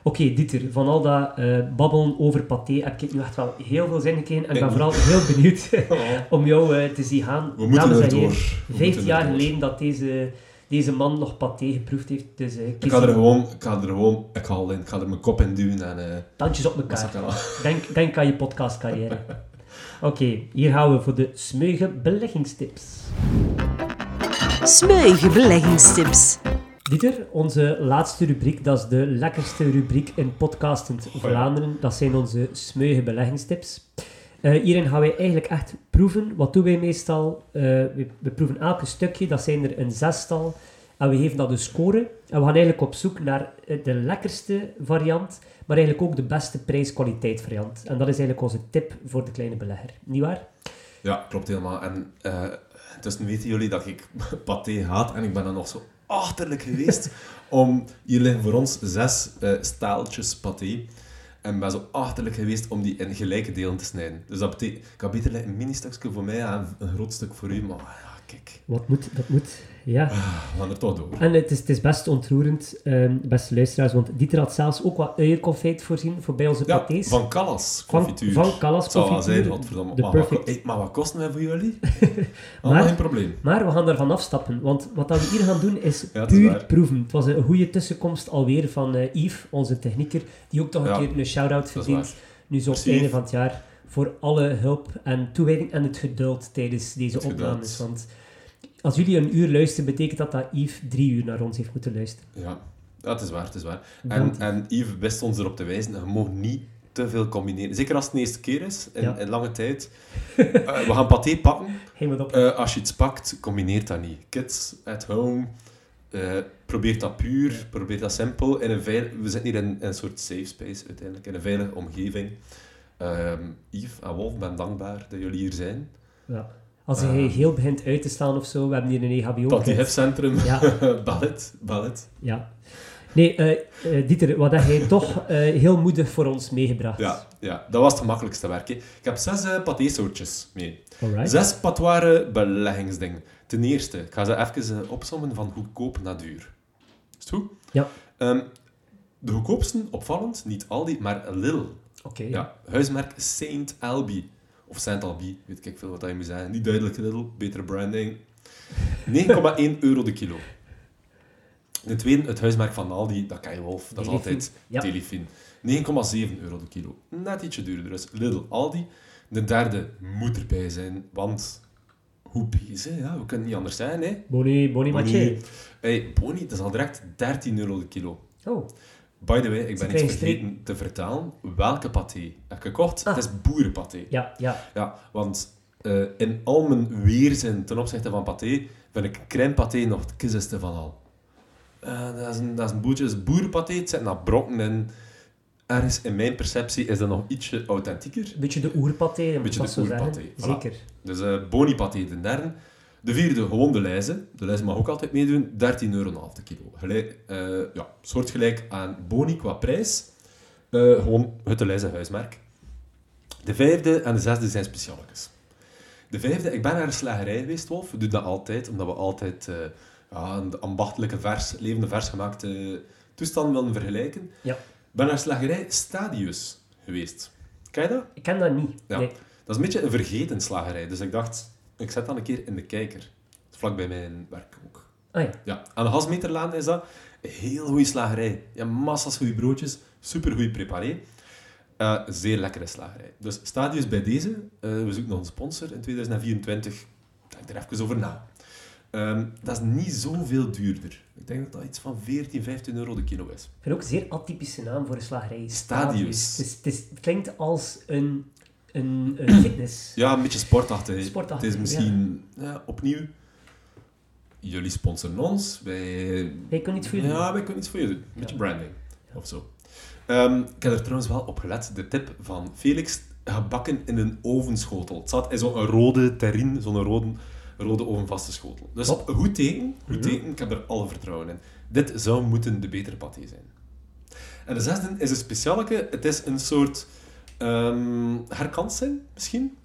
[SPEAKER 2] Oké, Dieter, van al dat eh, babbelen over paté heb ik nu echt wel heel veel zin gekregen. En ik ben
[SPEAKER 3] Ik
[SPEAKER 2] vooral heel benieuwd om jou eh, te zien gaan.
[SPEAKER 3] We moeten
[SPEAKER 2] Dames en
[SPEAKER 3] erdoor.
[SPEAKER 2] heren,
[SPEAKER 3] We
[SPEAKER 2] Vijf
[SPEAKER 3] moeten
[SPEAKER 2] jaar
[SPEAKER 3] erdoor.
[SPEAKER 2] geleden dat deze, deze man nog paté geproefd heeft. Dus eh,
[SPEAKER 3] Ik
[SPEAKER 2] kies
[SPEAKER 3] ga er
[SPEAKER 2] hem.
[SPEAKER 3] gewoon, ik ga er gewoon, ik ga al in, ik ga er mijn kop in duwen en eh,
[SPEAKER 2] tandjes op
[SPEAKER 3] dat zat
[SPEAKER 2] elkaar.
[SPEAKER 3] er al.
[SPEAKER 2] Denk, denk aan je podcastcarrière. Oké, hier gaan we voor de smeuïge beleggingstips.
[SPEAKER 1] Smeuïge beleggingstips.
[SPEAKER 2] Dieter, onze laatste rubriek, dat is de lekkerste rubriek in podcastend Vlaanderen. Dat zijn onze smeuïge beleggingstips. Eh, hierin gaan wij eigenlijk echt proeven. Wat doen wij meestal? Eh, we, we proeven elke stukje, dat zijn er een zestal. En we geven dat een score. En we gaan eigenlijk op zoek naar eh, de lekkerste variant, maar eigenlijk ook de beste prijs-kwaliteit variant. En dat is eigenlijk onze tip voor de kleine belegger. Niet waar?
[SPEAKER 3] Ja, klopt helemaal. En eh intussen weten jullie dat ik paté haat en ik ben dan nog zo achterlijk geweest om... Hier liggen voor ons zes eh, staaltjes paté en ben zo achterlijk geweest om die in gelijke delen te snijden. Dus dat betekent... Ik had beter een mini-stukje voor mij en een groot stuk voor u, maar ja, kijk,
[SPEAKER 2] Wat moet, dat moet. Ja.
[SPEAKER 3] we gaan er toch door.
[SPEAKER 2] En het is, het is best ontroerend, ehm, beste luisteraars, want Dieter had zelfs ook wat uienconfijt voorzien voor bij onze
[SPEAKER 3] Ja,
[SPEAKER 2] patés.
[SPEAKER 3] van Callas
[SPEAKER 2] Van-
[SPEAKER 3] confituur.
[SPEAKER 2] van Callas
[SPEAKER 3] Het zou wel
[SPEAKER 2] confituur,
[SPEAKER 3] zijn, godverdomme.
[SPEAKER 2] de
[SPEAKER 3] Maar, wat-
[SPEAKER 2] perfect.
[SPEAKER 3] hey, maar wat kosten wij voor jullie?
[SPEAKER 2] Maar-
[SPEAKER 3] Allemaal geen probleem.
[SPEAKER 2] Maar we gaan daarvan afstappen, want wat dat we hier gaan doen is
[SPEAKER 3] Ja, het is
[SPEAKER 2] puur
[SPEAKER 3] waar.
[SPEAKER 2] proeven. Het was een goede tussenkomst alweer van eh, Yves, onze technieker, die ook toch een
[SPEAKER 3] Ja,
[SPEAKER 2] keer een shout-out
[SPEAKER 3] Dat is
[SPEAKER 2] verdient.
[SPEAKER 3] waar.
[SPEAKER 2] Nu zo op het
[SPEAKER 3] Merci,
[SPEAKER 2] einde
[SPEAKER 3] Yves.
[SPEAKER 2] van het jaar voor alle hulp en toewijding en het geduld tijdens deze
[SPEAKER 3] Het geduld.
[SPEAKER 2] opnames. Want als jullie een uur luisteren, betekent dat dat Yves drie uur naar ons heeft moeten luisteren.
[SPEAKER 3] Ja, dat is waar, het is waar.
[SPEAKER 2] Want-
[SPEAKER 3] En, en Yves wist ons erop te wijzen, je mag niet te veel combineren. Zeker als het de eerste keer is, in,
[SPEAKER 2] Ja.
[SPEAKER 3] in lange tijd. Eh, we gaan paté pakken.
[SPEAKER 2] Hey, wat op.
[SPEAKER 3] Eh, als je iets pakt, combineer dat niet. Kids at home, eh, probeer dat puur, probeer dat simpel. In een veil- we zitten hier in, in een soort safe space uiteindelijk, in een veilige omgeving. Ehm Yves en Wolf, ben dankbaar dat jullie hier zijn.
[SPEAKER 2] Ja. Als hij heel begint uit te slaan of zo, we hebben hier een EHBO.
[SPEAKER 3] Eh. Dat die
[SPEAKER 2] kit.
[SPEAKER 3] hefcentrum,
[SPEAKER 2] Ja.
[SPEAKER 3] ballet, ballet.
[SPEAKER 2] Ja. Nee, eh, eh, Dieter, wat heb jij toch eh, heel moedig voor ons meegebracht?
[SPEAKER 3] Ja, ja, dat was het gemakkelijkste werk. hè. Ik heb zes eh paté-soortjes mee.
[SPEAKER 2] Alright.
[SPEAKER 3] Zes patoire beleggingsdingen. Ten eerste, ik ga ze even eh, opsommen van goedkoop naar duur. Is het goed?
[SPEAKER 2] Ja.
[SPEAKER 3] Ehm, de goedkoopste, opvallend, niet Aldi, maar Lil.
[SPEAKER 2] Oké.
[SPEAKER 3] Ja, huismerk Saint Albi. Of Saint Albi, weet ik veel wat dat je moet zeggen. Niet duidelijk Lidl, betere branding. 9,1 euro de kilo. De tweede, het huismerk van Aldi, dat kan je wolf, dat is
[SPEAKER 2] Delifin,
[SPEAKER 3] altijd
[SPEAKER 2] ja.
[SPEAKER 3] Telefin. 9,7 euro de kilo. Net ietsje duurder dus. Lidl, Aldi. De derde moet erbij zijn, want hoe bezig, ja, we kunnen niet anders zijn, hè.
[SPEAKER 2] Bonnie, Bonnie Mathieu.
[SPEAKER 3] Bonnie. Hey, Bonnie, dat is al direct 13 euro de kilo.
[SPEAKER 2] Oh,
[SPEAKER 3] By the way, ik
[SPEAKER 2] Ze
[SPEAKER 3] ben iets
[SPEAKER 2] krijgen streep.
[SPEAKER 3] vergeten te vertellen. Welke paté heb ik gekocht?
[SPEAKER 2] Ah.
[SPEAKER 3] Het is boerenpaté.
[SPEAKER 2] ja, ja.
[SPEAKER 3] Ja, want eh, in al mijn weerzin ten opzichte van paté, vind ik crème paté nog het kisseste van al. Eh, dat, is een, dat is een boertje, dat is boerenpaté, het zit naar brokken in. Ergens in mijn perceptie is dat nog ietsje authentieker.
[SPEAKER 2] Een beetje de oerpaté, dat moet
[SPEAKER 3] Beetje
[SPEAKER 2] ik
[SPEAKER 3] de
[SPEAKER 2] zo zeggen.
[SPEAKER 3] oerpaté, voilà.
[SPEAKER 2] Zeker.
[SPEAKER 3] Dus eh bonipaté de derde. De vierde, gewoon de lijzen. De lijst mag ook altijd meedoen. 13,5 euro de kilo. Gelijk, eh, ja, soortgelijk aan boni qua prijs. Eh, gewoon het de lijzen huismerk. De vijfde en de zesde zijn specialetjes. De vijfde, ik ben naar een slagerij geweest, Wolf. We doen dat altijd, omdat we altijd eh, ja, een ambachtelijke vers, levende vers gemaakte toestanden willen vergelijken. Ik
[SPEAKER 2] Ja.
[SPEAKER 3] ben naar een slagerij Stadius geweest. Ken je dat?
[SPEAKER 2] Ik ken dat niet.
[SPEAKER 3] Ja.
[SPEAKER 2] Nee.
[SPEAKER 3] Dat is een beetje een vergeten slagerij. Dus ik dacht, ik zet dat een keer in de kijker. Vlak bij mijn werk ook.
[SPEAKER 2] Ah ja.
[SPEAKER 3] Ja, aan de Hasmeterlaan is dat een heel goede slagerij. Je hebt massas goede broodjes, super goed preparé. Eh, zeer lekkere slagerij. Dus Stadius bij deze. Eh, we zoeken nog een sponsor in 2024. Denk er even over na. Ehm, dat is niet zoveel duurder. Ik denk dat dat iets van 14, 15 euro de kilo is.
[SPEAKER 2] Ik vind ook een zeer atypische naam voor een slagerij.
[SPEAKER 3] Stadius.
[SPEAKER 2] Het, is, het, is- het klinkt als een, een, een fitness.
[SPEAKER 3] Ja, een beetje sportachtig. hè.
[SPEAKER 2] Sportachtig,
[SPEAKER 3] Het is misschien ja, opnieuw. Jullie sponsoren ons. Wij
[SPEAKER 2] Wij kunnen niet voor jullie.
[SPEAKER 3] Ja, maar ik kan iets voor je doen. Een beetje branding of zo. Ehm, ik heb er trouwens wel op gelet. De tip van Felix: gebakken in een ovenschotel. Het zat in zo'n rode terrine, zo'n rode, rode ovenvaste schotel. Dus
[SPEAKER 2] Top.
[SPEAKER 3] goed teken, goed teken. Ik heb er alle vertrouwen in. Dit zou moeten de betere paté zijn. En de zesde is een specialeke. Het is een soort ehm herkansing, misschien.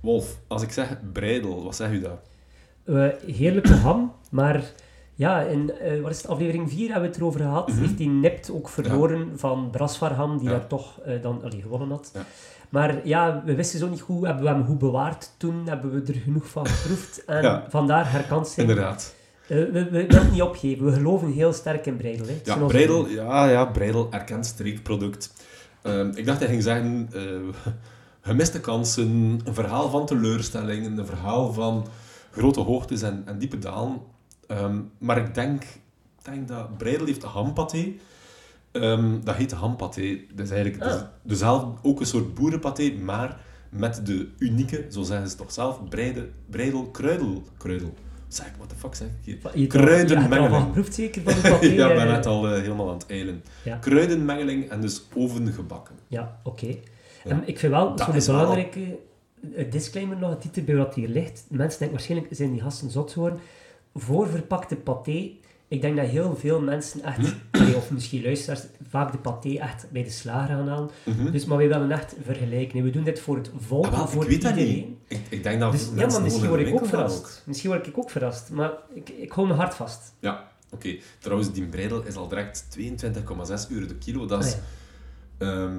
[SPEAKER 3] Wolf, als ik zeg breidel, wat zeg je daar?
[SPEAKER 2] Eh, heerlijke ham, maar Ja, in eh, wat is het, aflevering 4 hebben we het erover gehad. Heeft die Nipt ook verloren van Brasvarham, die
[SPEAKER 3] Mhm. Ja.
[SPEAKER 2] daar toch eh, dan allee, gewonnen had.
[SPEAKER 3] Ja.
[SPEAKER 2] Maar ja, we wisten zo niet goed. Hebben we hem goed bewaard toen? Hebben we er genoeg van geproefd? En
[SPEAKER 3] Ja.
[SPEAKER 2] vandaar herkansing.
[SPEAKER 3] Inderdaad.
[SPEAKER 2] Eh, we, we willen het niet opgeven. We geloven heel sterk in Breidel. Hè. Het zijn
[SPEAKER 3] Ja,
[SPEAKER 2] onze-
[SPEAKER 3] Breidel, ja, ja, Breidel erkent streekproduct. Ehm, ik dacht hij ging zeggen, eh, gemiste kansen, een verhaal van teleurstellingen, een verhaal van grote hoogtes en, en diepe dalen. Ehm, maar ik denk, ik denk dat Breidel heeft hampaté. Ehm, dat heet hampaté. Dat is eigenlijk
[SPEAKER 2] Ah.
[SPEAKER 3] dus, dezelfde- ook een soort boerenpaté, maar met de unieke, zo zeggen ze toch zelf, Breidel, Breidel kruidel. kruidel. Zeg, what the fuck zeg ik hier?
[SPEAKER 2] Je hebt al- je hebt er al van
[SPEAKER 3] Kruidenmengeling
[SPEAKER 2] geproefd zeker van de papier.
[SPEAKER 3] ja, ik ben
[SPEAKER 2] eh.
[SPEAKER 3] net al eh, helemaal aan het eilen.
[SPEAKER 2] Ja.
[SPEAKER 3] Kruidenmengeling en dus ovengebakken.
[SPEAKER 2] Ja, oké. En ik vind wel
[SPEAKER 3] Dat
[SPEAKER 2] zo'n
[SPEAKER 3] is wel-
[SPEAKER 2] belangrijke eh, disclaimer nog, het titel bij wat hier ligt. Mensen denken waarschijnlijk, zijn die gasten zot geworden? Voorverpakte paté, ik denk dat heel veel mensen
[SPEAKER 3] Hm?
[SPEAKER 2] echt, allee, of misschien luisteraars, vaak de paté echt bij de slager gaan halen. Dus, maar wij willen echt vergelijken. En we doen dit voor het volk,
[SPEAKER 3] Mhm. Ah, wel,
[SPEAKER 2] Oh, voor
[SPEAKER 3] ik weet dat
[SPEAKER 2] iedereen.
[SPEAKER 3] niet. Ik, ik denk dat
[SPEAKER 2] Dus, ja,
[SPEAKER 3] mensen
[SPEAKER 2] maar misschien
[SPEAKER 3] gewoon
[SPEAKER 2] word
[SPEAKER 3] in
[SPEAKER 2] ik
[SPEAKER 3] de
[SPEAKER 2] ook
[SPEAKER 3] winkel gaan
[SPEAKER 2] verrast. Misschien word ik ook verrast, maar ik, ik hou mijn hart vast.
[SPEAKER 3] ook. Ja, oké. Trouwens, die breidel is al direct 22,6 euro de kilo. Dat is
[SPEAKER 2] Ah,
[SPEAKER 3] ehm,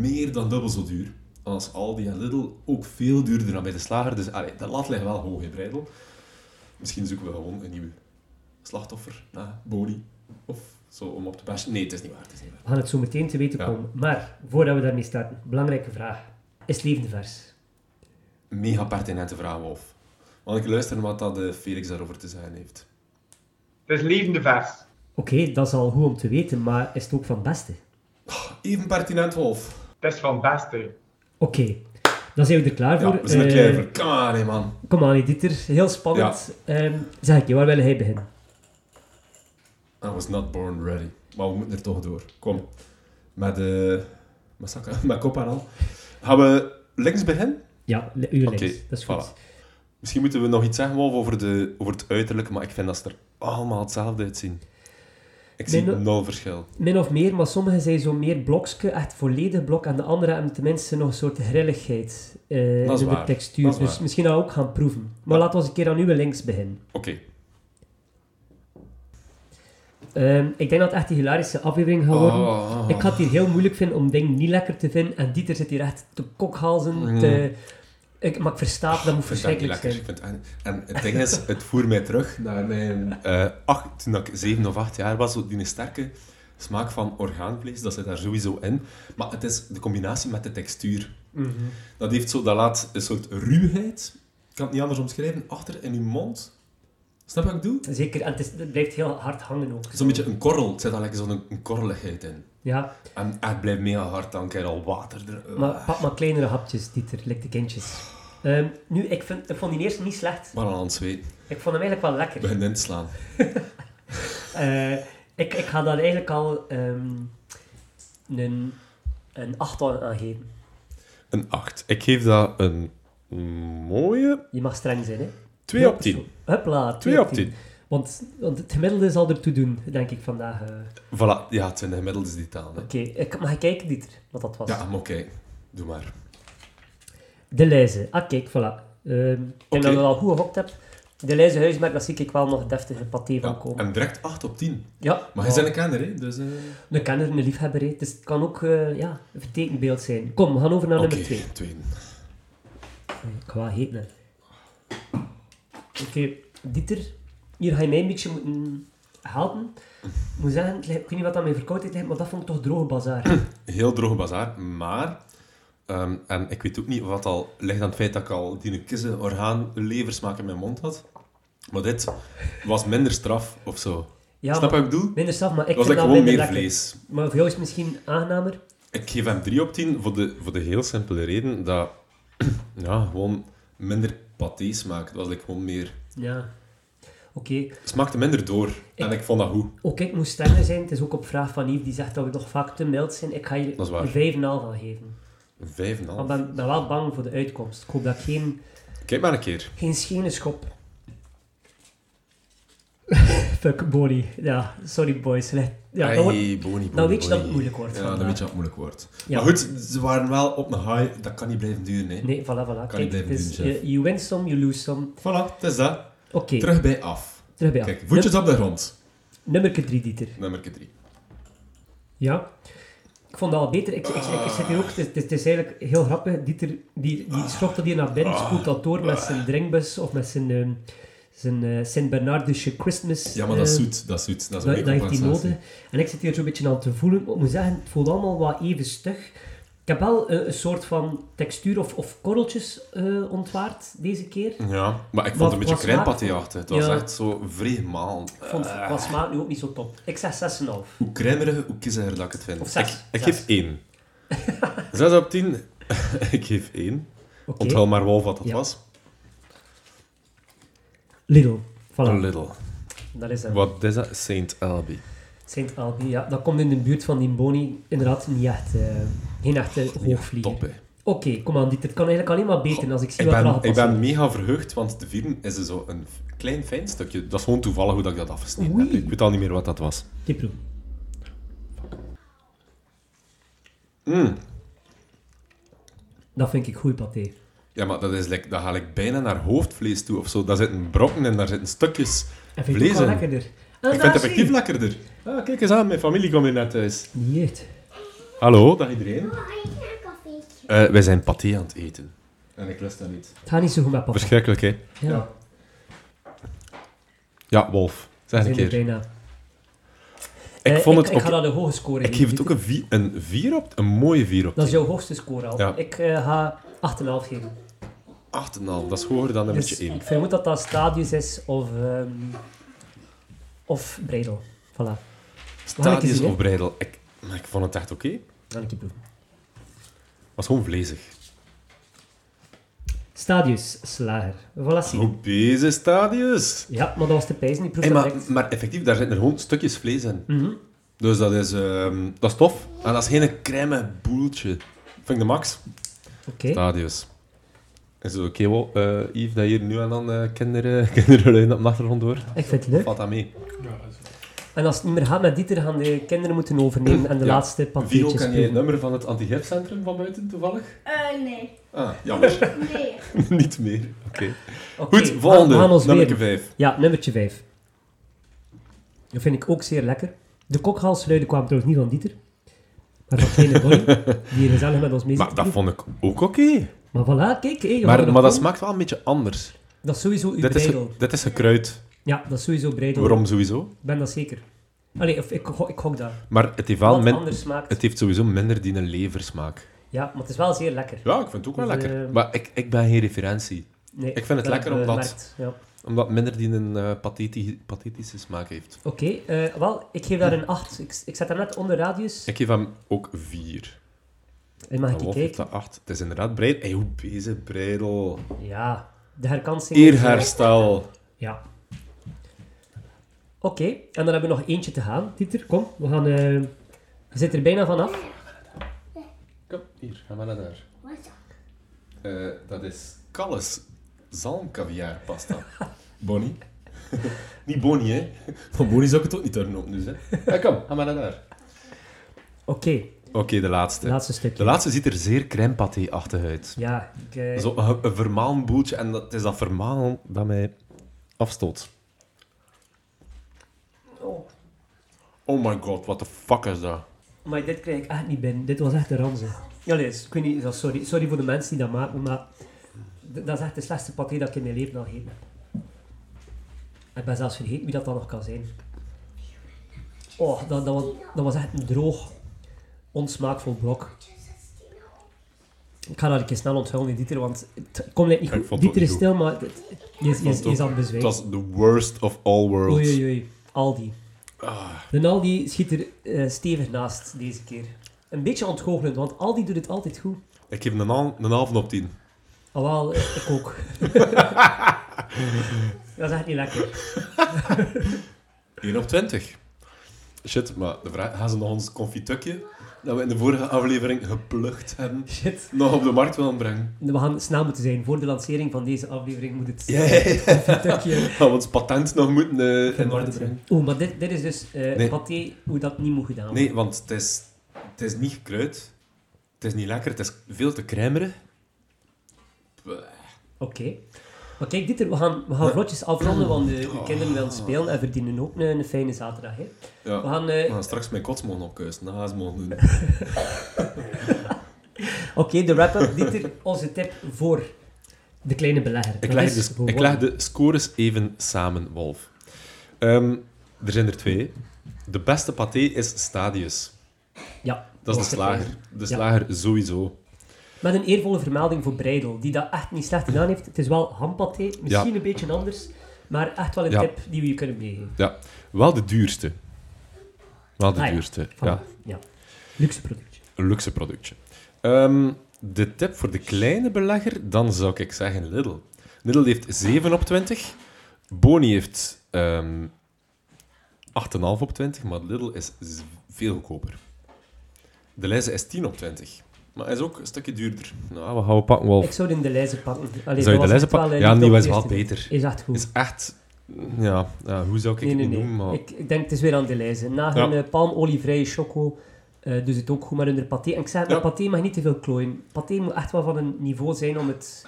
[SPEAKER 3] meer dan dubbel zo duur. Als Aldi en Lidl ook veel duurder dan bij de slager. Dus allee, de lat ligt wel hoog in breidel. Misschien zoeken we gewoon een nieuwe slachtoffer na Boni. Of zo om op te bashen. Nee, het is niet waar. Het is niet waar.
[SPEAKER 2] We gaan het zo meteen te weten
[SPEAKER 3] Ja.
[SPEAKER 2] komen. Maar, voordat we daarmee starten, belangrijke vraag. Is het levend vers?
[SPEAKER 3] Mega pertinente vraag, Wolf. Want ik luister wat dat eh, Felix daarover te zeggen heeft.
[SPEAKER 4] Het is levende vers.
[SPEAKER 2] Oké, dat is al goed om te weten, maar is het ook van het beste?
[SPEAKER 3] Even pertinent, Wolf.
[SPEAKER 4] Het is van het beste.
[SPEAKER 2] Oké, dan zijn we er klaar voor.
[SPEAKER 3] Ja, we zijn er
[SPEAKER 2] Eh,
[SPEAKER 3] klaar voor. Come on, hè, Ah, man.
[SPEAKER 2] Kom aan, Dieter. Heel spannend. Ehm, zeg ik je, waar wil hij beginnen?
[SPEAKER 3] I was not born ready. Maar we moeten er toch door. Kom. Met, eh met, zakken, met kop en al. Gaan we links beginnen?
[SPEAKER 2] Ja, li- uw links.
[SPEAKER 3] Oké,
[SPEAKER 2] dat is goed.
[SPEAKER 3] Misschien moeten we nog iets zeggen, Wolf, over, de, over het uiterlijk. Maar ik vind dat ze er allemaal hetzelfde uitzien. Ik zie
[SPEAKER 2] Nee, no-
[SPEAKER 3] nul verschil.
[SPEAKER 2] Min of meer, maar sommigen zijn zo meer blokske, echt volledig blok. En de andere hebben tenminste nog een soort grilligheid eh,
[SPEAKER 3] Dat is
[SPEAKER 2] in de
[SPEAKER 3] waar,
[SPEAKER 2] textuur.
[SPEAKER 3] dat is
[SPEAKER 2] dus
[SPEAKER 3] waar.
[SPEAKER 2] misschien dat we ook gaan proeven. Maar
[SPEAKER 3] Ja.
[SPEAKER 2] laten we eens een keer aan uw links beginnen.
[SPEAKER 3] Oké.
[SPEAKER 2] Ehm, ik denk dat het echt die hilarische aflevering gaat worden.
[SPEAKER 3] Oh.
[SPEAKER 2] Ik had het hier heel moeilijk vinden om dingen niet lekker te vinden. En Dieter zit hier echt te kokhalzen. Te... Ik, maar ik versta het, dat moet
[SPEAKER 3] Ik vind dat niet
[SPEAKER 2] verschrikkelijk
[SPEAKER 3] lekker.
[SPEAKER 2] zijn.
[SPEAKER 3] Ik vind en, en het ding is, het voer mij terug naar mijn... eh, acht, toen ik zeven of acht jaar was, zo die sterke smaak van orgaanvlees, dat zit daar sowieso in. Maar het is de combinatie met de textuur. Dat heeft zo, dat laat een soort ruwheid, ik kan het niet anders omschrijven, achter in je mond. Snap je wat ik bedoel?
[SPEAKER 2] Zeker, en het, is, het blijft heel hard hangen ook.
[SPEAKER 3] Zo'n beetje een korrel, het zit daar lekker zo'n een korreligheid in.
[SPEAKER 2] Ja,
[SPEAKER 3] En het blijft mega hard, dan krijg je al water er.
[SPEAKER 2] maar pak maar kleinere hapjes, Dieter, like de kindjes. Ehm, nu, ik, vind, ik vond die eerste niet slecht.
[SPEAKER 3] Maar aan het zweet,
[SPEAKER 2] Ik vond hem eigenlijk wel lekker.
[SPEAKER 3] begint in te slaan.
[SPEAKER 2] Eh, ik, ik ga daar eigenlijk al ehm, een, een acht aan aan geven.
[SPEAKER 3] Een 8. Ik geef dat een mooie
[SPEAKER 2] Je mag streng zijn, hè.
[SPEAKER 3] 2 op 10.
[SPEAKER 2] Hupla,
[SPEAKER 3] 2 op 10.
[SPEAKER 2] Want, want het gemiddelde zal ertoe doen, denk ik vandaag. eh.
[SPEAKER 3] Voilà, ja, het zijn de gemiddeldes die taal. Hè.
[SPEAKER 2] Oké, ik mag ik kijken, Dieter, wat dat was?
[SPEAKER 3] Ja, maar oké. Doe maar.
[SPEAKER 2] De Leize. Ah, kijk, voilà. Ehm, ik denk
[SPEAKER 3] Oké.
[SPEAKER 2] dat je dat al goed gehokt hebt. De Leize huismerk, daar zie ik wel nog deftige paté van
[SPEAKER 3] Ja,
[SPEAKER 2] komen.
[SPEAKER 3] en direct 8 op 10.
[SPEAKER 2] Ja,
[SPEAKER 3] Maar je bent een kenner, hè? Dus, eh,
[SPEAKER 2] een kenner, een liefhebber, hè. dus het kan ook eh, ja, een vertekenbeeld zijn. Kom, we gaan over naar
[SPEAKER 3] Oké,
[SPEAKER 2] nummer 2.
[SPEAKER 3] tweede.
[SPEAKER 2] Ik ga heet naar. Oké, Dieter, hier ga je mij een beetje moeten helpen. Ik moet zeggen, het lijkt- ik weet niet wat aan mijn verkoudheid ligt, maar dat vond ik toch droge bazaar.
[SPEAKER 3] Heel droge bazaar, maar... ehm, en ik weet ook niet wat al ligt aan het feit dat ik al die kissen orgaan leversmaak in mijn mond had. Maar dit was minder straf of zo.
[SPEAKER 2] Ja,
[SPEAKER 3] Snap je
[SPEAKER 2] maar-
[SPEAKER 3] wat ik bedoel?
[SPEAKER 2] Minder straf, maar ik
[SPEAKER 3] Het was
[SPEAKER 2] vind
[SPEAKER 3] like
[SPEAKER 2] dus dat
[SPEAKER 3] gewoon
[SPEAKER 2] minder
[SPEAKER 3] meer
[SPEAKER 2] lekker.
[SPEAKER 3] vlees.
[SPEAKER 2] Maar voor jou is het misschien aangenamer.
[SPEAKER 3] Ik geef hem 3 op 10 voor de, voor de heel simpele reden dat... Ja, gewoon minder paté smaakt. Het was like gewoon meer...
[SPEAKER 2] Ja. Oké,
[SPEAKER 3] Het smaakte minder door. En ik vond dat goed.
[SPEAKER 2] Ook ik moest strenger zijn. Het is ook op vraag van Yves, die zegt dat we nog vaak te mild zijn. Ik ga hier
[SPEAKER 3] Dat is waar.
[SPEAKER 2] een 5,5 aan geven.
[SPEAKER 3] Een Vijf en een
[SPEAKER 2] Maar ik
[SPEAKER 3] half.
[SPEAKER 2] ben, ben wel bang voor de uitkomst. Ik hoop dat ik geen,
[SPEAKER 3] Kijk maar een keer.
[SPEAKER 2] geen schene schop. Fuck, Bonnie. Ja, sorry boys. Le- Ja, dat wordt-
[SPEAKER 3] Ei, boni, boni,
[SPEAKER 2] dan weet je dat het
[SPEAKER 3] boni.
[SPEAKER 2] moeilijk wordt
[SPEAKER 3] Ja,
[SPEAKER 2] vandaag.
[SPEAKER 3] dan weet je dat het moeilijk wordt.
[SPEAKER 2] Ja.
[SPEAKER 3] Maar goed, ze waren wel op een high. Dat kan niet blijven duren, hè.
[SPEAKER 2] Nee, voilà, voilà.
[SPEAKER 3] niet blijven
[SPEAKER 2] het is,
[SPEAKER 3] doen, chef.
[SPEAKER 2] eh, you win some, you lose some.
[SPEAKER 3] Voilà, het is dat.
[SPEAKER 2] Oké,
[SPEAKER 3] Terug bij af.
[SPEAKER 2] Terug bij af.
[SPEAKER 3] Kijk, voetjes op de grond.
[SPEAKER 2] Nummer 3, Dieter.
[SPEAKER 3] Nummer 3.
[SPEAKER 2] Ja. Ik vond dat al beter. Ik, ik, ik, ik zit hier ook... Het is, het is- het is eigenlijk heel grappig. Dieter, die, die schopt dat hier naar binnen,
[SPEAKER 3] Ah.
[SPEAKER 2] spoelt dat door met zijn drinkbus of met zijn, ehm, zijn eh, Sint-Bernardische Christmas.
[SPEAKER 3] Ja, maar dat is
[SPEAKER 2] eh,
[SPEAKER 3] zoet. Dat is zoet. Dat is een
[SPEAKER 2] Dat, dat
[SPEAKER 3] beetje
[SPEAKER 2] heeft die
[SPEAKER 3] compensatie.
[SPEAKER 2] nodig. En ik zit hier zo'n beetje aan te voelen. Maar ik moet zeggen, het voelt allemaal wat even stug. Ik heb wel een, een soort van textuur of, of korreltjes eh, ontwaard deze keer.
[SPEAKER 3] Ja, maar ik vond
[SPEAKER 2] Wat-
[SPEAKER 3] het een beetje
[SPEAKER 2] wat smaakt-
[SPEAKER 3] crèmepatéachtig. Het was
[SPEAKER 2] Ja.
[SPEAKER 3] echt zo vreemaal.
[SPEAKER 2] Ik vond het qua smaak nu ook niet zo top. Ik zeg 6,5.
[SPEAKER 3] Hoe crèmeriger, hoe kieziger dat ik het vind.
[SPEAKER 2] Of zes.
[SPEAKER 3] Ik, ik
[SPEAKER 2] Zes.
[SPEAKER 3] geef 1. 6 op 10. ik geef 1.
[SPEAKER 2] Oké.
[SPEAKER 3] Onthoud maar wel wat dat
[SPEAKER 2] Ja.
[SPEAKER 3] was.
[SPEAKER 2] Lidl.
[SPEAKER 3] A
[SPEAKER 2] Voilà,
[SPEAKER 3] little.
[SPEAKER 2] dat is hem.
[SPEAKER 3] Wat is dat? Saint Albi.
[SPEAKER 2] Saint Albi, ja. Dat komt in de buurt van die Boni. Inderdaad, niet echt, eh, geen echte hoogvlieger.
[SPEAKER 3] Top, hè.
[SPEAKER 2] Oké, kom aan, dit. Het kan eigenlijk alleen maar beter als ik zie
[SPEAKER 3] Ik
[SPEAKER 2] wat er
[SPEAKER 3] ben,
[SPEAKER 2] al
[SPEAKER 3] ik ben mega verheugd, want de vieren is er zo een f- klein fijn stukje. Dat is gewoon toevallig hoe dat ik dat afgesneden
[SPEAKER 2] Oei.
[SPEAKER 3] heb. Ik weet al niet meer wat dat was.
[SPEAKER 2] Kipproe.
[SPEAKER 3] Mm.
[SPEAKER 2] Dat vind ik goed paté.
[SPEAKER 3] Ja, maar dat is like, dat ga ik bijna naar hoofdvlees toe of zo. Daar zitten brokken en daar zitten stukjes
[SPEAKER 2] En vind ik
[SPEAKER 3] vlees
[SPEAKER 2] ook wel
[SPEAKER 3] in.
[SPEAKER 2] lekkerder. En
[SPEAKER 3] Ik vind het
[SPEAKER 2] daar zie
[SPEAKER 3] effectief
[SPEAKER 2] je.
[SPEAKER 3] lekkerder. Ah, kijk eens aan, mijn familie komt hier net thuis.
[SPEAKER 2] Niet.
[SPEAKER 3] Hallo, dag iedereen.
[SPEAKER 5] Een koffietje.
[SPEAKER 3] Eh, wij zijn paté aan het eten. En ik lust dat niet.
[SPEAKER 2] Het gaat niet zo goed met papa.
[SPEAKER 3] Verschrikkelijk, hè?
[SPEAKER 2] Ja,
[SPEAKER 3] Ja, Wolf. Zeg
[SPEAKER 2] zijn
[SPEAKER 3] een
[SPEAKER 2] er
[SPEAKER 3] keer.
[SPEAKER 2] bijna.
[SPEAKER 3] Ik
[SPEAKER 2] Eh,
[SPEAKER 3] vond
[SPEAKER 2] ik,
[SPEAKER 3] het
[SPEAKER 2] ik
[SPEAKER 3] ook...
[SPEAKER 2] ga dat een hoge score
[SPEAKER 3] Ik geef het ook een 4 een vier op... Een mooie 4 op
[SPEAKER 2] Dat is jouw hoogste score al.
[SPEAKER 3] Ja.
[SPEAKER 2] Ik eh, ga 8,5 geven.
[SPEAKER 3] 8,5. Dat is hoger dan nummertje
[SPEAKER 2] Dus
[SPEAKER 3] 1.
[SPEAKER 2] ik vermoed dat dat Stadius is of, ehm of Breidel. Voilà. ik eens
[SPEAKER 3] Stadius
[SPEAKER 2] zien, hè?
[SPEAKER 3] of breidel. Ik, maar ik vond het echt oké.
[SPEAKER 2] Dan ik je proeven.
[SPEAKER 3] was gewoon vlezig.
[SPEAKER 2] Stadius, slager. Voilà, zie je.
[SPEAKER 3] Goed bezig, Stadius.
[SPEAKER 2] Ja, maar dat was de pijs niet. Proef
[SPEAKER 3] Hey,
[SPEAKER 2] dat
[SPEAKER 3] maar,
[SPEAKER 2] direct. Mhm.
[SPEAKER 3] maar effectief, daar zitten er gewoon stukjes vlees in. Dus dat is, ehm, dat is tof. En dat is geen crème boeltje. Vind ik de max.
[SPEAKER 2] Oké.
[SPEAKER 3] Stadius. Is het oké, wel, eh, Yves, dat hier nu en dan eh, kinderen kindergeluiden op de achtergrond hoort?
[SPEAKER 2] Ik vind het leuk.
[SPEAKER 3] Valt dat mee?
[SPEAKER 2] En als het niet meer gaat met Dieter, gaan de kinderen moeten overnemen en de
[SPEAKER 3] Ja.
[SPEAKER 2] laatste
[SPEAKER 3] Vigo,
[SPEAKER 2] pakketjes
[SPEAKER 3] kan je het
[SPEAKER 2] proeven.
[SPEAKER 3] nummer van het anti-gipcentrum van buiten toevallig?
[SPEAKER 5] Eh, nee.
[SPEAKER 3] Ah, jammer.
[SPEAKER 5] Nee.
[SPEAKER 3] Niet meer. Oké.
[SPEAKER 2] Oké,
[SPEAKER 3] Goed,
[SPEAKER 2] we-
[SPEAKER 3] volgende.
[SPEAKER 2] we gaan ons
[SPEAKER 3] Nummer
[SPEAKER 2] weer.
[SPEAKER 3] 5.
[SPEAKER 2] Ja, nummertje 5. Dat vind ik ook zeer lekker. De kokhalsluiden kwamen trouwens niet van Dieter, maar van Gene Boy, die hier gezellig met ons mee zit
[SPEAKER 3] Maar
[SPEAKER 2] te
[SPEAKER 3] dat
[SPEAKER 2] proeven.
[SPEAKER 3] vond ik ook oké.
[SPEAKER 2] Maar voilà, kijk. hé, we gaan
[SPEAKER 3] Maar,
[SPEAKER 2] er
[SPEAKER 3] maar dat
[SPEAKER 2] komen.
[SPEAKER 3] smaakt wel een beetje anders.
[SPEAKER 2] Dat is sowieso uw
[SPEAKER 3] Dit is,
[SPEAKER 2] breidel.
[SPEAKER 3] dit is gekruid.
[SPEAKER 2] Ja, dat is sowieso breidel.
[SPEAKER 3] Waarom sowieso?
[SPEAKER 2] Ik ben dat zeker. Allee, of ik, go- ik gok dat.
[SPEAKER 3] Maar het heeft, wel
[SPEAKER 2] Wat
[SPEAKER 3] min-
[SPEAKER 2] anders smaakt.
[SPEAKER 3] het heeft sowieso minder die een leversmaak.
[SPEAKER 2] Ja, maar het is wel zeer lekker.
[SPEAKER 3] Ja, ik vind het ook wel
[SPEAKER 2] Dus,
[SPEAKER 3] lekker.
[SPEAKER 2] eh,
[SPEAKER 3] Maar ik, ik ben geen referentie.
[SPEAKER 2] Nee,
[SPEAKER 3] Ik vind het
[SPEAKER 2] dat
[SPEAKER 3] lekker
[SPEAKER 2] heb ik, eh,
[SPEAKER 3] omdat-
[SPEAKER 2] gemerkt, Ja.
[SPEAKER 3] Omdat minder die een eh, patheti- pathetische smaak heeft.
[SPEAKER 2] Oké, eh, wel, ik geef daar een 8. Ik, ik zet daar net onder radius.
[SPEAKER 3] Ik geef hem ook 4.
[SPEAKER 2] en mag ik je
[SPEAKER 3] Wolf heeft
[SPEAKER 2] kijken?
[SPEAKER 3] dat 8. Het is inderdaad breid. Hey, hoe bezig, breidel.
[SPEAKER 2] Ja, de herkansing.
[SPEAKER 3] Eerherstel.
[SPEAKER 2] Ja. Oké, en dan hebben we nog eentje te gaan. Dieter, kom, we gaan... eh, je zit er bijna vanaf.
[SPEAKER 3] Kom, hier, ga maar naar daar.
[SPEAKER 5] Wat is dat?
[SPEAKER 3] Eh, dat is Calles zalmkaviaarpasta. Bonnie. niet Bonnie, hè. Van Bonnie zou ik het ook niet durven opnieuw, hè. Eh, kom, ga maar naar daar.
[SPEAKER 2] Oké,
[SPEAKER 3] Oké, de laatste.
[SPEAKER 2] laatste stukje.
[SPEAKER 3] De laatste ziet er zeer crème achtig uit.
[SPEAKER 2] Ja, ik, eh,
[SPEAKER 3] Zo een, een vermalen boeltje. En dat, het is dat vermalen dat mij afstoot.
[SPEAKER 2] oh,
[SPEAKER 3] Oh my god, what the fuck is dat?
[SPEAKER 2] maar dit krijg ik echt niet binnen. Dit was echt een ranze. Ja, nee, dus, ik weet niet, dat- sorry. sorry voor de mensen die dat maken, maar d- dat is echt de slechtste paté dat ik in mijn leven al gegeten heb. Ik ben zelfs vergeten wie dat dan nog kan zijn. Oh, dat, dat, was, dat was echt een droog, onsmaakvol blok. Ik ga dat een keer snel onthullen, Dieter, want het komt net niet
[SPEAKER 3] Ik
[SPEAKER 2] goed.
[SPEAKER 3] vond het ook
[SPEAKER 2] Dieter is
[SPEAKER 3] niet
[SPEAKER 2] stil, maar het- je is- je is- je is aan het
[SPEAKER 3] Het
[SPEAKER 2] bezwijken.
[SPEAKER 3] was the worst of all worlds. Ah.
[SPEAKER 2] Oei, oei, oei. Aldi. De Aldi schiet er eh, stevig naast deze keer. Een beetje ontgoochelend, want Aldi doet het altijd goed.
[SPEAKER 3] Ik geef hem een, hal- een halve op tien.
[SPEAKER 2] Al wel, eh, ik ook. dat is echt niet lekker.
[SPEAKER 3] 1 op 20. Shit, maar de vraag, gaan ze nog ons confitukje dat we in de vorige aflevering geplukt hebben,
[SPEAKER 2] Shit.
[SPEAKER 3] nog op de markt willen brengen?
[SPEAKER 2] We gaan snel moeten zijn. Voor de lancering van deze aflevering moet het
[SPEAKER 3] Ja, ja, ja.
[SPEAKER 2] een tukje
[SPEAKER 3] Dat we ons patent nog moeten eh, in orde
[SPEAKER 2] vermarkt
[SPEAKER 3] brengen.
[SPEAKER 2] zijn. Oeh, maar dit, dit is dus eh
[SPEAKER 3] Nee.
[SPEAKER 2] paté hoe dat niet moet gedaan worden.
[SPEAKER 3] Nee, want het is, het is niet gekruid. Het is niet lekker. Het is veel te crèmerig.
[SPEAKER 2] Oké. Maar kijk, Dieter, we gaan, we gaan vlotjes afronden, want de kinderen
[SPEAKER 3] Oh.
[SPEAKER 2] willen spelen en verdienen ook een, een fijne zaterdag. Hè.
[SPEAKER 3] Ja.
[SPEAKER 2] We gaan... eh,
[SPEAKER 3] We gaan straks mijn kots mogen opkuisen, naast mogen doen.
[SPEAKER 2] Oké, de wrap-up. Dieter, onze tip voor de kleine belegger.
[SPEAKER 3] Ik
[SPEAKER 2] Dat
[SPEAKER 3] leg,
[SPEAKER 2] is
[SPEAKER 3] dus, ik
[SPEAKER 2] gewoon-
[SPEAKER 3] leg de scores even samen, Wolf. Ehm, er zijn er twee. De beste paté is Stadius.
[SPEAKER 2] Ja.
[SPEAKER 3] Dat is de slager. De slager sowieso.
[SPEAKER 2] Met een eervolle vermelding voor Breidel, die dat echt niet slecht gedaan heeft. Het is wel hampaté, misschien
[SPEAKER 3] Ja.
[SPEAKER 2] een beetje anders, maar echt wel een
[SPEAKER 3] Ja.
[SPEAKER 2] tip die we je kunnen meegeven.
[SPEAKER 3] Ja. Wel de duurste. Wel de
[SPEAKER 2] Ah ja,
[SPEAKER 3] duurste.
[SPEAKER 2] Van-
[SPEAKER 3] Ja.
[SPEAKER 2] ja. Luxe productje.
[SPEAKER 3] Een luxe productje. Ehm, de tip voor de kleine belegger, dan zou ik zeggen Lidl. Lidl heeft 7 op 20. Boni heeft ehm 8,5 op 20, maar Lidl is z- veel goedkoper. De lijze is 10 op 20. Maar hij is ook een stukje duurder. Nou, wat gaan we pakken, Wolf?
[SPEAKER 2] Ik zou die in de lijzen pakken. Allee, dat
[SPEAKER 3] je
[SPEAKER 2] was
[SPEAKER 3] de lijzen
[SPEAKER 2] echt wel,
[SPEAKER 3] pakken?
[SPEAKER 2] eh,
[SPEAKER 3] Ja,
[SPEAKER 2] niet
[SPEAKER 3] die
[SPEAKER 2] op
[SPEAKER 3] was
[SPEAKER 2] het
[SPEAKER 3] wel
[SPEAKER 2] eerste.
[SPEAKER 3] beter.
[SPEAKER 2] Is echt goed.
[SPEAKER 3] is echt... Ja, ja, hoe zou ik
[SPEAKER 2] nee,
[SPEAKER 3] het
[SPEAKER 2] nee,
[SPEAKER 3] niet
[SPEAKER 2] nee.
[SPEAKER 3] noemen? Maar...
[SPEAKER 2] Ik, ik denk, het is weer aan de lijzen. Na hun eh, palmolievrije choco eh doet het ook goed met hun paté. En ik zeg, maar
[SPEAKER 3] Ja.
[SPEAKER 2] paté mag niet te veel klooien. Paté moet echt wel van een niveau zijn om het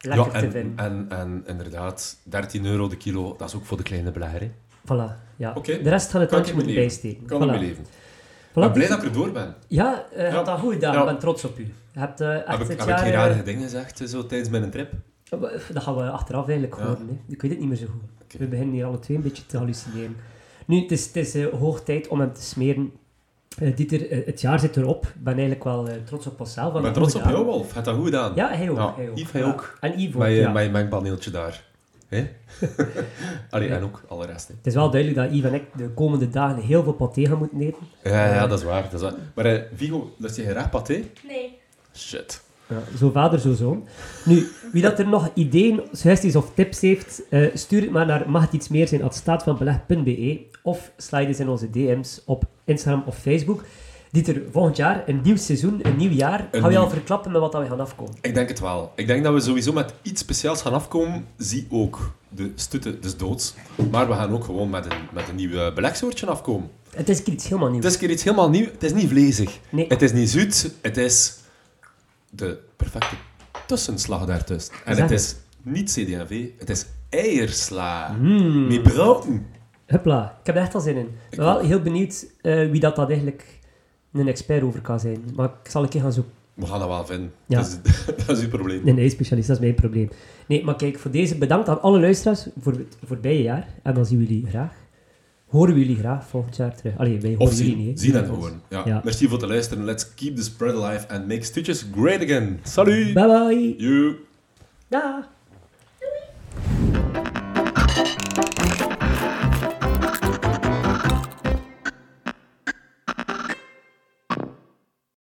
[SPEAKER 2] lekker
[SPEAKER 3] Ja,
[SPEAKER 2] te
[SPEAKER 3] en,
[SPEAKER 2] vinden.
[SPEAKER 3] en, en inderdaad, 13 euro de kilo, dat is ook voor de kleine belegger. hè.
[SPEAKER 2] Voilà, ja.
[SPEAKER 3] Oké.
[SPEAKER 2] De rest gaat het
[SPEAKER 3] Kan ik
[SPEAKER 2] tandje
[SPEAKER 3] in
[SPEAKER 2] moeten
[SPEAKER 3] beleven.
[SPEAKER 2] bijsteken.
[SPEAKER 3] Kan
[SPEAKER 2] Voilà.
[SPEAKER 3] ik beleven.
[SPEAKER 2] Voilà,
[SPEAKER 3] Ik ben blij
[SPEAKER 2] Dieter.
[SPEAKER 3] dat ik er door ben.
[SPEAKER 2] Ja, eh, je hebt dat goed gedaan.
[SPEAKER 3] Ja.
[SPEAKER 2] Ik ben trots op u. Je hebt eh, echt
[SPEAKER 3] Heb
[SPEAKER 2] het
[SPEAKER 3] ik, heb ik
[SPEAKER 2] jaar...
[SPEAKER 3] geen
[SPEAKER 2] eh,
[SPEAKER 3] rare dingen gezegd eh, zo, tijdens mijn trip?
[SPEAKER 2] dat gaan we achteraf eigenlijk
[SPEAKER 3] Ja.
[SPEAKER 2] horen. Hè. Ik weet het niet meer zo goed.
[SPEAKER 3] Oké.
[SPEAKER 2] We beginnen hier alle twee een beetje te hallucineren. Nu, het is, het is eh, hoog tijd om hem te smeren. Eh, Dieter, eh, het jaar zit erop. Ik ben eigenlijk wel eh, trots op onszelf.
[SPEAKER 3] Ik ben trots op jou, Wolf. Heb dat goed gedaan?
[SPEAKER 2] Ja, hij ook.
[SPEAKER 3] Ja, eh,
[SPEAKER 2] hij ook.
[SPEAKER 3] Yves, hij
[SPEAKER 2] Ja.
[SPEAKER 3] ook.
[SPEAKER 2] En Yves ook,
[SPEAKER 3] Met je,
[SPEAKER 2] ja.
[SPEAKER 3] met je mengpaneeltje daar. Hè? Allee,
[SPEAKER 2] Ja.
[SPEAKER 3] en ook alle rest. hè.
[SPEAKER 2] Het is wel duidelijk dat Yves en ik de komende dagen heel veel paté gaan moeten eten.
[SPEAKER 3] Ja, ja, dat is waar. Dat is waar. Maar eh, Vigo, dat is je graag paté?
[SPEAKER 5] Nee.
[SPEAKER 3] Shit.
[SPEAKER 2] Zo vader, zo zoon. Nu, wie dat er nog ideeën, suggesties of tips heeft, eh, stuur het maar naar mag het iets meer zijn staatvanbeleg.be of slide eens in onze DM's op Instagram of Facebook. Dieter, volgend jaar, een nieuw seizoen, een nieuw jaar.
[SPEAKER 3] Een
[SPEAKER 2] Gaan we
[SPEAKER 3] nieuw-
[SPEAKER 2] al verklappen met wat dat we gaan afkomen?
[SPEAKER 3] Ik denk het wel. Ik denk dat we sowieso met iets speciaals gaan afkomen. Zie ook de stutten des doods. Maar we gaan ook gewoon met een, met een nieuw belegsoortje afkomen.
[SPEAKER 2] Het is een keer iets helemaal nieuws.
[SPEAKER 3] Het is een keer iets helemaal nieuw. Het is niet vlezig.
[SPEAKER 2] Nee.
[SPEAKER 3] Het is niet zoet. Het is de perfecte tussenslag daartussen. En
[SPEAKER 2] Zeg
[SPEAKER 3] het
[SPEAKER 2] het.
[SPEAKER 3] is niet CDV. Het is eiersla.
[SPEAKER 2] Hmm.
[SPEAKER 3] Met broden.
[SPEAKER 2] Hupla, ik heb er echt al zin in. Ik ben wel
[SPEAKER 3] ook.
[SPEAKER 2] heel benieuwd eh, wie dat, dat eigenlijk een expert over kan zijn. Maar ik zal een keer gaan zoeken.
[SPEAKER 3] We gaan dat wel vinden.
[SPEAKER 2] Ja.
[SPEAKER 3] Dat, is, dat is uw probleem.
[SPEAKER 2] Nee, nee, specialist, dat is mijn probleem. Nee, maar kijk, voor deze bedankt aan alle luisteraars voor het voorbije jaar. En dan zien we jullie graag. Horen we jullie graag volgend jaar terug. Allee, wij
[SPEAKER 3] Of
[SPEAKER 2] horen jullie
[SPEAKER 3] zien.
[SPEAKER 2] niet. hè.
[SPEAKER 3] zien en
[SPEAKER 2] ons.
[SPEAKER 3] horen. Ja.
[SPEAKER 2] Ja.
[SPEAKER 3] Merci voor het luisteren. Let's keep the spread alive and make stitches great again. Salut.
[SPEAKER 2] Bye bye.
[SPEAKER 3] You.
[SPEAKER 2] Dag.